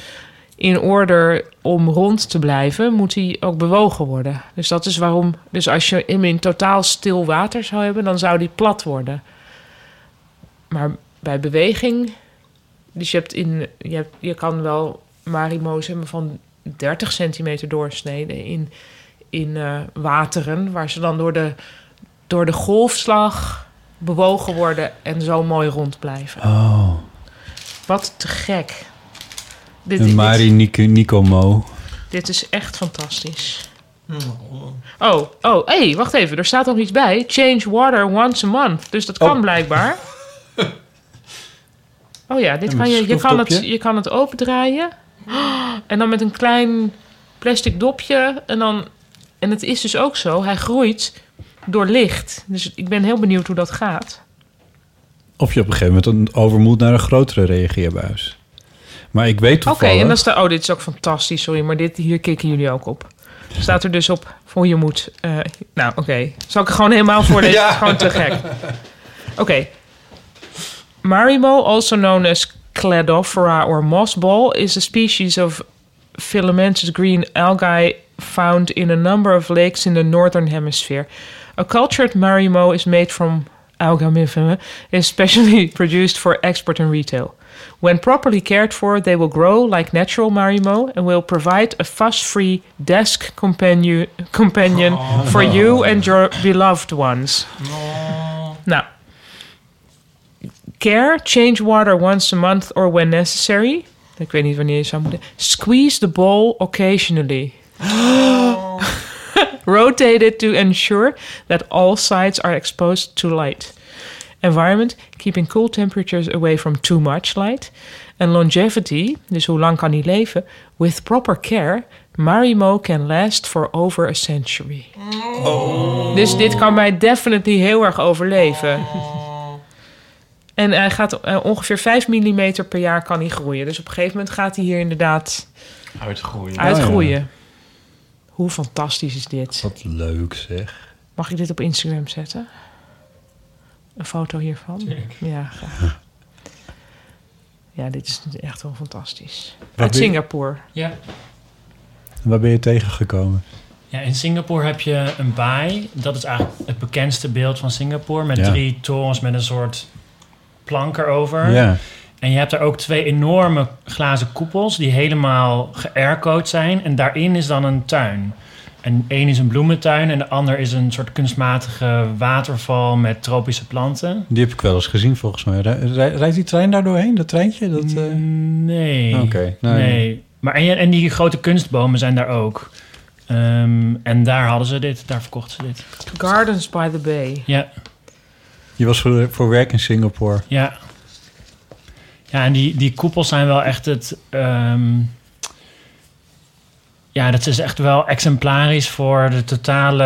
B: in orde om rond te blijven, moet hij ook bewogen worden. Dus dat is waarom. Dus als je hem in totaal stil water zou hebben, dan zou die plat worden. Maar bij beweging. Dus je, hebt in, je, hebt, je kan wel marimo's hebben van 30 centimeter doorsneden in, in eh, wateren, waar ze dan door de, door de golfslag bewogen worden en zo mooi rond blijven.
C: Oh.
B: Wat te gek. Dit,
C: Een
B: dit-
C: Mari Nico, Nico Mo.
B: dit is echt fantastisch. Oh, oh, hé, hey, wacht even. Er staat nog iets bij. Change water once a month. Dus dat kan blijkbaar. Oh ja, dit
C: Een
B: kan je, je, kan het,
C: schroeftopje.
B: je kan het opendraaien. En dan met een klein plastic dopje. En, dan, en het is dus ook zo, hij groeit door licht. Dus ik ben heel benieuwd hoe dat gaat.
C: Of je op een gegeven moment een over moet naar een grotere reageerbuis. Maar ik weet
B: Oké,
C: toevallig...
B: en dan staat... Oh, dit is ook fantastisch, sorry. Maar dit, hier kicken jullie ook op. Staat er dus op voor je moet... eh, nou, oké. Zal ik er gewoon helemaal voorlezen? Het is Gewoon te gek. Oké. Marimo, also known as Cladophora or mossball, is a species of filamentous green algae found in a number of lakes in the northern hemisphere. A cultured marimo is made from algamifera, is specially produced for export and retail. When properly cared for, they will grow like natural marimo and will provide a fuss-free desk companion, companion for you and your beloved ones. Now, care, change water once a month or when necessary. Ik weet niet wanneer je zou moeten. Squeeze the bowl occasionally. Rotate it to ensure that all sides are exposed to light. Environment, keeping cool temperatures away from too much light. And longevity, dus hoe lang kan hij leven? With proper care, Marimo can last for over a century. Dus dit kan mij definitely heel erg overleven. En hij gaat eh, ongeveer 5 mm per jaar kan hij groeien. Dus op een gegeven moment gaat hij hier inderdaad
D: Uitgroeien.
B: uitgroeien. Hoe fantastisch is dit?
C: Wat leuk zeg.
B: Mag ik dit op Instagram zetten? Een foto hiervan? Ja, graag. Ja, dit is echt wel fantastisch. Uit
C: wil je-
B: Singapore.
H: Ja.
C: Waar ben je tegengekomen?
H: Ja, in Singapore heb je een baai. Dat is eigenlijk het bekendste beeld van Singapore. Met
C: Ja.
H: drie torens met een soort plank erover.
C: Ja.
H: En je hebt daar ook twee enorme glazen koepels die helemaal geaircoat zijn. En daarin is dan een tuin. En één is een bloementuin en de ander is een soort kunstmatige waterval met tropische planten.
C: Die heb ik wel eens gezien volgens mij. Rij- rij- Rijdt die trein daar doorheen, dat treintje? Dat, eh,
H: Nee.
C: Oké, nou, nee.
H: nee. Maar en, je- en die grote kunstbomen zijn daar ook. Ehm, en daar hadden ze dit, daar verkochten ze dit.
B: Gardens by the Bay.
H: Ja,
C: Je was voor, voor werk in Singapore.
H: ja. Ja, en die, die koepels zijn wel echt het... ehm, ja, dat is echt wel exemplarisch voor de totale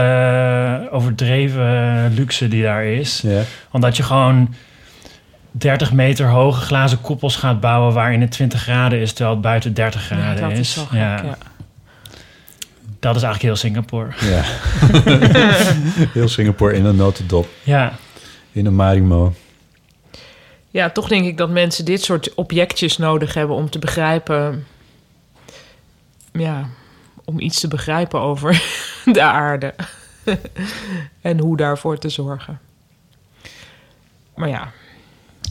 H: eh, overdreven luxe die daar is.
C: Ja.
H: Omdat je gewoon 30 meter hoge glazen koepels gaat bouwen waarin het 20 graden is, terwijl het buiten 30
B: Ja,
H: graden
B: dat
H: is.
B: is wel gek, ja.
H: Dat is eigenlijk heel Singapore.
C: ja. Heel Singapore in een notendop.
H: Ja,
C: In een marimo.
B: Ja, toch denk ik dat mensen dit soort objectjes nodig hebben om te begrijpen. Ja, om iets te begrijpen over de aarde. en hoe daarvoor te zorgen. Maar ja,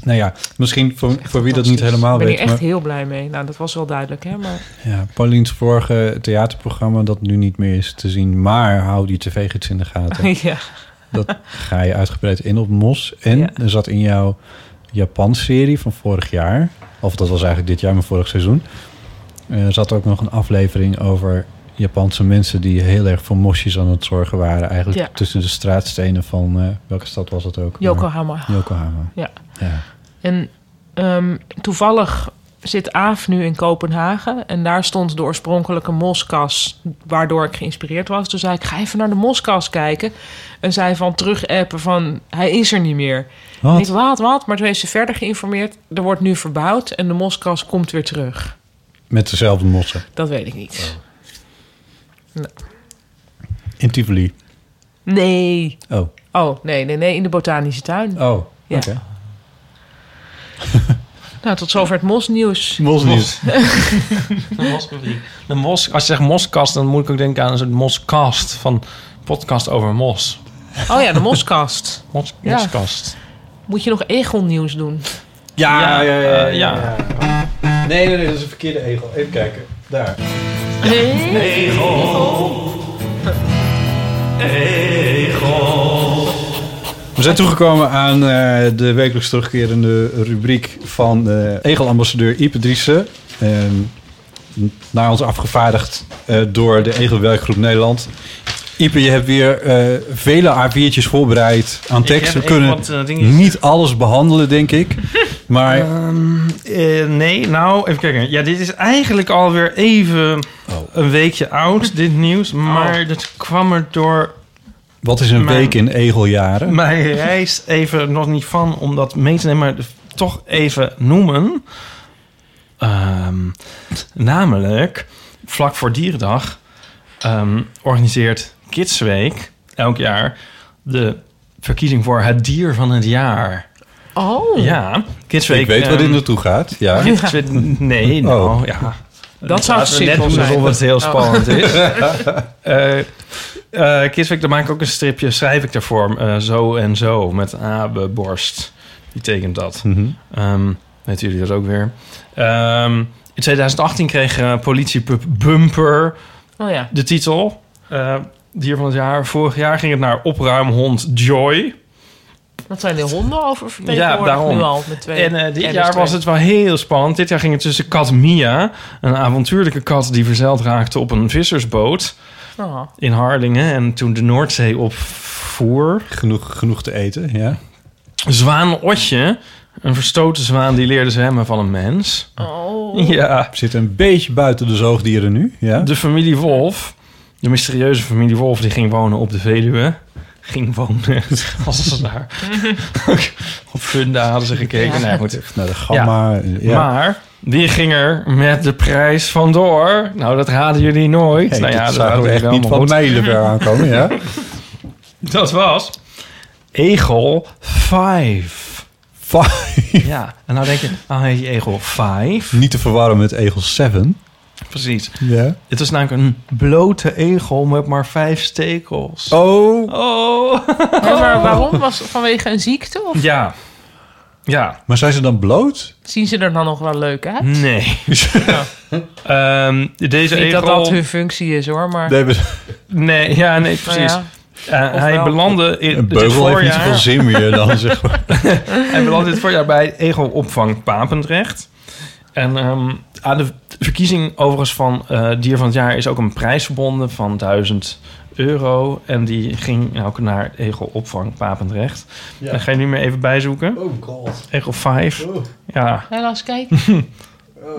C: Nou ja, misschien voor, voor wie dat niet
B: fantastisch.
C: helemaal
B: ben
C: weet.
B: ik echt
C: maar-
B: heel blij mee. Nou, dat was wel duidelijk, hè? Maar
C: Ja, Paulien's vorige theaterprogramma dat nu niet meer is te zien. Maar hou die tv-gids in de gaten.
B: ja.
C: Dat ga je uitgebreid in op Mos. En
B: Ja.
C: er zat in jouw Japan-serie van vorig jaar... of dat was eigenlijk dit jaar, maar vorig seizoen... eh, Er zat ook nog een aflevering over Japanse mensen... die heel erg voor mosjes aan het zorgen waren. Eigenlijk
B: Ja.
C: tussen de straatstenen van... eh, welke stad was het ook? Eh,
B: Yokohama.
C: Yokohama.
B: Ja.
C: ja.
B: En ehm, toevallig zit Aaf nu in Kopenhagen. En daar stond de oorspronkelijke moskas, waardoor ik geïnspireerd was. Toen zei ik, ga even naar de moskas kijken. En zei van terug appen van, hij is er niet meer. En ik,
C: Wat?
B: wat, wat? Maar toen heeft ze verder geïnformeerd. Er wordt nu verbouwd en de moskas komt weer terug.
C: Met dezelfde mossen.
B: Dat weet ik niet.
C: In Tivoli.
B: Nee.
C: Oh,
B: Oh, nee, nee, nee. In de botanische tuin.
C: oh.
B: Ja.
C: oké.
B: Nou, tot zover het mosnieuws.
C: Mosnieuws.
D: De mos, als je zegt moskast, dan moet ik ook denken aan een soort moskast. Van podcast over mos.
B: Oh ja, de moskast.
D: mos
B: Ja.
D: Moskast.
B: Moet je nog egelnieuws doen?
D: Ja, ja, Eh, ja. ja.
C: Nee, nee, nee, dat is een verkeerde egel. Even kijken. Daar.
B: Nee.
C: We zijn toegekomen aan eh, de wekelijks terugkerende rubriek van eh Egel-ambassadeur Ipe Driessen. Eh, naar ons afgevaardigd eh, door de Egel-werkgroep Nederland. Ipe, je hebt weer eh, vele A4'tjes voorbereid aan
D: Ik
C: tekst.
D: heb
C: We kunnen
D: even wat, eh, dingetjes.
C: niet alles behandelen, denk ik. Maar
D: Ehm, eh, nee, nou, even kijken. Ja, dit is eigenlijk alweer even een weekje oud, dit nieuws. Maar dat kwam er door
C: wat is een
D: mijn-
C: week in Egeljaren?
D: mijn reis even nog niet van om dat mee te nemen. Maar toch even noemen. Ehm, namelijk, vlak voor Dierendag ehm, organiseert Kidsweek elk jaar de verkiezing voor het dier van het jaar.
B: Oh,
D: Ja, Kidsweek.
C: Ik weet wat
D: ehm,
C: in naartoe gaat. Ja.
D: Dit is weer- Nee, nou ja.
B: dat zou
D: Laten we net
B: simpel
D: doen
B: zijn.
D: alsof het heel
B: Oh.
D: spannend is. Eh eh Kidsweek, daar maak ik ook een stripje, schrijf ik daarvoor. eh, zo en zo, met Abe Borst. Die tekent dat. Ehm, weten jullie dat ook weer? Ehm, in 2018 kreeg eh, politie Pu- Bumper
B: Oh ja.
D: de titel. eh, dier van het jaar. Vorig jaar ging het naar opruimhond Joy.
B: Wat zijn de honden over vertegenwoordigd
D: Ja, daarom.
B: nu al? Met twee
D: En eh, dit
B: en
D: jaar
B: dus
D: was
B: twee.
D: het wel heel spannend. Dit jaar ging het tussen kat Mia, een avontuurlijke kat die verzeild raakte op een vissersboot
B: Oh.
D: in Harlingen en toen de Noordzee opvoer.
C: Genoeg, genoeg te eten, ja.
D: Zwaan Otje, een verstoten zwaan die leerde zwemmen van een mens.
B: Oh.
D: Ja.
C: Zit een beetje buiten de zoogdieren nu. Ja.
D: De familie Wolf, de mysterieuze familie Wolf, die ging wonen op de Veluwe. Ging wonen, als ze daar op Funda hadden ze gekeken. Nou goed,
C: Naar de gamma. Ja.
D: Maar die ging er met de prijs vandoor. Nou, dat raden jullie nooit.
C: Hey,
D: nou ja,
C: dat
D: dat
C: zagen we
D: raden jullie
C: echt
D: wel,
C: niet
D: maar
C: van
D: goed.
C: mijlen ver aankomen, ja?
D: Dat was Egel 5.
C: Vijf.
D: Ja, en nou denk je, ah, heet je Egel 5?
C: Niet te verwarren met Egel 7.
D: Precies.
C: Ja.
D: Het was namelijk een blote egel met maar vijf stekels.
C: Oh.
D: Oh.
B: En waar- waarom? Was het vanwege een ziekte? Of
D: Ja. Ja.
C: Maar zijn ze dan bloot?
B: zien ze er dan nog wel leuk uit?
D: Nee. Ehm, deze
B: Niet
D: egel...
B: dat dat hun functie is hoor, maar...
C: Nee, maar
D: Nee, ja, nee,
B: nou
D: precies.
B: ja.
D: Eh, hij
B: Ofwel.
D: belandde in
C: een
D: dit
C: beugel heeft niet
D: voorjaar-
C: zoveel zin meer dan, zeg maar.
D: Hij belandde dit voorjaar bij Ego-opvang Papendrecht. En ehm, aan de verkiezing overigens van eh, Dier van het Jaar is ook een prijs verbonden van 1000 euro. En die ging ook naar Ego-opvang Papendrecht. Daar ga je nu meer even bijzoeken.
C: Oh god.
D: Ego 5.
C: Oh.
D: Ja.
B: Hé, laat eens kijken.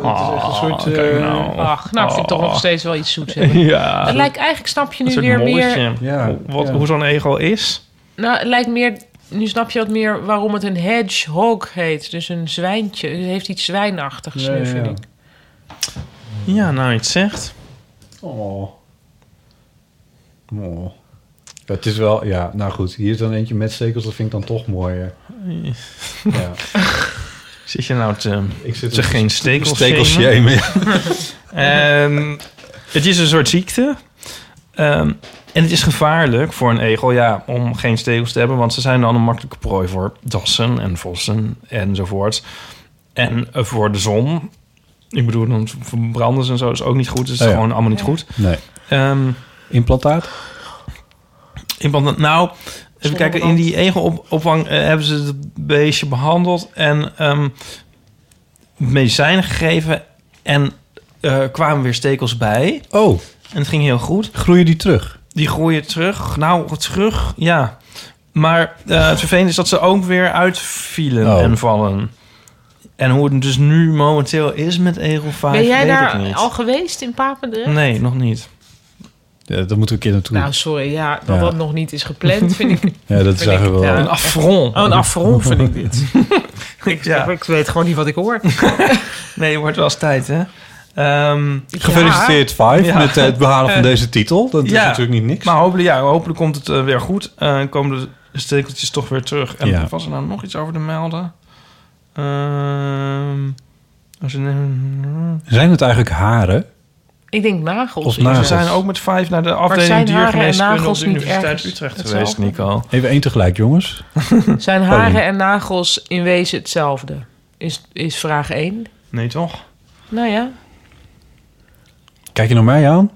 D: Oh,
C: echt een soort,
D: kijk
C: eh,
D: nou.
B: Ach, nou, ik vind toch nog steeds wel iets zoets hebben.
D: Oh. Ja.
B: Het lijkt eigenlijk, snap je
D: een
B: nu
D: soort
B: weer meer...
D: molletje.
C: Ja,
D: Hoe- Wat,
C: ja.
D: Hoe zo'n egel is.
B: Nou, het lijkt meer... Nu snap je wat meer waarom het een hedgehog heet. Dus een zwijntje. Het heeft iets zwijnachtigs nu, vind ik.
D: Ja, nou, iets zegt.
C: Oh. Oh. Ja, Het is wel, ja, nou goed. Hier is dan eentje met stekels, dat vind ik dan toch mooier. Ja.
D: Zit je nou te...
C: Ik zit
D: Het is geen stekels
C: stekels
D: shamen.
C: shamen.
D: Ehm, het is een soort ziekte. Ehm, en het is gevaarlijk voor een egel ja, om geen stekels te hebben, want ze zijn dan een makkelijke prooi voor dassen en vossen enzovoort. En eh, voor de zon. Ik bedoel, dan verbranden ze en zo is ook niet goed. Dus het is
C: Oh ja.
D: gewoon allemaal niet goed.
C: Nee.
D: Ehm
C: Implantaat?
D: implant- nou, even kijken. In die egelopvang eh, hebben ze het beestje behandeld en ehm medicijnen gegeven. En eh, kwamen weer stekels bij.
C: Oh,
D: En het ging heel goed.
C: groeien die terug?
D: Die groeien terug. Nou, terug, ja. Maar eh, het vervelende is dat ze ook weer uitvielen
C: Oh.
D: en vallen. En hoe het dus nu momenteel is met Egel 5,
B: Ben jij
D: weet ik
B: daar
D: niet.
B: al geweest in Papendrecht?
D: Nee, nog niet.
C: Ja, daar moeten we een keer naartoe.
B: Nou, sorry, ja, dat
C: Ja.
B: dat nog niet is gepland, vind ik...
C: ja, dat is
B: vind ik-
C: eigenlijk wel...
B: ja.
D: Een affront.
B: Oh, een affront vind ik dit. ik,
D: Ja.
B: ik weet gewoon niet wat ik hoor.
D: Nee, het wordt wel eens tijd, hè? Ehm,
C: Gefeliciteerd, Five,
D: Ja.
C: met het behalen van deze titel. Dat is
D: Ja.
C: natuurlijk niet niks.
D: maar hopelijk, ja, hopelijk komt het eh, weer goed. Eh, komen de stekeltjes toch weer terug. En
C: Ja.
D: was er nou nog iets over te melden? Ehm, als je-
C: Zijn het eigenlijk haren?
B: Ik denk nagels.
C: Of
B: eerder.
D: We
C: nagels.
D: zijn ook met vijf naar de
B: zijn
D: afdeling
B: haren en
D: diergeneeskunde op
B: nagels
D: de
B: niet
D: Universiteit
B: ergens
D: Utrecht
B: hetzelfde?
D: geweest, Nico.
C: Even één tegelijk, jongens.
B: Zijn haren en nagels in wezen hetzelfde? Is, is vraag 1.
D: Nee, toch?
B: Nou ja,
C: Kijk je naar mij aan?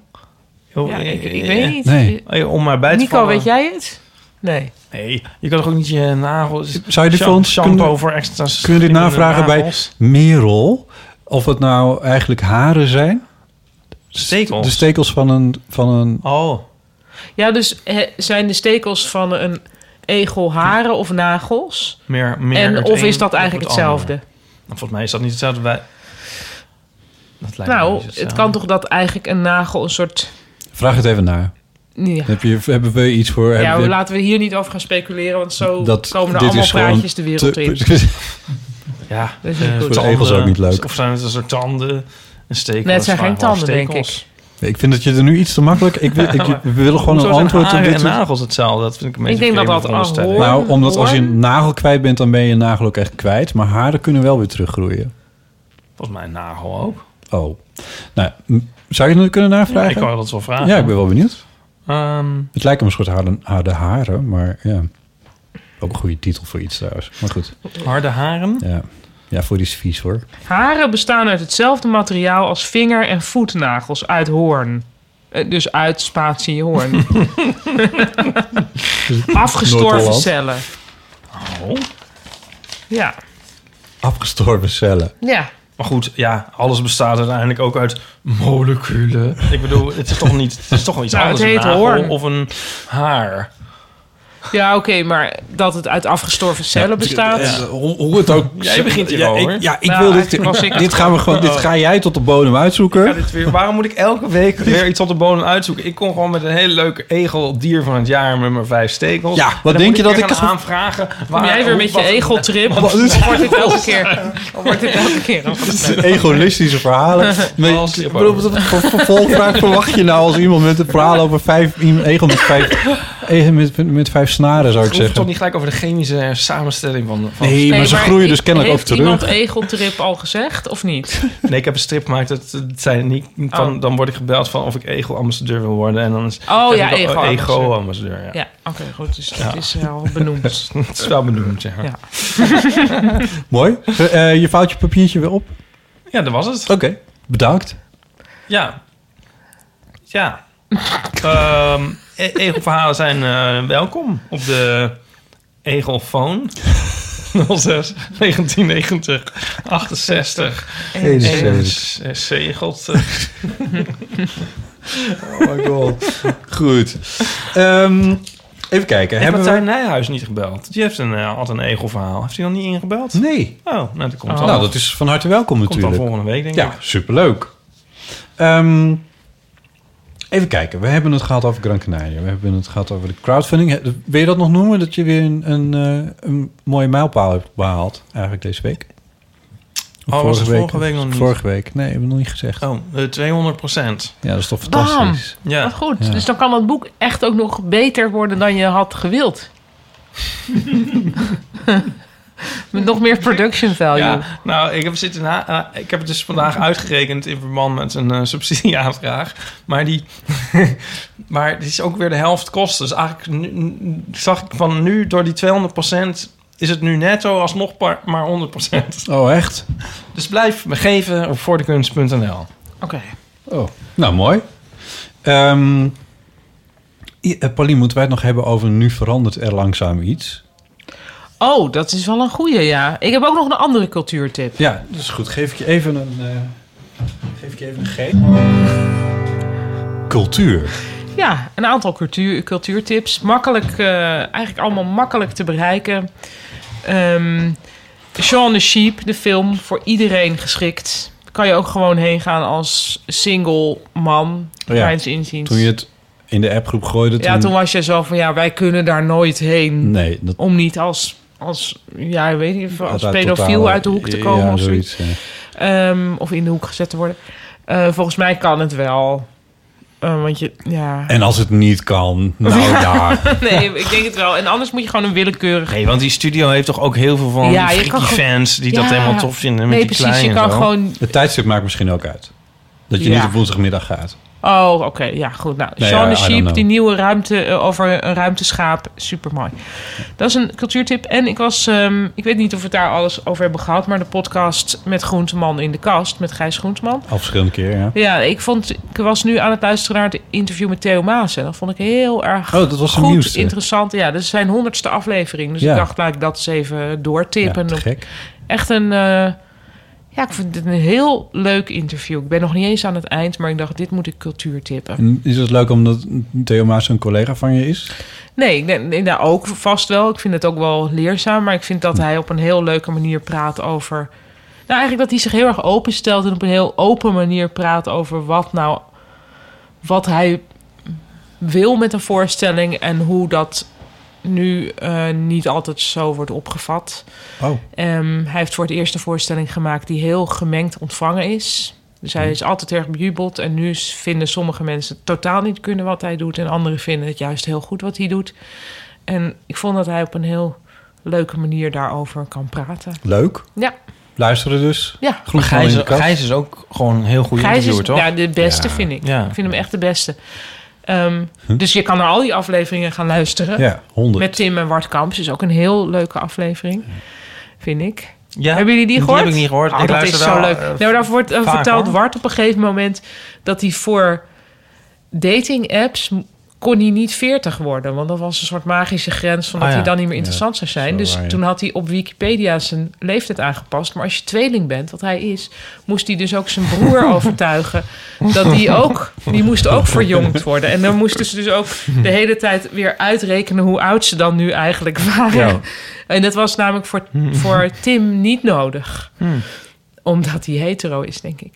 D: Heel-
B: ja ik, ik
D: eh,
B: weet niet.
C: Nee.
D: eh, Om maar bij te
B: Nico,
D: vallen.
B: weet jij het? Nee.
D: Nee, je kan toch ook niet je nagels...
C: Zou je dit
D: Sha-
C: voor ons
D: shampoo
C: kunnen-
D: voor extra
C: Kun je dit
D: in de
C: navragen bij
D: nagels?
C: Merel? Of het nou eigenlijk haren zijn?
D: Stekels?
C: De stekels van een... Van een
D: Oh,
B: Ja, dus hè, zijn de stekels van een egel haren of nagels?
D: meer, meer
B: en
D: het
B: of
D: een
B: is dat
D: op
B: eigenlijk
D: het
B: hetzelfde?
D: andere. Nou, volgens mij is dat niet hetzelfde. Wij... Dat lijkt me niet
B: Nou, het
D: hetzelfde.
B: kan toch dat eigenlijk een nagel een soort...
C: vraag het even naar.
B: Ja,
C: Heb je, hebben we iets voor...
B: ja
C: hebben we-
B: laten we hier niet over gaan speculeren, want zo
C: dat,
B: komen er
C: dit
B: allemaal
C: is gewoon
B: praatjes de wereld
C: te-
B: in.
D: Ja,
B: Dat is niet
D: eh,
B: goed.
C: Voor de egels
D: tanden.
C: ook niet leuk.
D: Of zijn het een soort tanden? Een stekel?
B: Nee, het zijn
D: een
B: geen
D: zwaar-
B: tanden, denk
D: stekels.
B: ik.
C: Ik vind dat je er nu iets te makkelijk... Ik wil, ik, we willen gewoon
D: Hoezo
C: een
D: zijn
C: antwoord op
D: haren
C: dit.
D: en nagels hetzelfde? Dat vind ik een beetje
B: denk dat
D: vreemde
B: dat
D: veronderstelling.
B: hoort.
C: Nou, omdat als je
B: Hoorn?
C: een nagel kwijt bent, dan ben je een nagel ook echt kwijt. Maar haren kunnen wel weer teruggroeien.
D: Volgens mij een nagel ook.
C: Oh. Nou, m- zou je het kunnen navragen?
D: Ik kan dat wel vragen.
C: Ja, ik ben wel benieuwd.
D: Ehm,
C: Het lijkt me een soort harde, harde haren, maar ja. Ook een goede titel voor iets trouwens. Maar goed,
D: harde haren?
C: ja. Ja, voor die is vies hoor.
B: Haren bestaan uit hetzelfde materiaal als vinger- en voetnagels uit hoorn. Eh, Dus uit spatie hoorn. Afgestorven
C: Noord-Holland.
B: cellen.
D: Oh.
B: Ja.
C: Afgestorven cellen.
B: ja.
D: Maar goed, ja, alles bestaat uiteindelijk ook uit moleculen. Ik bedoel, het is toch niet, het is toch wel iets
B: Nou, het
D: anders. een
B: heet
D: nagel
B: hoorn.
D: of een haar.
B: Ja, oké, maar dat het uit afgestorven cellen bestaat.
C: Ja, hoe, hoe het ook.
D: Jij begint hier
C: ja,
D: al,
C: ik-
D: hoor.
C: Ja, ik
B: Nou,
C: wil
B: eigenlijk was ik-
C: dit. Dit, gaan we gewoon, dit ga jij tot de bodem uitzoeken.
D: Dit weer, waarom moet ik elke week weer iets op de bodem uitzoeken? Ik kom gewoon met een hele leuke egel, dier van het jaar, met mijn vijf stekels.
C: Ja,
D: En
C: wat
D: dan
C: denk
D: moet
C: je dat
D: weer
C: ik
D: gaan
C: als-
D: aanvragen?
B: Kom
D: waar-
B: jij weer
D: hoe-
B: met je
D: wat-
B: egeltrip? Dan
C: Wat is-
B: wordt dit elke keer. Dan wordt dit elke keer.
C: Egoïstische verhalen. Nee,
D: Als
C: ik
D: je-
C: bedoel, wat voor vervolgvraag verwacht je nou als iemand met een verhaal over vijf... iemand- Egel met vijf, egel met, met, met vijf snaren, zou ik
D: Hoef het toch
C: zeggen.
D: niet gelijk over de chemische samenstelling van... van
C: Nee, maar ze groeien dus kennelijk ook
B: heeft
C: terug.
B: iemand egeltrip al gezegd of niet?
D: Nee, ik heb een strip gemaakt. Dat, dat zei niet, van,
B: Oh.
D: Dan word ik gebeld van of ik ego-ambassadeur wil worden. En dan is
B: Oh
D: zeg
B: ja,
D: ik,
B: ego-ambassadeur.
D: ego-ambassadeur. ja.
B: Ja, oké, goed. Dus dat is al benoemd.
D: Het is wel benoemd, ja.
B: Ja.
D: Ja,
C: Mooi. Eh, eh, je vouwt je papiertje weer op.
D: dat was het.
C: Oké. Bedankt.
D: Ja. Ja. Ehm, e- Ego-verhalen zijn eh, welkom op de Egelfoon. 06 1990 68 Eh,
C: eh,
D: zegelt.
C: Oh my god. Goed. Ehm, even kijken. Hebben
D: Hebben
C: wij...
D: Martijn Nijhuis niet gebeld? Die heeft een, eh, altijd een Egelverhaal. Heeft hij dan niet ingebeld?
C: Nee.
D: Oh, nou, dat komt dan.
C: Nou, dat is van harte welkom
D: komt dan
C: natuurlijk.
D: volgende week, denk
C: Ja,
D: ik.
C: superleuk. Ehm, even kijken. We hebben het gehad over Gran Canaria. We hebben het gehad over de crowdfunding. He- Wil je dat nog noemen? Dat je weer een, een, eh, een mooie mijlpaal hebt behaald eigenlijk deze week. Of
D: Oh, was het vorige week nog niet?
C: Vorige week. Nee, hebben we nog niet gezegd.
D: Oh, eh, 200 procent.
C: Ja, dat is toch
B: Bam!
C: fantastisch.
D: Ja.
B: Wat goed. Dus dan kan dat boek echt ook nog beter worden dan je had gewild. Met nog meer production value.
D: Ja, nou, ik heb, zitten na, eh, ik heb het dus vandaag uitgerekend in verband met een eh, subsidieaanvraag. Maar die, maar het is ook weer de helft kosten. Dus eigenlijk nu, nu- zag ik van nu door die 200 is het nu netto alsnog maar, maar 100
C: Oh, echt?
D: Dus blijf me geven op voordekunst.nl.
B: Oké.
C: Oh, nou mooi. Ehm i- eh, Paulien, moeten wij het nog hebben over nu verandert er langzaam iets?
B: Oh, dat is wel een goeie, ja. Ik heb ook nog een andere cultuurtip.
C: Ja, dat is goed. Geef ik je even een... eh, geef ik je even een G. Cultuur.
B: Ja, een aantal cultuur, cultuurtips. Makkelijk, eh, eigenlijk allemaal makkelijk te bereiken. Ehm Shaun the Sheep, de film, voor iedereen geschikt. Kan je ook gewoon heen gaan als single man.
C: Oh ja,
B: Mijns inziens.
C: Toen je het in de appgroep gooide...
B: Ja, toen was je zo van, ja, wij kunnen daar nooit heen.
C: Nee, dat...
B: Om niet als, als ja, ik weet niet, als
C: dat
B: pedofiel
C: totale-
B: uit de hoek te komen
C: ja,
B: of zoiets.
C: ja.
B: Ehm, of in de hoek gezet te worden. Eh, volgens mij kan het wel. Eh, want je, ja.
C: En als het niet kan, nou ja.
B: Nee, ik denk het wel. En anders moet je gewoon een willekeurig.
D: Nee, want die studio heeft toch ook heel veel van
B: Ja, je
D: freaky
B: kan gewoon-
D: fans die dat
B: Ja.
D: helemaal tof vinden. Met
B: Nee,
D: die
B: precies.
D: kleine
B: Je
D: en
B: kan
D: zo.
B: gewoon.
C: Het tijdstip maakt misschien ook uit. Dat je
B: Ja.
C: niet op woensdagmiddag gaat.
B: Oh, oké. Ja, goed. Nou,
C: Nee,
B: Shaun
C: I- I
B: the
C: don't
B: Sheep,
C: know.
B: die nieuwe ruimte eh, over een ruimteschaap. Supermooi. Dat is een cultuurtip. En ik was... ehm, ik weet niet of we het daar alles over hebben gehad... maar de podcast met Groenteman in de kast... met Gijs Groenteman.
C: Al verschillende keer, ja.
B: Ja, ik, vond, ik was nu aan het luisteren naar het interview met Theo Maas. En dat vond ik heel erg
C: Oh, dat was de
B: goed,
C: nieuwste.
B: interessant. Ja, dat is zijn honderdste aflevering. Dus
C: Ja.
B: ik dacht, laat ik dat eens even doortippen.
C: Ja, te
B: Op-
C: gek.
B: Echt een... eh, ja, ik vond het een heel leuk interview. Ik ben nog niet eens aan het eind, maar ik dacht, dit moet ik cultuurtippen.
C: En is het leuk omdat Theo Maas een collega van je is?
B: Nee, ik denk, nee, nou, ook vast wel. Ik vind het ook wel leerzaam. Maar ik vind dat hij op een heel leuke manier praat over... Nou, eigenlijk dat hij zich heel erg openstelt... en op een heel open manier praat over wat nou... wat hij wil met een voorstelling... en hoe dat nu eh, niet altijd zo wordt opgevat.
C: Oh.
B: Ehm, hij heeft voor het eerst een voorstelling gemaakt... die heel gemengd ontvangen is... Dus
D: Hmm.
B: hij is altijd erg bejubeld. En nu s- vinden sommige mensen totaal niet kunnen wat hij doet. En anderen vinden het juist heel goed wat hij doet. En ik vond dat hij op een heel leuke manier daarover kan praten.
C: Leuk.
B: Ja.
C: Luisteren dus.
B: Ja.
C: Groen
D: Maar Gijs,
C: in de kast.
D: Gijs is ook gewoon een heel goed
B: Gijs is
D: interviewer, toch?
B: ja, de beste, vind ik.
D: Ja.
B: Ik vind hem echt de beste. Ehm, Dus je kan naar al die afleveringen gaan luisteren.
C: Ja, honderd.
B: Met Tim en Wart Kamps. Is ook een heel leuke aflevering, vind ik.
D: Ja,
B: Hebben jullie die gehoord?
D: heb ik niet gehoord.
B: Oh,
D: ik
B: dat
D: luister
B: is zo
D: wel,
B: leuk.
D: eh,
B: Nou, daar wordt eh,
D: vaak,
B: vertelt
D: hoor.
B: Wart op een gegeven moment dat hij voor dating apps kon hij niet 40 worden, want dat was een soort magische grens van dat
D: Ah, ja.
B: hij dan niet meer interessant zou zijn.
C: zo
B: Dus
C: waar, ja.
B: toen had hij op Wikipedia zijn leeftijd aangepast. Maar als je tweeling bent, wat hij is, moest hij dus ook zijn broer overtuigen dat die ook, die moest ook verjongd worden. En dan moesten ze dus ook de hele tijd weer uitrekenen hoe oud ze dan nu eigenlijk waren.
C: Ja.
B: En dat was namelijk voor,
C: Hmm.
B: voor Tim niet nodig. Omdat hij hetero is, denk ik.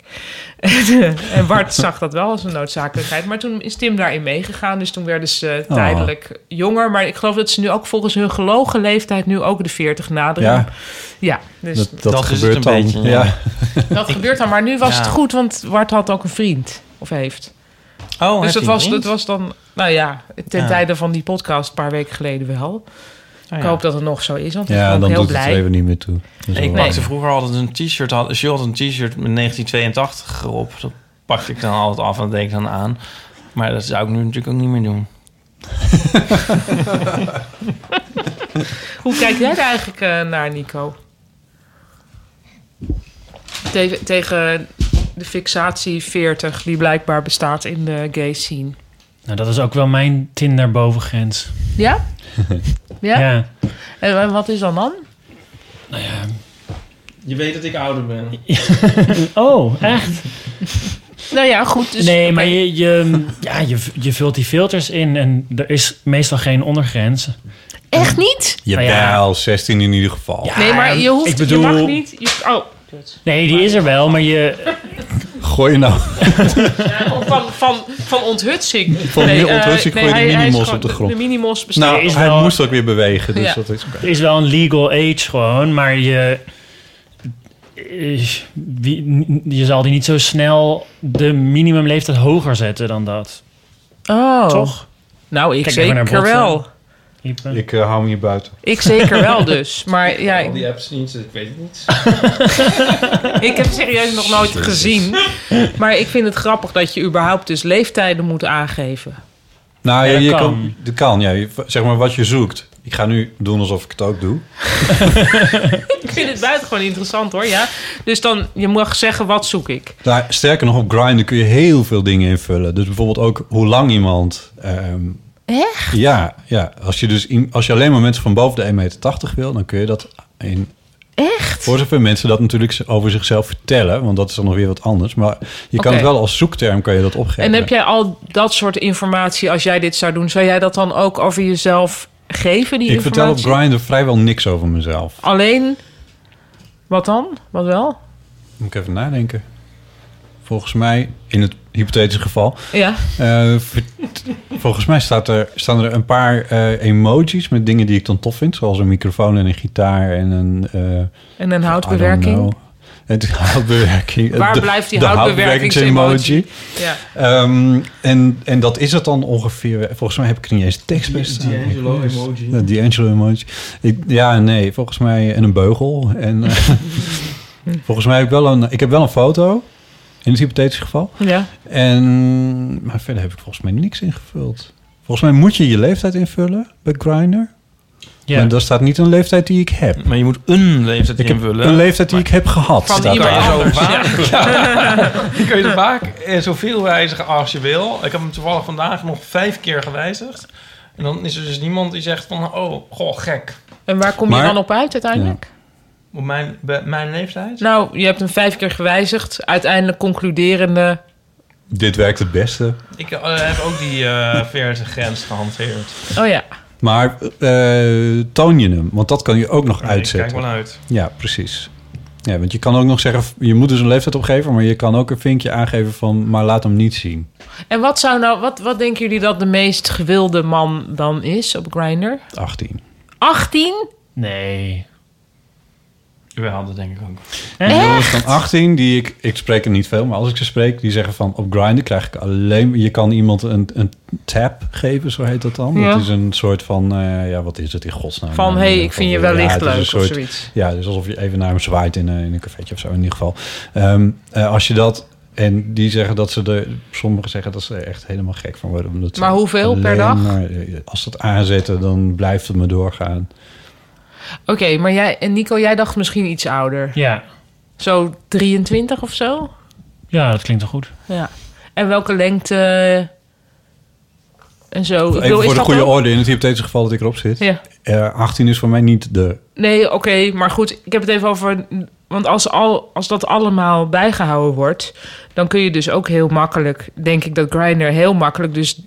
B: en Bart zag dat wel als een noodzakelijkheid. Maar toen is Tim daarin meegegaan. Dus toen werden ze
C: Oh.
B: tijdelijk jonger. Maar ik geloof dat ze nu ook volgens hun gelogen leeftijd... nu ook de 40 naderen.
C: Ja,
B: Ja, dus
C: dat,
B: dat,
C: dat,
D: Dat is het
C: gebeurt
D: een
C: dan.
D: beetje,
C: ja.
D: ja.
B: gebeurt dan. Maar nu was
D: Ja.
B: het goed, want Bart had ook een vriend. Of heeft.
D: Oh,
B: dus
D: heeft
B: dat
D: hij
B: was,
D: niet?
B: dat was dan... Nou ja, ten
D: Ja.
B: tijde van die podcast een paar weken geleden wel.
D: Ah,
B: Ik
D: ja.
B: hoop dat het nog zo is, want ik
C: Ja,
B: ben ook
C: dan
B: heel
C: doet het er
B: blij.
C: even niet meer toe. Dat is
D: Ik
C: wel
B: nee.
C: waar.
D: pakte vroeger altijd een t-shirt. Had, Jules had een t-shirt met 1982 erop. Dat pakte ik dan altijd af en dat deed ik dan aan. Maar dat zou ik nu natuurlijk ook niet meer doen.
B: Hoe kijk jij daar eigenlijk eh, naar, Nico? Tegen, tegen de fixatie 40 die blijkbaar bestaat in de gay scene.
H: Nou, dat is ook wel mijn Tinder bovengrens.
B: Ja? ja?
H: ja.
B: En, en wat is dan dan?
D: Je weet dat ik ouder ben.
H: Oh, echt?
B: Nou ja, goed. Dus,
H: nee,
B: oké.
H: maar je, je, ja, je, v- je vult die filters in en er is meestal geen ondergrens.
B: Echt niet?
C: Jawel,
H: Nou ja.
C: 16 in ieder geval.
H: Ah, Ja.
B: Nee, maar je hoeft...
H: ik bedoel-
B: Je mag niet... Je, oh.
H: Nee, die is er wel, maar je...
C: Gooi je nou.
B: Of Oh, van, van, van onthutsing.
C: Van
B: eh,
C: onthutsing gooi je de
B: hij- hij is
C: minimos
B: gewoon-
C: op de grond.
B: De minimos bestaan.
C: Nou,
H: is
C: hij
H: wel-
C: moest ook weer bewegen, dus
B: Ja.
C: dat is oké.
H: Er is wel een legal age gewoon, maar je... eh, Wie, n- je zal die niet zo snel de minimumleeftijd hoger zetten dan dat.
B: oh.
H: Toch?
B: Nou, ik
H: Kijk even naar
B: zeker
H: Botsen.
B: wel.
H: Ipe?
C: Ik eh, hou hem hier buiten.
B: Ik zeker wel dus. Maar ja, ik,
D: apps niet, ik weet het niet.
B: Ik heb serieus nog nooit gezien. Maar ik vind het grappig dat je überhaupt dus leeftijden moet aangeven.
C: Nou,
H: Ja,
C: je,
H: dat
C: je kan.
H: kan.
C: dat kan, ja. Je- Zeg maar wat je zoekt. Ik ga nu doen alsof ik het ook doe.
B: Ik vind het buitengewoon interessant hoor, ja. Dus dan, je mag zeggen, wat zoek ik?
C: Nou, sterker nog, op Grindr kun je heel veel dingen invullen. Dus bijvoorbeeld ook hoe lang iemand... ehm,
B: Echt?
C: Ja, ja. Als, je dus, in- als je alleen maar mensen van boven de 1,80 meter wil... dan kun je dat in...
B: Echt?
C: Voor zover mensen dat natuurlijk z- over zichzelf vertellen... want dat is dan nog weer wat anders. Maar je kan
B: Oké.
C: het wel als zoekterm kan je dat opgeven.
B: En heb jij al dat soort informatie, als jij dit zou doen... zou jij dat dan ook over jezelf geven, die
C: Ik vertel op
B: informatie?
C: Grindr vrijwel niks over mezelf.
B: Alleen, wat dan? Wat wel?
C: Moet ik even nadenken. Volgens mij, in het hypothetische geval...
B: Ja.
C: Eh, ver- volgens mij staat er, staan er een paar eh, emojis met dingen die ik dan tof vind. Zoals een microfoon en een gitaar en een... eh,
B: En een
C: I don't
B: houtbewerking?
C: know. Het houtbewerking.
B: Waar
C: De-
B: blijft die
C: de
B: houtbewerkingsemoji?
C: houtbewerkingsemoji.
B: Ja.
C: Ehm, en, en dat is het dan ongeveer. Volgens mij heb ik er niet eens tekst bij staan. D'Angelo
D: Dus-
C: emoji. Ja, D'Angelo emoji. Ik, ja, nee, volgens mij. En een beugel. En, eh, volgens mij heb ik wel een, ik heb wel een foto. En In het hypothetische geval.
B: Ja.
C: En, maar verder heb ik volgens mij niks ingevuld. Volgens mij moet je je leeftijd invullen bij Grindr.
H: Ja.
C: Maar daar staat niet een leeftijd die ik heb.
D: Maar je moet een leeftijd
C: Ik heb
D: invullen.
C: een leeftijd die ik heb gehad.
D: Van
C: staat
D: iemand
C: daar.
D: anders. Ja. Die kun je zo vaak en zoveel wijzigen als je wil. Ik heb hem toevallig vandaag nog vijf keer gewijzigd. En dan is er dus niemand die zegt van... Oh, goh, gek.
B: En waar kom je
C: Maar-
B: dan op uit uiteindelijk?
D: Op mijn, bij mijn leeftijd?
B: Nou, je hebt hem vijf keer gewijzigd. Uiteindelijk concluderende...
C: Dit werkt het beste.
D: Ik eh, heb ook die eh verse grens gehanteerd.
B: Oh ja.
C: Maar eh, toon je hem, want dat kan je ook nog
D: Nee, ik kijk
C: uitzetten.
D: wel uit.
C: Ja, precies. Ja, want je kan ook nog zeggen, je moet dus een leeftijd opgeven, maar je kan ook een vinkje aangeven van, maar laat hem niet zien.
B: En wat zou nou... Wat, wat denken jullie dat de meest gewilde man dan is op Grindr?
C: 18.
B: 18?
H: Nee.
D: We hadden denk ik ook.
C: Die jongens van 18, die ik, ik spreek er niet veel, maar als ik ze spreek, die zeggen van, op grinden krijg ik alleen, je kan iemand een, een tap geven, zo heet dat dan.
B: Ja.
C: Dat is een soort van, eh, ja, wat is het in godsnaam?
B: Van,
C: Nou,
B: hey,
C: ja,
B: ik vind je
C: van,
B: wellicht
C: het is
B: leuk
C: een
B: of zoiets.
C: Ja, dus alsof je even naar hem zwaait in, eh, in een cafeetje of zo, in ieder geval. Ehm, eh, als je dat... En die zeggen dat ze de... Sommigen zeggen dat ze er echt helemaal gek van worden. Omdat ze
B: Maar hoeveel per
C: alleen
B: dag?
C: maar, eh, als ze het aanzetten, dan blijft het me doorgaan.
B: Oké, maar jij... En Nico, jij dacht misschien iets ouder.
H: Ja.
B: Zo 23 of zo?
H: ja, dat klinkt wel goed.
B: Ja. En welke lengte... En zo. Ik
C: Even
B: is
C: voor de
B: dat
C: goede
B: ook-
C: orde, in het hypothetische geval dat ik erop zit.
B: Ja.
C: Eh, 18 is voor mij niet de...
B: Nee, oké, maar goed, ik heb het even over. Want als, al, als dat allemaal bijgehouden wordt, dan kun je dus ook heel makkelijk, denk ik dat Grindr heel makkelijk, dus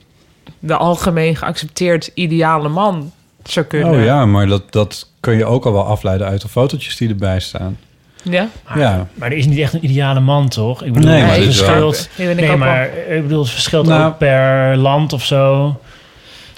B: de algemeen geaccepteerd ideale man zou kunnen.
C: Oh ja, maar dat, dat kun je ook al wel afleiden uit de fotootjes die erbij staan.
B: Ja?
C: Ja.
H: Maar er is niet echt een ideale man, toch? Ik bedoel,
C: Nee,
H: het
C: maar dat is
H: verschilt.
B: wel- Nee, ben ik
H: Nee,
B: ook
H: maar eh, ik bedoel, het verschilt
C: Nou.
H: ook per land of zo.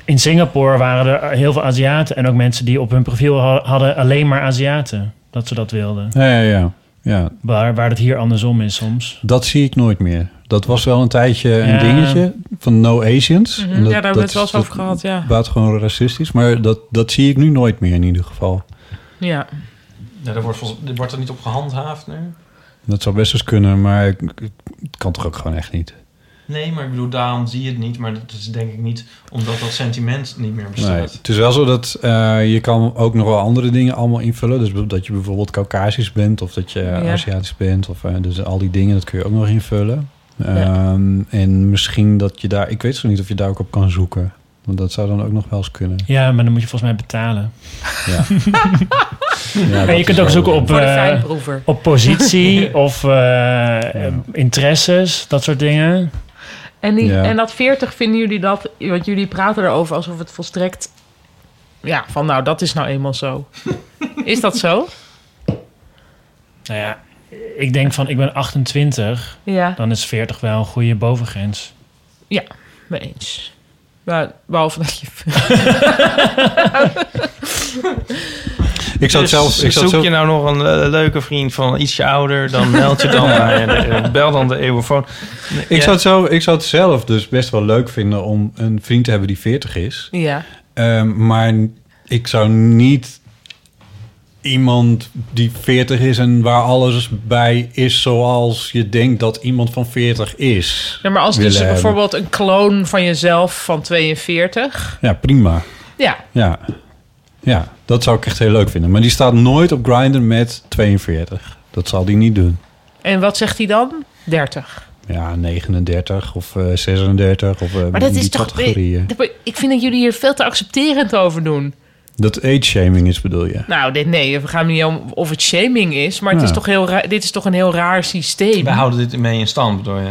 H: In Singapore waren er heel veel Aziaten en ook mensen die op hun profiel ha- hadden alleen maar Aziaten. Dat ze dat wilden.
C: Ja, ja, ja. ja.
H: Waar, waar het hier andersom is soms.
C: Dat zie ik nooit meer. Dat was wel een tijdje een
H: Ja.
C: dingetje van No Asians.
B: Mhm,
C: En
B: ja, daar hebben we het wel
C: is-
B: eens over gehad, ja.
C: Buitengewoon racistisch, maar dat, dat zie ik nu nooit meer in ieder geval.
B: Ja.
D: Ja, daar wordt, volgens- er wordt er niet op gehandhaafd nu.
C: Dat zou best eens kunnen, maar ik- ik- het kan toch ook gewoon echt niet.
D: Nee, maar ik bedoel, daarom zie je het niet. Maar dat is denk ik niet omdat dat sentiment niet meer
C: Nee,
D: bestaat.
C: het is wel zo dat eh, je kan ook nog wel andere dingen allemaal invullen. Dus dat je bijvoorbeeld Caucasisch bent of dat je
B: Ja.
C: Aziatisch bent. Of, eh, dus al die dingen, dat kun je ook nog invullen. Ehm, En misschien dat je daar... Ik weet zo niet of je daar ook op kan zoeken. Want dat zou dan ook nog wel eens kunnen.
H: Ja, maar dan moet je volgens mij betalen.
C: Ja.
H: Maar je kunt ook zoeken op,
B: Voor de
H: eh,
B: fijnproever.
H: op positie of eh, eh, interesses, dat soort dingen.
B: En, die,
C: Ja.
B: en dat 40 vinden jullie dat, want jullie praten erover alsof het volstrekt. Ja, van nou, dat is nou eenmaal zo. is dat zo?
H: Nou ja, ik denk van ik ben 28,
B: Ja.
H: dan is 40 wel een goede bovengrens.
B: Mee eens. Nou, behalve dat je
C: Ik zou het
D: Dus
C: zelf... Ik zou
D: zoek
C: het zelf
D: je nou nog een eh, leuke vriend van ietsje ouder, dan meld je dan bij de- eh, bel dan de eeuwenfoon.
C: ik, zou het zo, ik zou het zelf dus best wel leuk vinden om een vriend te hebben die 40 is.
B: Ja.
C: Ehm, maar ik zou niet iemand die 40 is en waar alles bij is zoals je denkt dat iemand van 40 is.
B: ja maar als dus
C: willen hebben.
B: bijvoorbeeld een kloon van jezelf van 42.
C: Ja, prima.
B: Ja.
C: Ja. ja, dat zou ik echt heel leuk vinden. Maar die staat nooit op Grindr met 42. Dat zal die niet doen.
B: En wat zegt hij dan? 30.
C: Ja, 39 of eh, 36 of eh,
B: Maar dat
C: die
B: is toch...
C: categorieën.
B: Ik vind dat jullie hier veel te accepterend over doen.
C: Dat age-shaming is bedoel je?
B: Nou, dit, nee, we gaan niet om of het shaming is. Maar het
C: Ja.
B: is toch heel raar, dit is toch een heel raar systeem.
D: We houden dit mee in stand, bedoel je?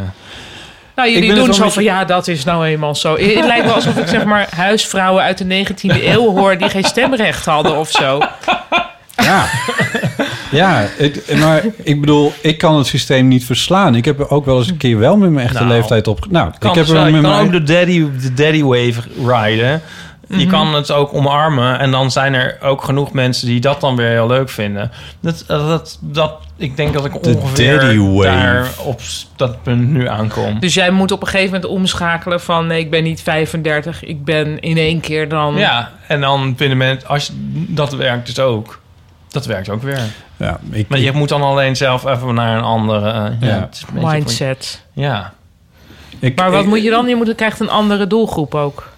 B: Nou,
C: Ik
B: jullie
C: ben het
B: doen
C: wel
B: zo
C: met
B: van,
C: je-
B: ja, dat is nou eenmaal zo. Het het lijkt wel alsof ik zeg maar huisvrouwen uit de 19e eeuw hoor... die geen stemrecht hadden of zo.
C: Ja, ja ik, maar ik bedoel, ik kan het systeem niet verslaan. Ik heb er ook wel eens een keer wel met mijn echte
D: Nou,
C: leeftijd op... Nou,
D: Kan,
C: ik heb
D: dus wel.
C: er
D: je
C: met
D: kan
C: mijn...
D: ook de daddy, de daddy wave rijden.
C: Mhm.
D: Je kan het ook omarmen. En dan zijn er ook genoeg mensen die dat dan weer heel leuk vinden. Dat, dat, dat, ik denk dat ik
C: De
D: ongeveer
C: daddy wave.
D: daar op s- dat punt nu aankom.
B: Dus jij moet op een gegeven moment omschakelen van... nee, ik ben niet 35, ik ben in één keer dan...
D: Ja, en dan vinden mensen... Als, je- dat werkt dus ook. Dat werkt ook weer.
C: Ja, ik,
D: Maar je moet dan alleen zelf even naar een andere... eh, ja,
C: Ja.
D: het is een beetje
B: Mindset.
D: voor- Ja.
C: ik-
B: Maar wat
C: ik-
B: moet je dan? Je moet, je krijgt een andere doelgroep ook.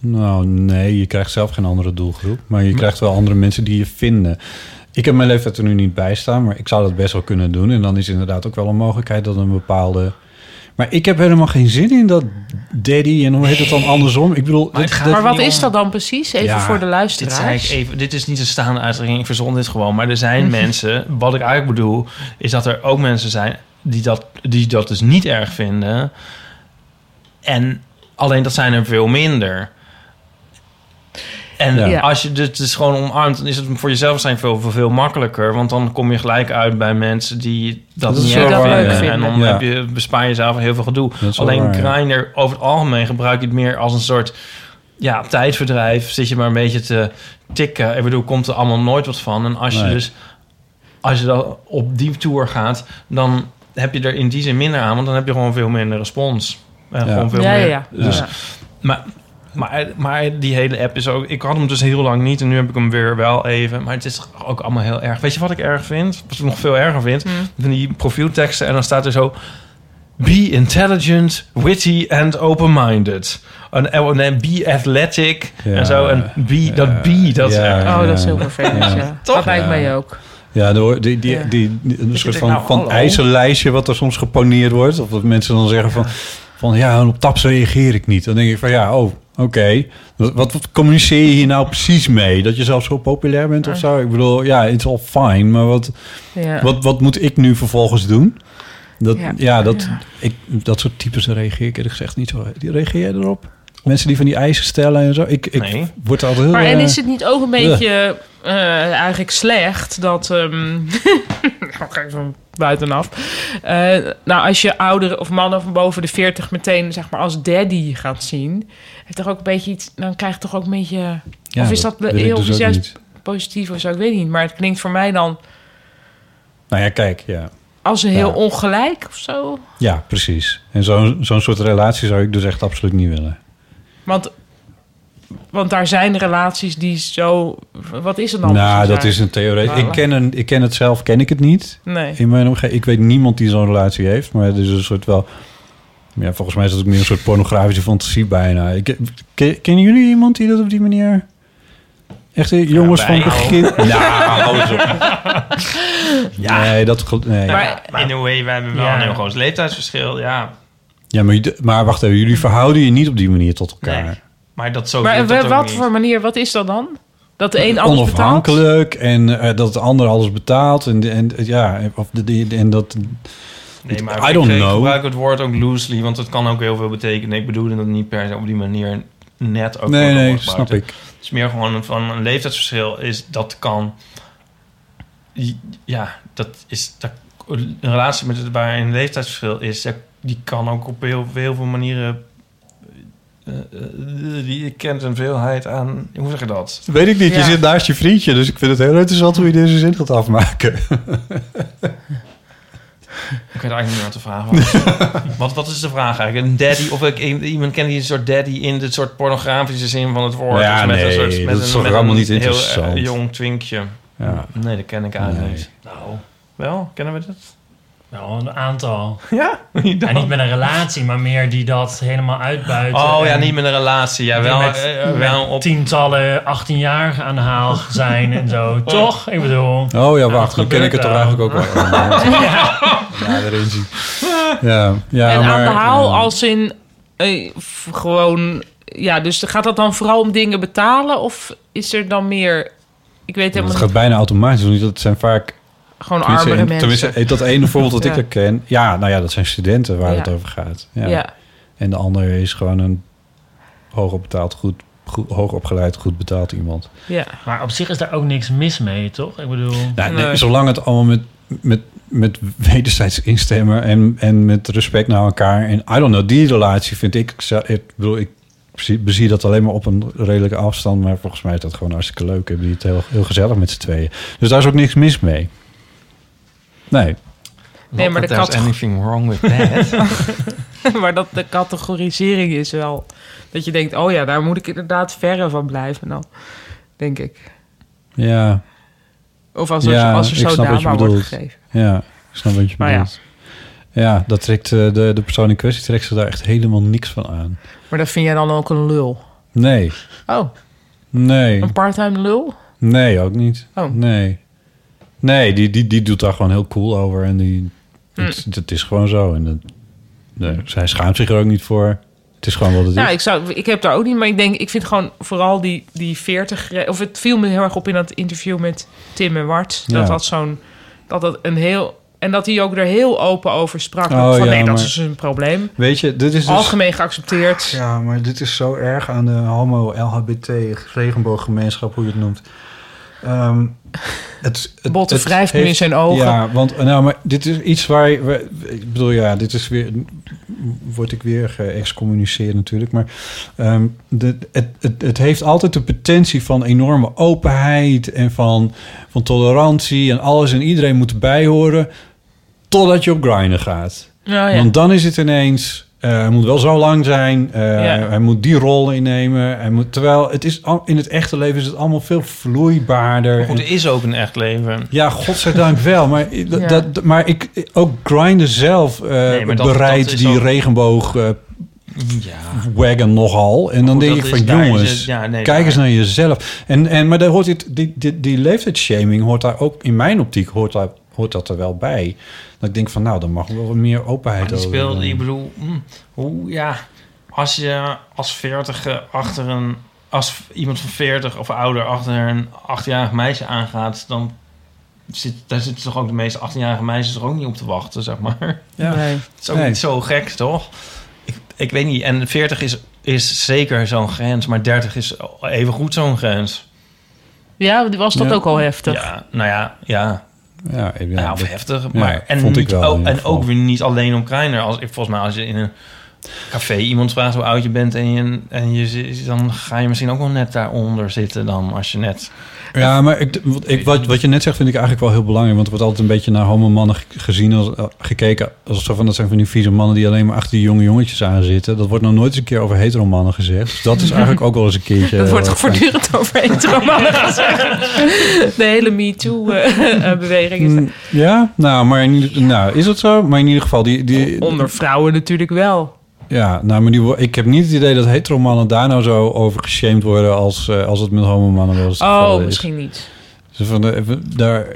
C: Nou, nee, je krijgt zelf geen andere doelgroep. Maar je krijgt wel andere mensen die je vinden. Ik heb mijn leeftijd er nu niet bij staan, maar ik zou dat best wel kunnen doen. En dan is inderdaad ook wel een mogelijkheid dat een bepaalde. Maar ik heb helemaal geen zin in dat daddy en hoe heet het dan andersom? Ik bedoel,
D: Maar het
C: dat-
D: gaat
C: dat-
B: Maar wat
D: niet
B: is
D: om-
B: dat dan precies? Even
C: Ja,
B: voor de
D: Dit, zei ik
B: luisteraars.
D: even, dit is niet een staande uitdrukking, ik verzon dit gewoon. Maar er
C: Mhm.
D: zijn mensen, wat ik eigenlijk bedoel, is dat er ook mensen zijn die dat, die dat dus niet erg vinden. En alleen dat zijn er veel minder. En
C: Ja.
B: Ja.
D: als je dit dus gewoon omarmt, dan is het voor jezelf zijn veel, veel, veel makkelijker. Want dan kom je gelijk uit bij mensen die dat,
C: Dat is
D: niet
C: wel
D: erg
C: waar,
D: vinden.
B: ja.
D: En dan
C: Ja.
D: heb je, bespaar je jezelf heel veel gedoe.
C: Dat is wel
D: Alleen
C: waar, ja.
D: Grindr, over het algemeen gebruik je het meer als een soort ja, tijdverdrijf. Zit je maar een beetje te tikken. Ik bedoel, komt er allemaal nooit wat van. En als je
C: Nee.
D: dus als je dan op die tour gaat, dan heb je er in die zin minder aan. Want dan heb je gewoon veel minder respons. En
C: Ja.
D: gewoon veel
B: ja, ja,
D: meer.
B: ja.
C: dus-
B: Ja.
D: Maar, maar, maar die hele app is ook... Ik had hem dus heel lang niet en nu heb ik hem weer wel even. Maar het is ook allemaal heel erg. Weet je wat ik erg vind? Wat ik nog veel erger vind? Van die profielteksten en dan staat er zo... Be intelligent, witty and open-minded. En en dan be athletic
C: Ja.
D: en zo. En be, dat be, dat
C: Ja.
D: is erg.
B: Oh, dat is heel
C: Ja.
B: vervelend. Ja.
C: Ja.
B: Dat lijkt
C: Ja.
B: mij ook.
C: Ja, door die, die,
B: Ja.
C: die, die- een soort
D: denk,
C: van,
D: nou,
C: van
D: hallo.
C: ijzerlijstje wat er soms geponeerd wordt. Of dat mensen dan zeggen van, van ja, op taps reageer ik niet. Dan denk ik van ja, oh, oké. Wat, wat, wat communiceer je hier nou precies mee? Dat je zelf zo populair bent of zo? Ik bedoel, ja, it's all fine. Maar wat,
B: Ja.
C: wat, wat moet ik nu vervolgens doen? Dat,
B: Ja.
C: ja. dat, Ik, dat soort types reageer ik eerlijk gezegd niet zo. Die reageer jij erop? Mensen die van die eisen stellen en zo. Ik, ik
D: Nee.
C: word er altijd heel...
B: Maar en
C: eh,
B: is het niet ook een beetje eh, eigenlijk slecht dat... ehm ik ga even buitenaf. Eh, nou, als je ouderen of mannen van boven de 40 meteen zeg maar als daddy gaat zien... Heeft toch ook een beetje iets, dan krijg je toch ook een beetje...
C: ja,
B: of is dat,
C: wil ik
B: heel
C: dus ook
B: juist
C: niet.
B: positief of zo? Ik weet niet. Maar het klinkt voor mij dan
C: Nou ja, kijk, ja.
B: als een heel
C: Ja.
B: ongelijk of zo.
C: Ja, precies. En zo'n zo'n soort relatie zou ik dus echt absoluut niet willen.
B: Want, want daar zijn relaties die zo... Wat is het dan?
C: nou,
B: precies
C: dat is een theorie. Ik ken, een, ik ken het zelf, ken ik het niet.
B: eigenlijk? Nee.
C: In mijn omgeving, ik weet niemand die zo'n relatie heeft, maar het is een soort wel... Ja, volgens mij is dat ook meer een soort pornografische fantasie bijna. Ik, ken, kennen jullie iemand die dat op die manier... Echt, eh, jongens van
D: wij
C: begin...
D: Ah,
C: Nou, hou eens op. Ja. Nee, dat... gel- Nee.
B: Maar
D: In a way, wij hebben wel
H: Ja.
D: een heel groot leeftijdsverschil, ja.
C: Ja, maar, je- maar wacht even. Jullie verhouden je niet op die manier tot elkaar.
D: Nee. Maar dat zo
B: Maar
D: doet Oh, dat
B: wa-
D: ook
B: wat
D: niet.
B: voor manier, wat is dat dan? Dat de een alles betaalt?
C: onafhankelijk en eh, dat de ander alles betaalt en en ja of de, de- en dat
D: Nee, maar
C: I
D: ik-
C: don't
D: ik
C: know.
D: gebruik het woord ook loosely, want het kan ook heel veel betekenen. Ik bedoel dat niet per se op die manier net ook.
C: nee
D: wordt
C: nee
D: opgebouwd.
C: snap ik
D: Het is meer gewoon een- van een leeftijdsverschil is dat kan. Ja, dat is dat, een relatie met het waar een leeftijdsverschil is, dat- die kan ook op heel, heel veel manieren. eh, eh, die kent een veelheid aan. Hoe zeg je dat?
C: weet ik niet
B: Ja.
C: je zit naast je vriendje dus ik vind het heel interessant hoe je deze zin gaat afmaken
D: Ik weet eigenlijk niet meer wat de vraag was. wat, wat is de vraag eigenlijk? Een daddy of ik, iemand kent die een soort daddy in de soort pornografische zin van het woord?
C: Ja,
D: Dus met een
C: nee,
D: soort, met
C: dat
D: een,
C: is toch
D: met
C: allemaal
D: een
C: niet
D: heel, eh,
C: interessant.
D: jong twinkje.
C: ja
D: Nee, dat ken ik eigenlijk
C: Nee.
D: niet. Nou, wel? Kennen we dat?
H: Nou, een aantal.
D: Ja?
H: En niet met een relatie, maar meer die dat helemaal uitbuiten.
D: oh ja,
H: en
D: niet met een relatie. Ja,
H: die
D: wel,
H: eh, met-
D: eh, eh, wel op...
H: Tientallen 18-jarigen aan de haal zijn en
D: Oh.
H: zo. Toch? Ik bedoel.
C: oh ja
H: dat
C: wacht dan ken ik het toch
H: gebeurt
C: eigenlijk ook wel ja daarin zie ja ja
B: en aan
C: maar eh,
B: de haal
C: ja.
B: als in eh, f- gewoon... Ja, dus gaat dat dan vooral om dingen betalen? Of is er dan meer... Ik weet
C: het
B: helemaal
C: gaat bijna automatisch want dat zijn vaak
B: niet, gewoon
C: tenminste,
B: armere mensen.
C: tenminste eh, dat ene voorbeeld dat
B: Ja.
C: ik er ken ja nou ja dat zijn studenten waar
B: Ja.
C: het over gaat
B: ja.
C: En de ander is gewoon een hoogbetaald, goed, goed, hoogopgeleid, goed betaald iemand.
B: ja.
H: Maar op zich is daar ook niks mis mee, toch? Ik bedoel.
C: Nou, nee,
B: Nee.
C: Zolang het allemaal met, met, met wederzijds instemmen en, en met respect naar elkaar. En I don't know, die relatie vind ik... zou- Ik bedoel, ik zie- bezie dat alleen maar op een redelijke afstand. Maar volgens mij is dat gewoon hartstikke leuk. Hebben die het heel, heel gezellig met z'n tweeën. Dus daar is ook niks mis mee. Nee.
B: Nee, maar de
D: There's
B: kat-
D: anything wrong with that.
B: maar dat de categorisering is wel... Dat je denkt, oh ja, daar moet ik inderdaad verre van blijven dan. Denk ik.
C: Ja.
B: Of als er, als er
C: ik snap
B: zo
C: wat je
B: daadbaar wordt
C: bedoelt.
B: gegeven.
C: Ja, ik snap wat je
B: Nou ja.
C: bedoelt. Ja, dat trekt eh, de, de persoon in kwestie trekt ze daar echt helemaal niks van aan.
B: Maar dat vind jij dan ook een lul.
C: Nee,
B: Oh,
C: nee,
B: een parttime lul?
C: nee, ook niet.
B: Oh.
C: Nee, nee die, die, die doet daar gewoon heel cool over. En die,
B: Hm.
C: het, het is gewoon zo. En dat, nee, zij schaamt zich er ook niet voor. Het is gewoon wat het
B: Nou,
C: is.
B: ik, zou, ik heb daar ook niet, maar ik denk, ik vind gewoon vooral die, die 40. re- Of het viel me heel erg op in dat interview met Tim en Wart.
C: Ja.
B: Dat dat zo'n. Dat dat een heel. En dat hij ook er heel open over sprak.
C: Oh,
B: van
C: ja,
B: nee, dat
C: maar-
B: is een probleem.
C: Weet je, dit is dus...
B: Algemeen geaccepteerd.
C: Ja, maar dit is zo erg aan de homo, LHBT, regenbooggemeenschap, hoe je het noemt. Ehm het, het,
B: Botte
C: het
B: wrijft nu in zijn ogen.
C: Ja, want nou, maar dit is iets waar, je- waar- ik bedoel, ja, dit is weer, word ik weer geëxcommuniceerd natuurlijk, maar ehm, de, het, het, het heeft altijd de potentie van enorme openheid en van, van tolerantie en alles en iedereen moet erbij horen, totdat je op grinden gaat.
B: Nou ja.
C: Want dan is het ineens. eh, hij moet wel zo lang zijn. eh,
B: Ja.
C: Hij moet die rol innemen. Hij moet, terwijl het is, al- in het echte leven is het allemaal veel vloeibaarder.
D: Goed,
C: En-
D: er is ook een echt leven.
C: ja, godzijdank wel. Maar, i- dat,
B: Ja.
C: dat- maar ik, ook grinden zelf eh
D: maar dat-
C: bereidt
D: dat is
C: die
D: ook-
C: regenboog eh,
D: Ja.
C: wagon nogal. En dan
D: Goed,
C: denk ik
D: dat
C: van
D: is- daar is
C: jongens,
D: het- ja, nee,
C: kijk
D: daar-
C: eens naar jezelf. En, en, maar daar hoort dit, die, die, die leeftijdsshaming hoort daar ook, in mijn optiek, hoort, daar, hoort dat er wel bij. Dat ik denk van nou, dan mag wel wat meer openheid
D: Maar die
C: over.
D: speelde,
C: zijn.
D: ik bedoel, mm, hoe ja, als je als veertiger achter een, als iemand van 40 of ouder achter een achtjarig meisje aangaat, dan zit, daar zitten toch ook de meeste 18-jarige meisjes er ook niet op te wachten, zeg maar.
C: Ja.
B: Nee.
D: Het is ook
C: Nee.
D: niet zo gek, toch? Ik, ik weet niet, en 40 is, is zeker zo'n grens, maar 30 is evengoed zo'n grens.
B: Ja, was dat
C: Ja.
B: ook al heftig?
D: Ja, nou ja, ja,
C: Ja, ik- ja,
D: Nou,
C: dat-
D: of heftig. Maar,
C: ja,
D: en,
C: vond ik
D: niet
C: wel in
D: ook,
C: ieder
D: en
C: geval.
D: ook weer niet alleen om kleiner. Als, ik- volgens mij als je in een café iemand vraagt hoe oud je bent... en, je, en je, zit- dan ga je misschien ook wel net daaronder zitten dan als je net...
C: Ja, maar ik, wat- ik, wat, wat je net zegt vind ik eigenlijk wel heel belangrijk. Want er wordt altijd een beetje naar homomannen ge- gezien, als, eh, gekeken. Alsof van, dat zijn van die vieze mannen die alleen maar achter die jonge jongetjes aan zitten. Dat wordt nog nooit eens een keer over heteromannen gezegd. Dus dat is eigenlijk ook wel eens een keertje...
B: Dat wordt
C: eh,
B: toch voortdurend over heteromannen gezegd. De hele MeToo-beweging is
C: fijn. Ja, nou, maar in, ieder- nou, is dat zo? Maar in ieder geval, die, die,
B: onder vrouwen natuurlijk wel.
C: ja, nou, maar die, wo- ik heb niet het idee dat heteromannen daar nou zo over geshamed worden als, eh, als het met homomannen wel eens het geval
B: Oh,
C: is.
B: misschien niet.
C: Dus van de, even daar,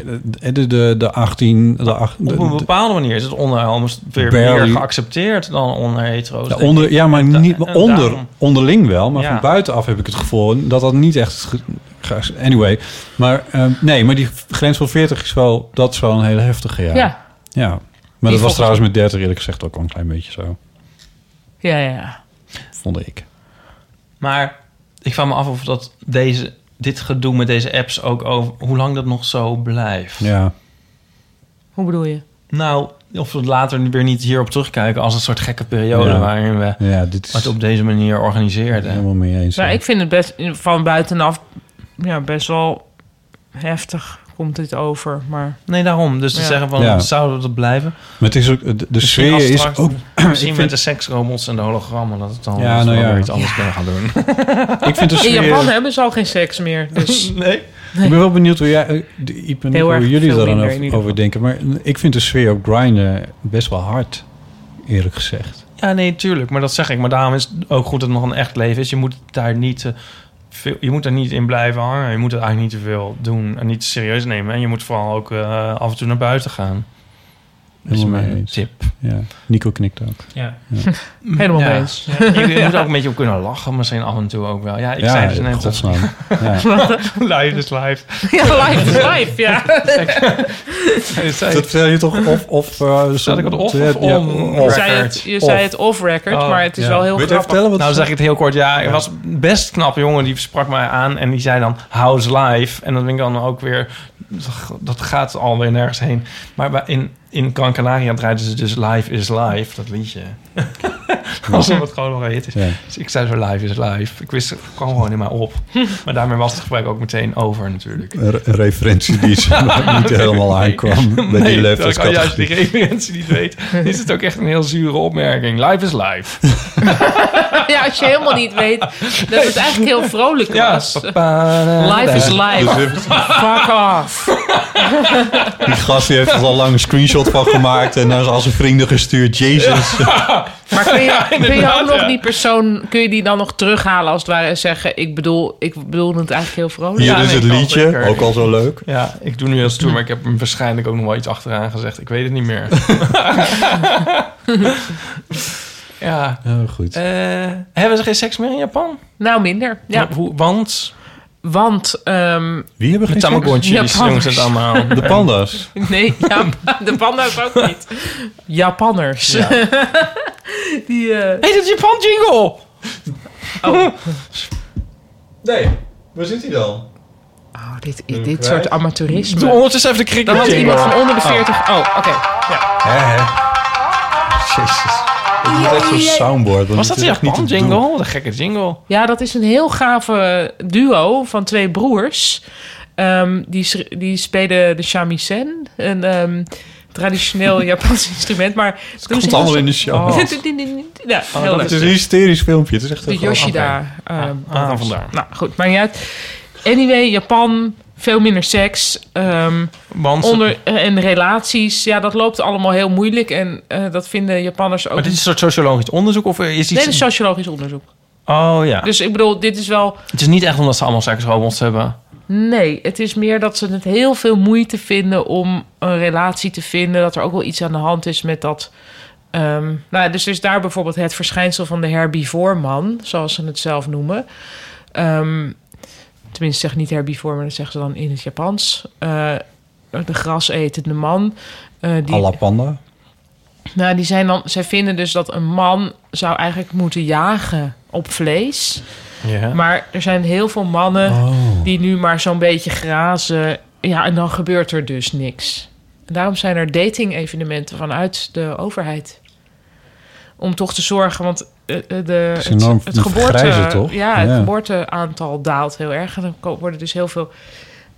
C: de, de, de 18... De, acht- de,
D: Op een bepaalde manier is het onder homo's weer meer
C: Barely.
D: geaccepteerd dan onder hetero's.
C: Ja,
D: denk ik.
C: onder, ja, maar
D: Da-
C: niet,
D: en
C: onder,
D: daarom-
C: onderling wel. Maar
D: Ja.
C: van buitenaf heb ik het gevoel dat dat niet echt... ge- ge- Anyway. Maar ehm, nee, maar die grens van 40 is wel... Dat is wel een hele heftige, ja.
B: Ja, ja,
C: Ja. Maar dat
B: volgens-
C: was trouwens met 30 eerlijk gezegd ook al een klein beetje zo.
B: ja. ja,
C: Vond ik.
D: Maar ik vraag me af of dat deze, dit gedoe met deze apps ook over... hoe lang dat nog zo blijft.
C: Ja.
B: Hoe bedoel je?
D: Nou, of we later weer niet hierop terugkijken... als een soort gekke periode
C: Ja.
D: waarin we
C: Ja, dit is
D: het op deze manier organiseerden.
C: helemaal mee eens.
B: Nou,
C: hè.
B: ik vind het best van buitenaf ja, best wel heftig komt dit over. Maar
D: Nee, daarom. Dus te
B: Ja.
D: zeggen van,
C: Ja.
D: zouden we dat blijven?
C: Maar het is ook... De, de
D: Misschien
C: sfeer is
D: abstract,
C: ook...
D: Misschien
C: ik
D: met
C: vind-
D: de seksrobots en de hologrammen... dat het dan
C: Ja,
D: wel
C: nou ja.
D: weer iets anders kunnen gaan doen.
C: Ik vind de
B: in
C: sfeer...
D: eh,
B: Japan hebben ze al geen seks meer. Dus
D: nee.
C: Ik ben wel benieuwd hoe, jij, eh, de- ik ben
B: Heel
C: hoe
B: erg
C: jullie
B: veel
C: daar dan
B: minder in
C: over,
B: ieder
C: over denken. Maar ik vind de sfeer op grinden best wel hard. Eerlijk gezegd.
D: Ja, nee, tuurlijk. Maar dat zeg ik. Maar daarom is het ook goed dat het nog een echt leven is. Je moet daar niet... eh, veel, je moet daar niet in blijven hangen. Je moet het eigenlijk niet te veel doen en niet te serieus nemen. En je moet vooral ook eh, af en toe naar buiten gaan. Dat is
C: Helemaal mee
D: mijn
C: eens.
D: tip.
C: Ja, Nico knikt ook.
H: Ja.
B: helemaal
D: Ja.
B: mee eens.
D: Je, je moet er ook een beetje op kunnen lachen, misschien af en toe ook wel. Ja, ik zei dus net... dat-
C: godsnaam. Ja.
D: Live is live.
B: Ja, live is live, ja.
D: Ik zei-
C: Dat vertel je toch of... of eh,
D: Zat ik het of
C: ja,
D: of
C: ja,
D: om?
B: Je
D: Record.
B: zei het, je
C: Off.
B: zei het off-record,
D: Oh,
B: maar het is
C: ja.
B: wel heel
C: Wil je het even
B: grappig.
C: vertellen? Wat
D: Nou
C: ze-
D: zeg ik het heel kort. Ja, er was best knap jongen. Die sprak mij aan en die zei dan... How's life? En dat vind ik dan ook weer... Dat gaat alweer nergens heen. Maar bij- in, in Gran Canaria draaiden ze dus Life is Life. Dat liedje. Alsof het gewoon nog een hit is. Dus ik zei zo, live is live. Ik wist, het kwam gewoon in mij op. Maar daarmee was het gesprek ook meteen over natuurlijk.
C: Een re- een referentie die ze nog niet helemaal aankwam bij die
D: Nee, dat kan juist die
C: leeftijdscategorie.
D: referentie niet weet. Is het ook echt een heel zure opmerking. Live is live.
B: ja, als je helemaal niet weet dat het eigenlijk heel vrolijk
D: Ja,
B: was.
D: papa-
B: Life is life. Fuck off.
C: Dus Die gast die heeft er al lang een screenshot van gemaakt en naar zijn vrienden gestuurd. Jezus.
B: Maar kun je, kun je
D: inderdaad,
B: ook nog
D: ja.
B: die persoon, kun je die dan nog terughalen als het ware en zeggen, ik bedoel, ik bedoel het eigenlijk heel vrolijk.
C: Hier
D: Ja,
C: is
D: nee,
C: het
D: kan
C: liedje,
D: zeker.
C: ook al zo leuk.
D: Ja, ik doe nu heel stoer, maar ik heb hem waarschijnlijk ook nog wel iets achteraan gezegd. Ik weet het niet meer. ja.
C: Oh, goed.
D: Eh, hebben ze geen seks meer in Japan?
B: Nou, minder. Ja.
D: Wa- hoe- Want?
B: Want, ehm,
C: Wie hebben geen
D: Met
C: seks?
D: tamagontjes,
B: Japanners.
D: jongens, het allemaal. Dus
C: De panda's.
B: nee, ja, de panda's ook niet. Japanners. die, eh,
D: Heet het Japan jingle?
C: Nee, waar zit hij dan?
B: oh, dit, dit soort amateurisme.
D: Doe ondertussen even de krik
B: Dan had
D: jingle.
B: iemand van onder de 40. Oh, oké.
C: Jezus. Ik moet echt zo'n soundboard. want
D: Was
C: dit
D: dat een
C: is echt niet
D: Japan
C: te doen.
D: jingle? Wat een gekke jingle.
B: Ja, dat is een heel gave duo van twee broers. Ehm, die, s- die spelen de shamisen, een ehm, traditioneel Japans instrument. Maar het
C: komt allemaal in de show.
B: Ja,
C: Oh.
B: heel leuk.
C: Het is een hysterisch filmpje. Het is echt
B: De
C: een groot-
B: Yoshida. ehm
D: Ah,
B: broers.
D: vandaar.
B: Nou goed, maakt niet uit. Anyway, Japan, veel minder seks. ehm,
D: Want
B: onder, eh, en relaties, ja, dat loopt allemaal heel moeilijk. En eh, dat vinden Japanners ook.
D: Maar dit is een soort sociologisch onderzoek of is iets...
B: Nee, dat is sociologisch onderzoek.
D: Oh ja.
B: Dus ik bedoel, dit is wel
D: Het is niet echt omdat ze allemaal seksrobots hebben.
B: Nee, het is meer dat ze het heel veel moeite vinden om een relatie te vinden. Dat er ook wel iets aan de hand is met dat. ehm, nou, dus er is daar bijvoorbeeld het verschijnsel van de herbivoorman, zoals ze het zelf noemen. Ehm, tenminste, zeg niet herbivoor, maar dat zeggen ze dan in het Japans. Eh, de grasetende man. eh, die,
C: Alla panda.
B: nou, die zijn dan, zij vinden dus dat een man zou eigenlijk moeten jagen op vlees.
D: Ja.
B: Maar er zijn heel veel mannen
C: Oh.
B: die nu maar zo'n beetje grazen. Ja, en dan gebeurt er dus niks. En daarom zijn er dating-evenementen vanuit de overheid. Om toch te zorgen, want eh, eh, de,
C: is enorm vergrijzen, toch?
B: Ja, het
C: Ja.
B: geboorteaantal daalt heel erg. En dan ko- worden dus heel veel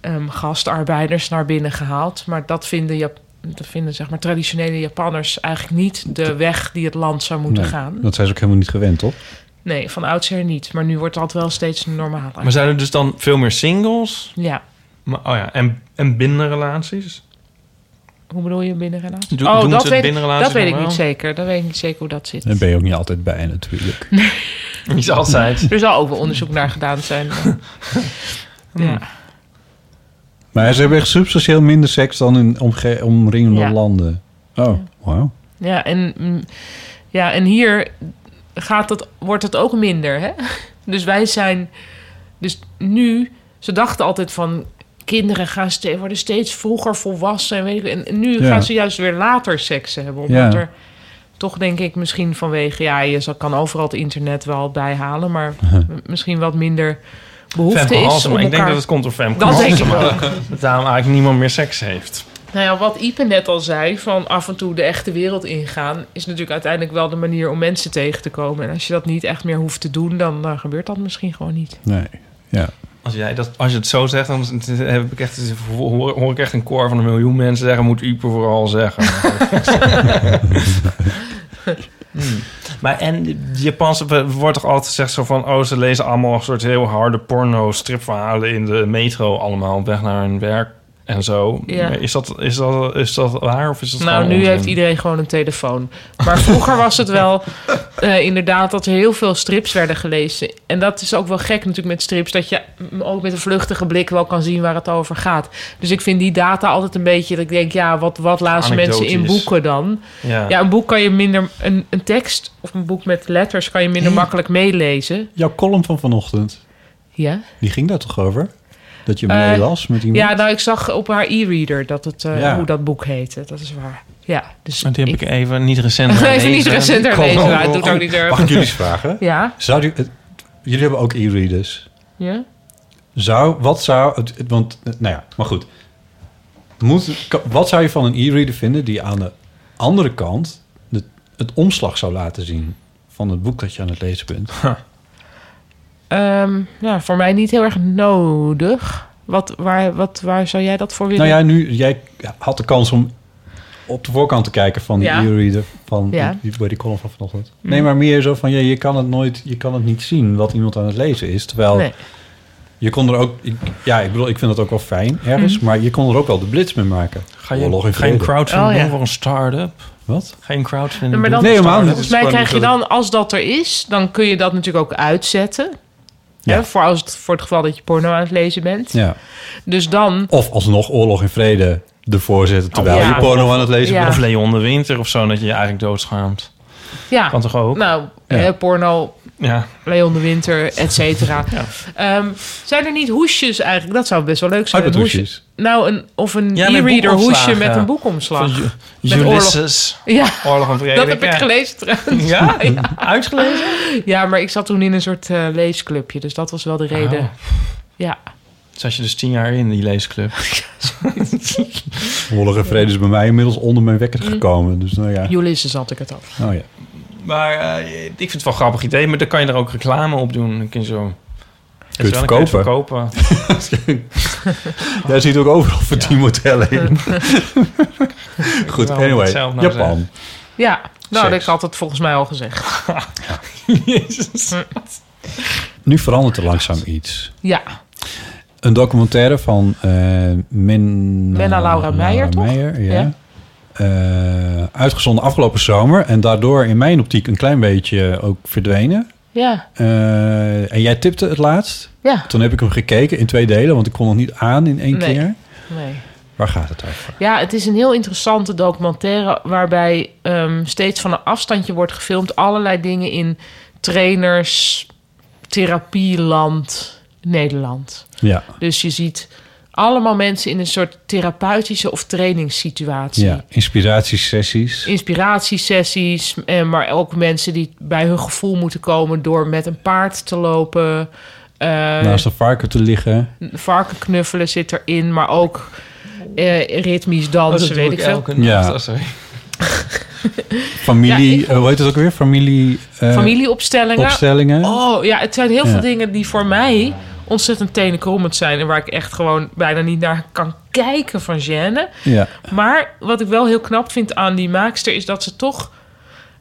B: ehm, gastarbeiders naar binnen gehaald. Maar dat vinden, Jap- dat vinden zeg maar, traditionele Japanners eigenlijk niet de weg die het land zou moeten
C: Nee,
B: gaan.
C: Dat zijn ze ook helemaal niet gewend, toch?
B: Nee, van oudsher niet. Maar nu wordt dat wel steeds normaler.
D: Maar zijn er dus dan veel meer singles?
B: Ja.
D: Maar, oh ja, en, en binnenrelaties?
B: Hoe bedoel je binnenrelatie?
D: Doen- doen ze
B: weet, ik-
D: binnenrelaties
B: dat weet ik
D: nog
B: niet
D: wel?
B: zeker. Dat weet ik niet zeker hoe dat zit.
C: Daar ben je ook niet altijd bij, natuurlijk.
D: Niet altijd.
B: Er zal ook wel onderzoek naar gedaan zijn. maar- ja.
C: Maar ze hebben echt substantieel minder seks dan in omge- omringende
B: Ja.
C: landen. Oh, wauw.
B: Ja, en, mm, ja, en hier gaat het, wordt het ook minder. Hè? Dus wij zijn. Dus nu, ze dachten altijd van. Kinderen gaan steeds, worden steeds vroeger volwassen. En, weet ik, en nu
C: Ja.
B: gaan ze juist weer later seks hebben. Omdat
C: Ja.
B: er toch denk ik misschien vanwege... Ja, je zal- kan overal het internet wel bijhalen. Maar m- misschien wat minder behoefte
D: Femke
B: is om
D: Halsema.
B: elkaar...
D: Ik denk dat het komt door Femke
B: Dat denk ik
D: Halsema.
B: ook.
D: Dat daarom eigenlijk niemand meer seks heeft.
B: Nou ja, wat Ipe net al zei, van af en toe de echte wereld ingaan, is natuurlijk uiteindelijk wel de manier om mensen tegen te komen. En als je dat niet echt meer hoeft te doen, dan eh, gebeurt dat misschien gewoon niet.
C: Nee. Ja.
D: Als, jij dat, als je het zo zegt, dan heb ik echt, hoor, hoor ik echt een koor van een miljoen mensen zeggen... moet Uber vooral zeggen. Hmm. Maar en de Japanse we- wordt toch altijd gezegd zo van... oh, ze lezen allemaal een soort heel harde porno-stripverhalen in de metro... allemaal op weg naar hun werk en zo.
B: Ja.
D: Is, dat, is, dat, is dat waar of is dat
B: Nou,
D: gewoon
B: nu
D: onzin?
B: heeft iedereen gewoon een telefoon. Maar vroeger was het wel eh, inderdaad dat er heel veel strips werden gelezen. En dat is ook wel gek natuurlijk met strips, dat je mm, ook met een vluchtige blik wel kan zien waar het over gaat. Dus ik vind die data altijd een beetje, dat ik denk, ja, wat, wat lazen mensen in
D: Anekdotisch.
B: boeken dan?
D: Ja.
B: Ja, een boek kan je minder. Een, een tekst of een boek met letters kan je minder makkelijk meelezen.
C: Jouw column van vanochtend,
B: Ja.
C: die ging daar toch over? Dat je
B: Eh,
C: meelas met iemand?
B: Ja, nou, ik zag op haar e-reader dat het, eh,
C: Ja.
B: hoe dat boek heette. Dat is waar. Ja, dus.
D: Maar die heb ik, even niet recent
B: Even niet recent herlezen. maar het doet ook niet erg.
C: Mag ik jullie eens vragen?
B: Ja,
C: Zou die, het- jullie hebben ook e-readers.
B: ja.
C: Zou, wat zou, het- het- want, eh, nou ja, maar goed. Moet, kan- wat zou je van een e-reader vinden die aan de andere kant de, het omslag zou laten zien? van het boek dat je aan het lezen bent?
B: Ehm, ja, voor mij niet heel erg nodig. Wat, waar, wat, waar zou jij dat voor willen?
C: Nou ja, nu, jij had de kans om op de voorkant te kijken van die
B: Ja.
C: e-reader. Van
B: Ja.
C: die, bij die column van vanochtend.
B: Mm.
C: Nee, maar meer zo van, ja, je kan het nooit, je kan het niet zien wat iemand aan het lezen is. Terwijl
B: Nee.
C: je kon er ook, ik- ja, ik bedoel, ik vind het ook wel fijn ergens.
B: Mm.
C: Maar je kon er ook wel de blitz mee maken.
D: Ga je,
C: Oorlog in
D: ga je een
C: vrede.
D: crowdfunding
B: Oh, ja.
D: doen voor een start-up?
C: Wat?
D: Geen crowdfunding
B: Nee, maar
D: doen
B: dan,
D: voor
C: Nee,
D: een
C: helemaal
D: start-up?
C: niet.
B: volgens mij
C: Spannend
B: krijg je
C: dat
B: dan, als dat er is, dan kun je dat natuurlijk ook uitzetten.
C: Ja.
B: Hè, voor, als het, voor het geval dat je porno aan het lezen bent.
C: Ja.
B: Dus dan,
C: Of alsnog oorlog in vrede ervoor zetten terwijl
B: Oh, ja.
C: je porno aan het lezen
B: Ja.
C: bent.
D: Of Leon de Winter of zo, dat je je eigenlijk doodschaamt.
B: ja.
D: Kan toch ook?
B: Nou,
C: Ja.
B: hè, porno,
D: Ja.
B: Leon de Winter, et cetera.
D: Ja.
B: Ehm, zijn er niet hoesjes eigenlijk? Dat zou best wel leuk zijn.
C: Uit met
B: Een hoesje-
C: hoesjes.
B: Nou, een, of een
D: Ja, met
B: e-reader
D: boekomslagen,
B: hoesje met
D: ja.
B: een boekomslag.
D: Van Ju-
B: Met
D: Ulysses.
B: ja,
D: Oorlog en Vrede.
B: dat heb ik
D: Ja.
B: gelezen trouwens.
D: Ja? Uitgelezen?
B: Ja, maar ik zat toen in een soort eh, leesclubje, dus dat was wel de reden.
D: Oh.
B: Ja.
D: Zat je dus tien jaar in die leesclub?
C: Oorlog en vrede is bij mij inmiddels onder mijn wekker
B: Mm.
C: gekomen. Dus nou ja.
B: Ulysses had ik het al.
C: Oh, ja.
D: Maar eh, ik vind het wel een grappig idee, maar dan kan je er ook reclame op doen. Dan kun je zo.
C: Kun je het
D: Weet wel, dan
C: verkopen?
D: verkopen.
C: Daar zit ook overal voor die modellen in. Goed,
D: waarom ik
C: anyway.
D: het zelf nou
C: Japan.
B: Ja, nou,
C: Seks.
B: ik had het volgens mij al gezegd.
D: Jezus.
C: Nu verandert er langzaam iets.
B: Ja,
C: Een documentaire van eh Min,
B: Menna Laura Meijer, toch?
C: Meijer, ja.
B: Ja.
C: Eh, uitgezonden afgelopen zomer. En daardoor in mijn optiek een klein beetje ook verdwenen.
B: ja,
C: Eh, en jij tipte het laatst.
B: ja.
C: Toen heb ik hem gekeken in twee delen, want ik kon nog niet aan in één
B: Nee.
C: keer.
B: Nee.
C: Waar gaat het over?
B: Ja, het is een heel interessante documentaire waarbij ehm, steeds van een afstandje wordt gefilmd allerlei dingen in trainers, therapieland, Nederland.
C: Ja,
B: Dus je ziet allemaal mensen in een soort therapeutische of trainingssituatie.
C: ja. inspiratiesessies.
B: inspiratiesessies, en maar ook mensen die bij hun gevoel moeten komen door met een paard te lopen. Eh,
C: Naast een varken te liggen.
B: Varken knuffelen zit erin, maar ook eh, ritmisch
D: Oh,
B: dansen,
D: dat
B: weet
D: weet
B: ik veel.
D: elke
C: Ja.
D: nacht. Oh, sorry.
C: Familie,
B: Ja, ik-
C: eh, hoe heet het ook weer? Familie, eh,
B: Familieopstellingen.
C: opstellingen.
B: Oh ja, het zijn heel
C: Hm? Ja.
B: veel dingen die voor mij ontzettend tenenkrommend zijn en waar ik echt gewoon bijna niet naar kan kijken van gêne.
C: Ja.
B: Maar wat ik wel heel knap vind aan die maakster is dat ze toch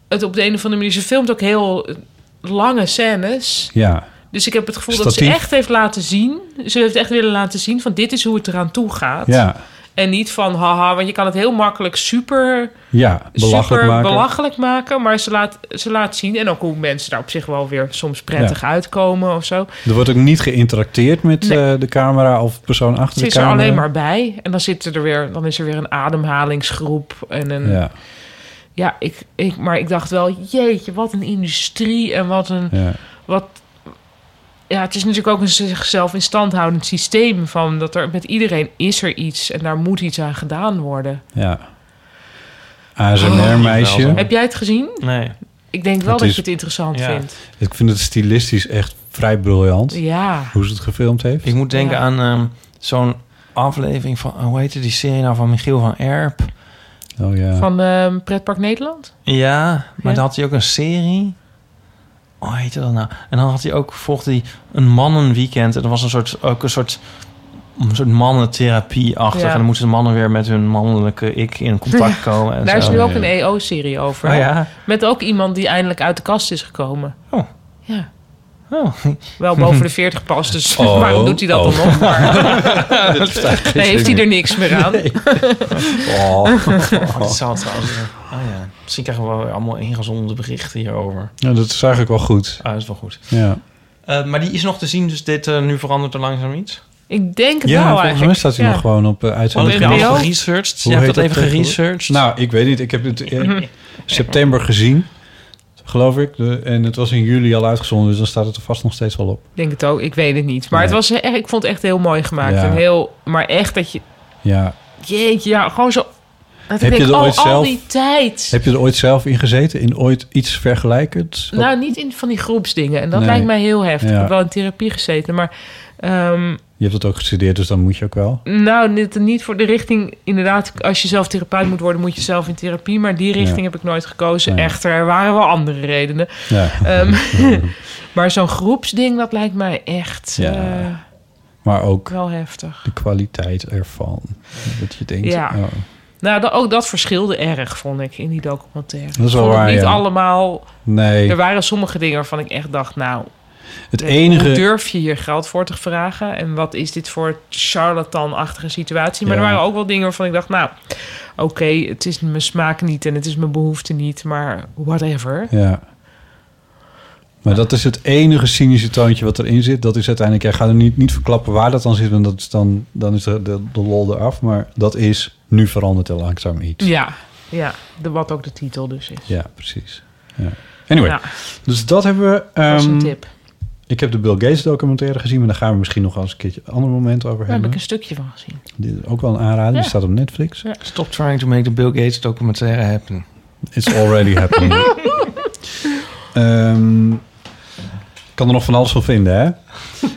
B: het op de een of andere manier. Ze filmt ook heel eh, lange scènes.
C: Ja,
B: Dus ik heb het gevoel dat
C: Statief.
B: ze echt heeft laten zien. Ze heeft echt willen laten zien van dit is hoe het eraan toe gaat.
C: ja,
B: En niet van haha, want je kan het heel makkelijk super,
C: ja. Belachelijk
B: super
C: maken.
B: belachelijk maken. Maar ze laat, ze laat zien. En ook hoe mensen daar op zich wel weer soms prettig uitkomen of zo.
C: Er wordt ook niet geïnteracteerd met
B: Nee.
C: eh, de camera of de persoon achter
B: Ze
C: de
B: is er
C: camera.
B: alleen maar bij. En dan, zit er weer, dan is er weer een ademhalingsgroep. En een, ja,
C: Ja,
B: ik, ik, maar ik dacht wel, jeetje, wat een industrie. En wat een,
C: ja.
B: wat. Ja, het is natuurlijk ook een zichzelf in stand houdend systeem van dat er met iedereen is er iets en daar moet iets aan gedaan worden.
C: ja. ASMR-meisje.
D: Oh.
B: Heb jij het gezien?
D: Nee.
B: Ik denk wel
C: Het
B: dat
C: is-
B: je het interessant
D: Ja.
B: vindt.
C: Ik vind het stilistisch echt vrij briljant.
B: Ja.
C: Hoe ze het gefilmd heeft.
D: Ik moet denken
B: Ja.
D: aan ehm, zo'n aflevering van... Hoe heette die serie nou van Michiel van Erp?
C: Oh ja.
B: Van ehm, Pretpark Nederland?
D: Ja, maar
B: Ja.
D: dan had hij ook een serie. Oh, hoe heette dat nou? En dan had hij ook, volgde hij een mannenweekend. En dat was een soort, ook een soort, een soort mannentherapie-achtig.
B: Ja.
D: En dan moesten de mannen weer met hun mannelijke ik in contact komen. En
B: Daar is
D: zo.
B: nu ook
C: ja.
B: een EO-serie over.
D: Oh ja.
B: Met ook iemand die eindelijk uit de kast is gekomen.
D: Oh.
B: Ja.
D: Oh.
B: Wel boven de 40 pas, dus
C: Oh.
B: waarom doet hij dat
C: Oh.
B: dan nog? Maar... nee, heeft hij er niks meer aan?
C: Oh.
D: Oh, dat zou trouwens. eh, Oh ja. Misschien krijgen we wel weer allemaal ingezonde berichten hierover.
C: Ja, dat is eigenlijk wel goed.
D: Ah, dat is wel goed.
C: Ja,
D: Eh, maar die is nog te zien, dus dit eh, nu verandert er langzaam iets.
B: Ik denk het
C: ja
B: wel
C: volgens mij
B: eigenlijk.
C: staat hij
B: Ja.
C: nog gewoon op eh,
D: Want
C: uitzending.
D: ik
B: in
D: heb
B: de
D: al
B: NPO?
D: geresearched.
C: Hoe
D: Je hebt
C: heet
D: dat even
C: dat tegenwoordig?
D: geresearched.
C: Nou, ik weet niet. Ik heb het in september gezien, geloof ik. De, en het was in juli al uitgezonden, dus dan staat het er vast nog steeds wel op.
B: Ik denk het ook, ik weet het niet. Maar
C: Nee.
B: het was, echt- ik vond het echt heel mooi gemaakt.
C: Ja.
B: En heel, maar echt dat je,
C: Ja.
B: jeetje, ja, gewoon zo... Dat
C: Heb
B: ik
C: je
B: denk,
C: er
B: oh,
C: ooit
B: al
C: zelf-
B: die tijd.
C: Heb je er ooit zelf in gezeten? In ooit iets vergelijkends? Wat-
B: Nou, niet in van die groepsdingen. En dat
C: Nee.
B: lijkt mij heel heftig.
C: Ja.
B: Ik heb wel in therapie gezeten. Maar Ehm,
C: Je hebt dat ook gestudeerd, dus dan moet je ook wel.
B: nou, niet, niet voor de richting. Inderdaad, als je zelf therapeut moet worden, moet je zelf in therapie. Maar die richting
C: Ja.
B: heb ik nooit gekozen.
C: Nee.
B: Echter, er waren wel andere redenen.
C: Ja.
B: Ehm, maar zo'n groepsding, dat lijkt mij echt
C: Ja.
B: eh,
C: Maar ook
B: wel heftig.
C: de kwaliteit ervan. Dat je denkt,
B: Ja.
C: oh,
B: Nou, dat, ook dat verschilde erg, vond ik, in die documentaire.
C: Dat
B: Ik
C: is wel
B: vond het
C: waar,
B: Niet
C: ja.
B: allemaal.
C: nee.
B: Er waren sommige dingen waarvan ik echt dacht, nou,
C: Het
B: Hoe
C: enige...
B: durf je hier geld voor te vragen? En wat is dit voor charlatan-achtige situatie? Maar
C: Ja.
B: er waren ook wel dingen waarvan ik dacht... nou, oké, het is mijn smaak niet en het is mijn behoefte niet... maar whatever.
C: Ja. Maar dat is het enige cynische toontje wat erin zit. Dat is uiteindelijk... Ik ga er niet, niet verklappen waar dat dan zit, want dat is dan, dan is de, de, de lol eraf. Maar dat is, nu verandert er langzaam iets.
B: Ja, ja de, wat ook de titel dus is.
C: Ja, precies. Ja. Anyway,
B: Ja,
C: dus dat hebben we...
B: dat is
C: ehm,
B: een tip.
C: Ik heb de Bill Gates documentaire gezien, maar daar gaan we misschien nog wel eens een keertje een ander moment over
B: Daar heb
C: hebben.
B: ik een stukje van gezien.
C: Dit is ook wel een aanrader, die
B: Ja.
C: staat op Netflix.
D: Stop trying to make the Bill Gates documentaire happen.
C: It's already happening. Ehm, ik kan er nog van alles van vinden, hè?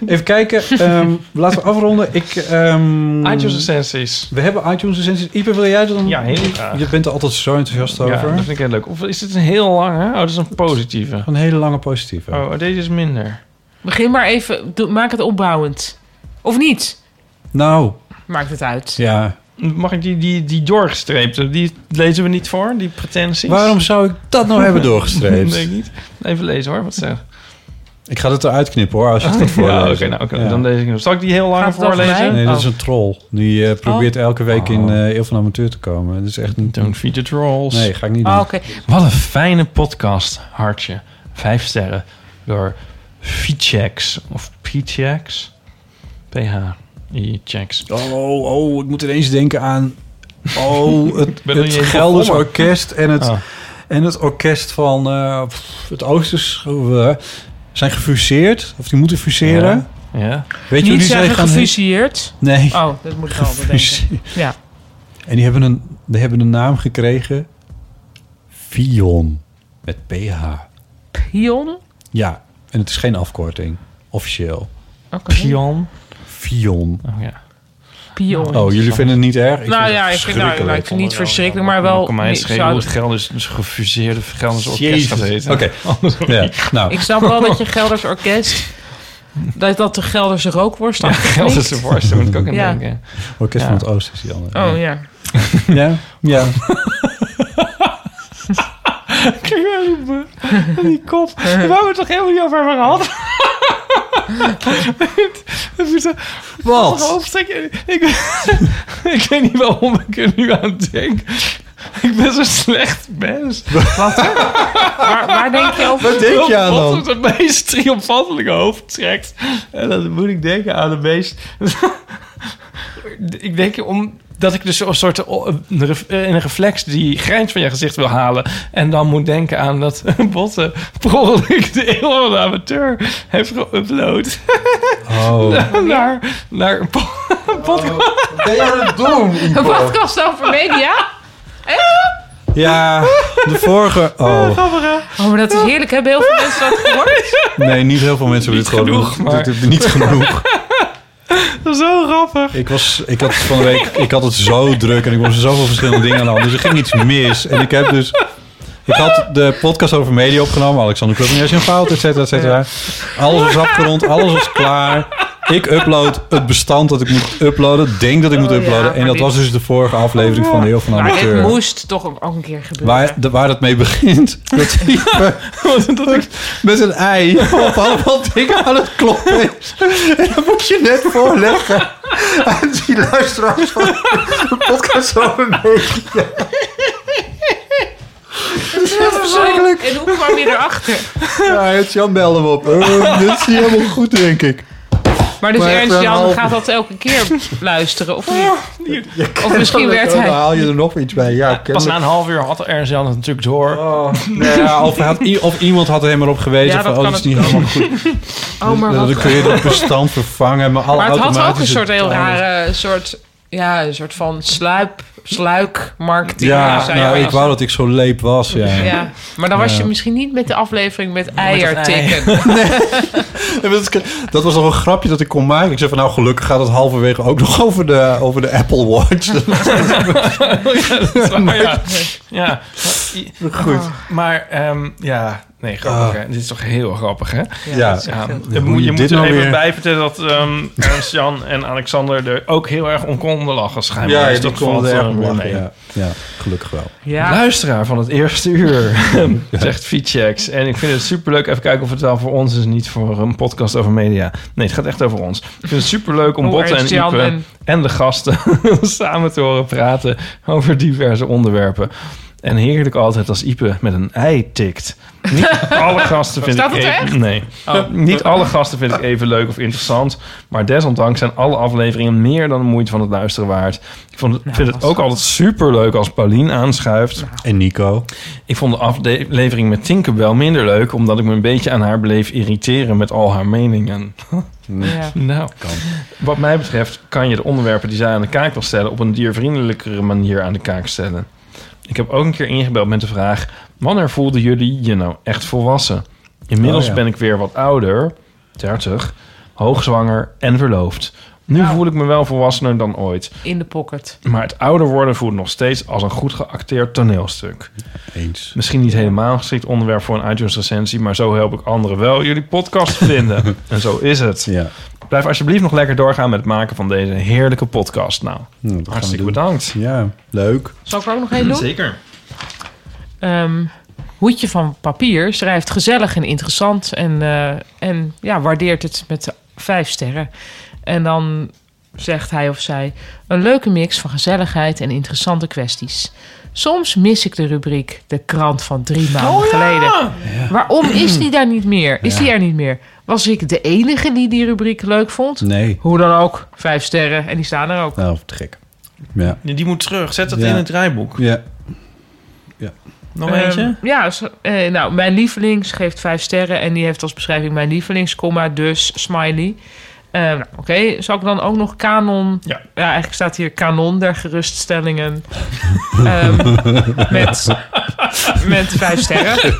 C: Even kijken. ehm, laten we afronden. Ik,
B: Mm.
C: ehm,
D: iTunes recensies.
C: We hebben iTunes recensies. Ipe, wil jij dat dan?
D: Ja, heel graag.
C: Je bent er altijd zo enthousiast
D: Ja,
C: over.
D: dat vind ik heel leuk. Of is dit een heel lange? Oh, dat is een positieve.
C: Een hele lange positieve.
D: Oh, deze is minder.
B: Begin maar even, doe- maak het opbouwend. Of niet,
C: Nou,
B: maakt het uit.
C: ja.
D: Mag ik die, die, die doorgestreepte? Die lezen we niet voor, die pretenties.
C: Waarom zou ik dat nou hebben doorgestreept?
D: Nee, ik niet. Even lezen hoor, wat zegt.
C: Ik ga het eruit knippen, hoor, als je het gaat voorlezen.
D: Ja, oké, nou, oké,
C: Ja.
D: dan lees ik hem. Zal ik die heel lang
B: Gaat het over
D: voorlezen?
B: mij?
C: Nee, dat
B: Oh.
C: is een troll. Die eh,
D: Oh.
C: probeert elke week in eh Eeuw van Amateur te komen. Dat is echt niet...
D: Don't feed the trolls.
C: Nee, ga ik niet doen.
D: Ah,
B: Oh, oké.
D: Wat een fijne podcast, hartje. Vijf sterren door Fichex of Pichex. PH-I-Chex.
C: Oh, oh, ik moet ineens denken aan... Oh, het,
D: ben er
C: het
D: niet eens
C: Gelders
D: begonnen.
C: Orkest en het,
D: Ah.
C: en het orkest van eh, pff, het Oosters eh, zijn gefuseerd. Of die moeten fuseren.
D: Ja.
C: Weet je hoe
B: Niet
C: die zijn
B: zeggen
C: gaan...
B: gefusieerd.
C: Nee.
B: Oh, dat moet ik wel bedenken.
C: Gefuseerd.
B: Ja.
C: En die hebben, een, die hebben een naam gekregen. Vion. Met PH.
B: Pion?
C: Ja, en het is geen afkorting. Officieel.
B: Oké.
D: Pion.
C: Vion.
D: Oh ja.
B: Pion.
C: Oh, jullie vinden het niet erg? Ik
B: nou
C: vind
B: ja,
C: het
B: ik vind, nou, nou, ik vind het niet verschrikkelijk, maar
D: Dan
B: wel...
D: kan mij
B: ik,
D: schelen hoe
B: zou,
D: het Gelders dus gefuseerde Gelders orkest
C: Jezus.
D: gaat heten.
C: Oké. Ja, nou,
B: ik snap wel dat je Gelders Orkest... dat, dat de Gelderse rookworst dan
D: Gelders
B: klinkt.
D: worst, daar moet ik ook aan
B: Ja.
D: denken.
C: Orkest
D: Ja.
C: van het Oosten is die andere.
B: Oh ja.
C: Ja? Ja.
D: Kijk maar die, be- die kop. Daar hebben we het toch helemaal niet over hebben gehad? Het is een
C: Wat?
D: hoofdstuk. Ik, ik weet niet waarom ik er nu aan denk. Ik ben zo'n slecht mens.
B: Waar, waar denk je over?
C: Wat denk je aan
D: Wat
C: dan?
D: het de meest triomfantelijke hoofd trekt. En dan moet ik denken aan de meest... ik denk om dat ik dus een soort eh, een ref- eh, een reflex die grijns van je gezicht wil halen. En dan moet denken aan dat Botten per ongeluk de heel van de amateur heeft geüpload.
C: Oh.
D: naar, naar een po- podcast.
C: Ben je aan het doen?
B: Een podcast over media?
C: Ja, de vorige... Oh,
B: Oh, maar dat is heerlijk. Hebben heel veel mensen dat gehoord?
C: nee, niet heel veel mensen hebben dit gewoon...
D: genoeg, maar-
C: Dit- dit- Niet genoeg. Oh.
D: Zo grappig.
C: Ik, was, ik had van de week... Ik had het zo druk en ik was er zoveel verschillende dingen aan de hand. Dus er ging iets mis. En ik heb dus... Ik had de podcast over media opgenomen. Alexander Klupping is een fout, et cetera, et cetera. Alles was afgerond, alles was klaar. Ik upload het bestand dat ik moet uploaden. Denk dat ik moet
B: Oh ja,
C: uploaden. en
B: maar
C: dat
B: dit-
C: was dus de vorige aflevering van de Heel van de
B: Maar
C: Amateur.
B: het moest toch ook een keer gebeuren.
C: Waar, de, waar het mee begint. Dat hij met een ei op allemaal dingen aan het kloppen is. En dat moet je net voorleggen aan die luisteraars van de podcast over mee.
B: verschrikkelijk. En hoe kwam je erachter?
C: Ja, het Jan belde me op. Eh, dit is niet helemaal goed, denk ik.
B: Maar dus
C: Maar ik
B: Ernst
C: ben
B: Jan
C: half-
B: gaat dat elke keer luisteren, of niet? Of misschien werd
C: Dan
B: hij...
C: haal je er nog iets bij. Ja,
D: Pas na
C: kennelijk.
D: een half uur had Ernst Jan het natuurlijk door.
C: Oh. Nee, ja, of, hij had i- of iemand had er helemaal op gewezen.
B: Ja,
C: van,
B: dat
C: oh,
B: kan
C: dat is niet helemaal goed.
B: Oh, maar
C: Dan
B: wat...
C: kun je dat bestand vervangen. Maar, alle
B: Maar het had ook een
C: automatische
B: soort heel
C: timers.
B: rare soort... ja, een soort van sluip, sluikmarketing.
C: Ja,
B: zou je
C: nou,
B: wel
C: ik wou dat ik zo leep was. Ja.
B: zeggen. ja. Maar dan was
C: Ja.
B: je misschien niet met de aflevering met
D: ei.
B: eier tikken.
C: Ja, maar dat, dat was nog een grapje dat ik kon maken. Ik zei van nou, gelukkig gaat het halverwege ook nog over de, over de Apple Watch.
D: ja. ja. Goed.
C: Oh,
D: Maar ehm, ja, nee, grappig. hè? Dit is toch heel grappig, hè?
C: Ja.
B: dat is echt
D: Ja,
B: heel-
D: je
C: Hoe
D: moet,
C: je
D: je
C: dit
D: moet er
C: nou
D: even
C: weer-
D: bij vertellen dat ehm, Ernst Jan en Alexander er ook heel erg om konden lachen schijnbaar. Dus dat valt, eh, weer mee.
C: ja. ja, gelukkig wel.
B: Ja,
D: Luisteraar van het eerste uur, zegt Fichex. En ik vind het superleuk. Even kijken of het wel voor ons is, niet voor een podcast over media. Nee, het gaat echt over ons. Ik vind het superleuk om
B: Hoe
D: Botten en
B: Ernst Jan
D: Ipe en...
B: en-
D: de gasten samen te horen praten over diverse onderwerpen. En heerlijk altijd als Ipe met een ei tikt. Niet alle gasten vind
B: Staat Oh.
D: ik
B: dat er
D: even... Nee. Niet alle gasten vind ik even leuk of interessant. Maar desondanks zijn alle afleveringen meer dan de moeite van het luisteren waard. Ik vond het, vind het
B: Nou, was-
D: ook altijd superleuk als Paulien aanschuift.
C: En Nico?
D: Ik vond de aflevering met Tinkerbell minder leuk... omdat ik me een beetje aan haar bleef irriteren met al haar meningen.
B: ja.
D: Nou, wat mij betreft kan je de onderwerpen die zij aan de kaak wil stellen... op een diervriendelijkere manier aan de kaak stellen. Ik heb ook een keer ingebeld met de vraag... wanneer voelden jullie je nou echt volwassen? Inmiddels
C: Oh ja.
D: ben ik weer wat ouder, 30, hoogzwanger en verloofd. Nu
C: Nou.
D: voel ik me wel volwassener dan ooit.
B: in de pocket.
D: Maar het ouder worden voelt nog steeds als een goed geacteerd toneelstuk.
C: Eens.
D: Misschien niet helemaal een geschikt onderwerp voor een iTunes recensie... maar zo help ik anderen wel jullie podcast te vinden. en zo is het.
C: Ja,
D: Blijf alsjeblieft nog lekker doorgaan met het maken van deze heerlijke podcast. Nou,
C: Nou, dat gaan we
D: hartstikke
C: doen.
D: bedankt.
C: ja leuk.
B: Zal ik er ook nog één doen?
D: Zeker.
B: Ehm, Hoedje van Papier schrijft gezellig en interessant en, eh, en ja, waardeert het met vijf sterren. En dan zegt hij of zij een leuke mix van gezelligheid en interessante kwesties. Soms mis ik de rubriek de krant van drie maanden geleden. Waarom is die daar niet meer? Is die er niet meer? Was ik de enige die die rubriek leuk vond?
C: Nee.
B: Hoe dan ook, vijf sterren en die staan er ook.
C: Nou, te gek. Ja.
D: Die moet terug. Zet dat
C: Ja.
D: in het rijboek.
C: Ja.
D: Nog
B: Ehm,
D: eentje?
B: Ja, zo- eh, nou, mijn lievelings geeft vijf sterren en die heeft als beschrijving mijn lievelings, comma, dus, smiley. Eh, nou, Oké, zal ik dan ook nog kanon...
D: Ja.
B: eigenlijk staat hier kanon der geruststellingen ehm, met, met vijf sterren.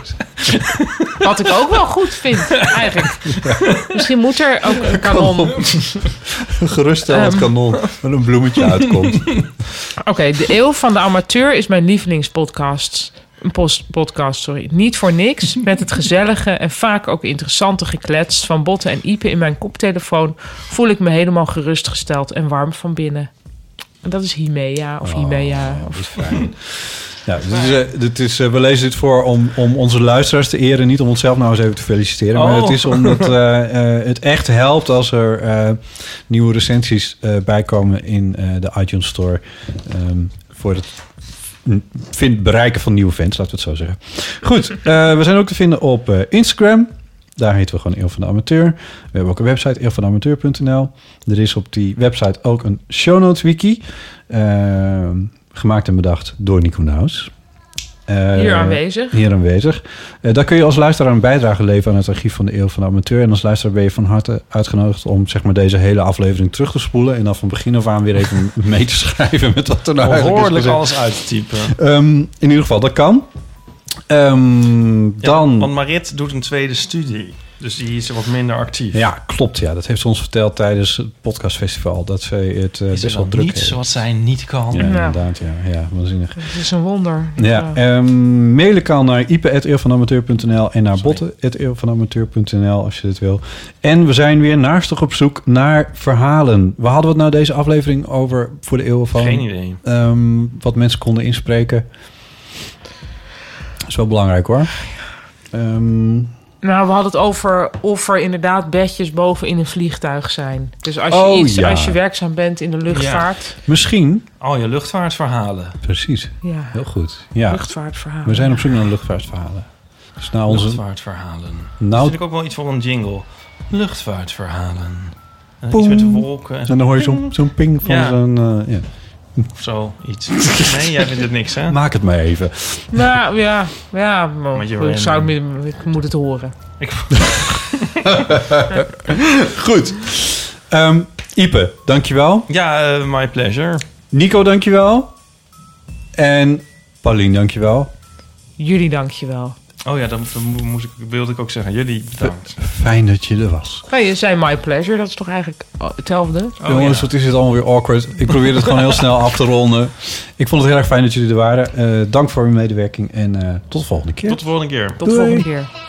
B: Wat ik ook wel goed vind, eigenlijk. Misschien moet er ook een kanon...
C: Geruststellend
B: Ehm.
C: kanon waar een bloemetje uitkomt.
B: Oké, De Eeuw van de Amateur is mijn lievelingspodcast. Een post- podcast, sorry. Niet voor niks. Met het gezellige en vaak ook interessante gekletst van botten en iepen in mijn koptelefoon... voel ik me helemaal gerustgesteld en warm van binnen. En dat is Himea
C: Oh.
B: of Himea.
C: Nou, Dat is fijn. Ja, dit is, eh, dit is, eh, we lezen dit voor om, om onze luisteraars te eren. Niet om onszelf nou eens even te feliciteren. Maar
D: Oh.
C: het is omdat eh, eh, het echt helpt als er eh, nieuwe recensies eh, bijkomen in eh, de iTunes Store. ehm, voor het vind, bereiken van nieuwe fans, laten we het zo zeggen. Goed, eh, we zijn ook te vinden op eh, Instagram. Daar heten we gewoon Eeuw van de Amateur. We hebben ook een website, eeuwvandeamateur.nl. Er is op die website ook een show notes wiki. Ehm, gemaakt en bedacht door Nico Nauws. Eh,
B: Hier aanwezig.
C: Hier aanwezig. Eh, daar kun je als luisteraar een bijdrage leveren aan het archief van de Eeuw van de Amateur. En als luisteraar ben je van harte uitgenodigd om zeg maar, deze hele aflevering terug te spoelen. En dan van begin af aan weer even mee te schrijven met wat er nou eigenlijk is gezegd.
D: Behoorlijk alles uittypen.
C: Ehm, in ieder geval, dat kan. Ehm, dan.
D: Want Marit doet een tweede studie. Dus die is wat minder actief.
C: Ja, klopt. Ja, dat heeft ze ons verteld tijdens het podcastfestival. Dat ze het eh,
D: Is
C: best
D: er
C: wel
D: dan
C: druk
D: niets
C: heeft.
D: wat zij niet kan?
C: Ja,
B: Ja.
C: inderdaad. Ja, ja waanzinnig.
B: Het is een wonder.
C: Ja, ehm, mailen kan naar ipe.eeuwvanamateur.nl en naar botten.eeuwvanamateur.nl als je dit wil. En we zijn weer naastig op zoek naar verhalen. Waar hadden we het nou deze aflevering over voor de eeuw van?
D: Geen idee.
C: Ehm, wat mensen konden inspreken. Dat is wel belangrijk hoor. Ehm,
B: Nou, we hadden het over of er inderdaad bedjes boven in een vliegtuig zijn. Dus als je,
C: Oh,
B: iets,
C: ja.
B: als je werkzaam bent in de luchtvaart...
C: misschien.
D: Al je Oh, luchtvaartverhalen.
C: Precies.
B: Ja,
C: Heel goed. Ja,
B: luchtvaartverhaal.
C: we zijn op zoek naar luchtvaartverhalen. Dus na onze...
D: Luchtvaartverhalen. Dat vind
C: Nou,
D: ik ook wel iets voor een jingle. Luchtvaartverhalen. En Iets met de wolken en zo.
C: en dan hoor je zo'n zo'n ping van
D: Ja.
C: zo'n... eh, ja.
D: Of zo. Iets. Nee, jij vindt het niks, hè?
C: Maak het maar even.
B: Nou ja, ja maar
D: Met je
B: ik, zou,
D: random.
B: ik moet het horen.
D: Ik,
C: Goed. Ehm, Ipe, dankjewel.
D: Ja, eh, my pleasure.
C: Nico, dankjewel. En Paulien, dankjewel.
B: Jullie dankjewel.
D: Oh ja, dan, dan mo- moest ik, wilde ik ook zeggen. Jullie bedankt.
C: Fijn dat je er was.
B: Nou, je zei my pleasure, dat is toch eigenlijk oh, hetzelfde?
C: Jongens, wat is dit allemaal weer awkward. Ik probeer het gewoon heel snel af te ronden. Ik vond het heel erg fijn dat jullie er waren. Eh, dank voor uw medewerking en eh, tot de volgende keer.
D: Tot de volgende keer.
B: Tot de volgende keer.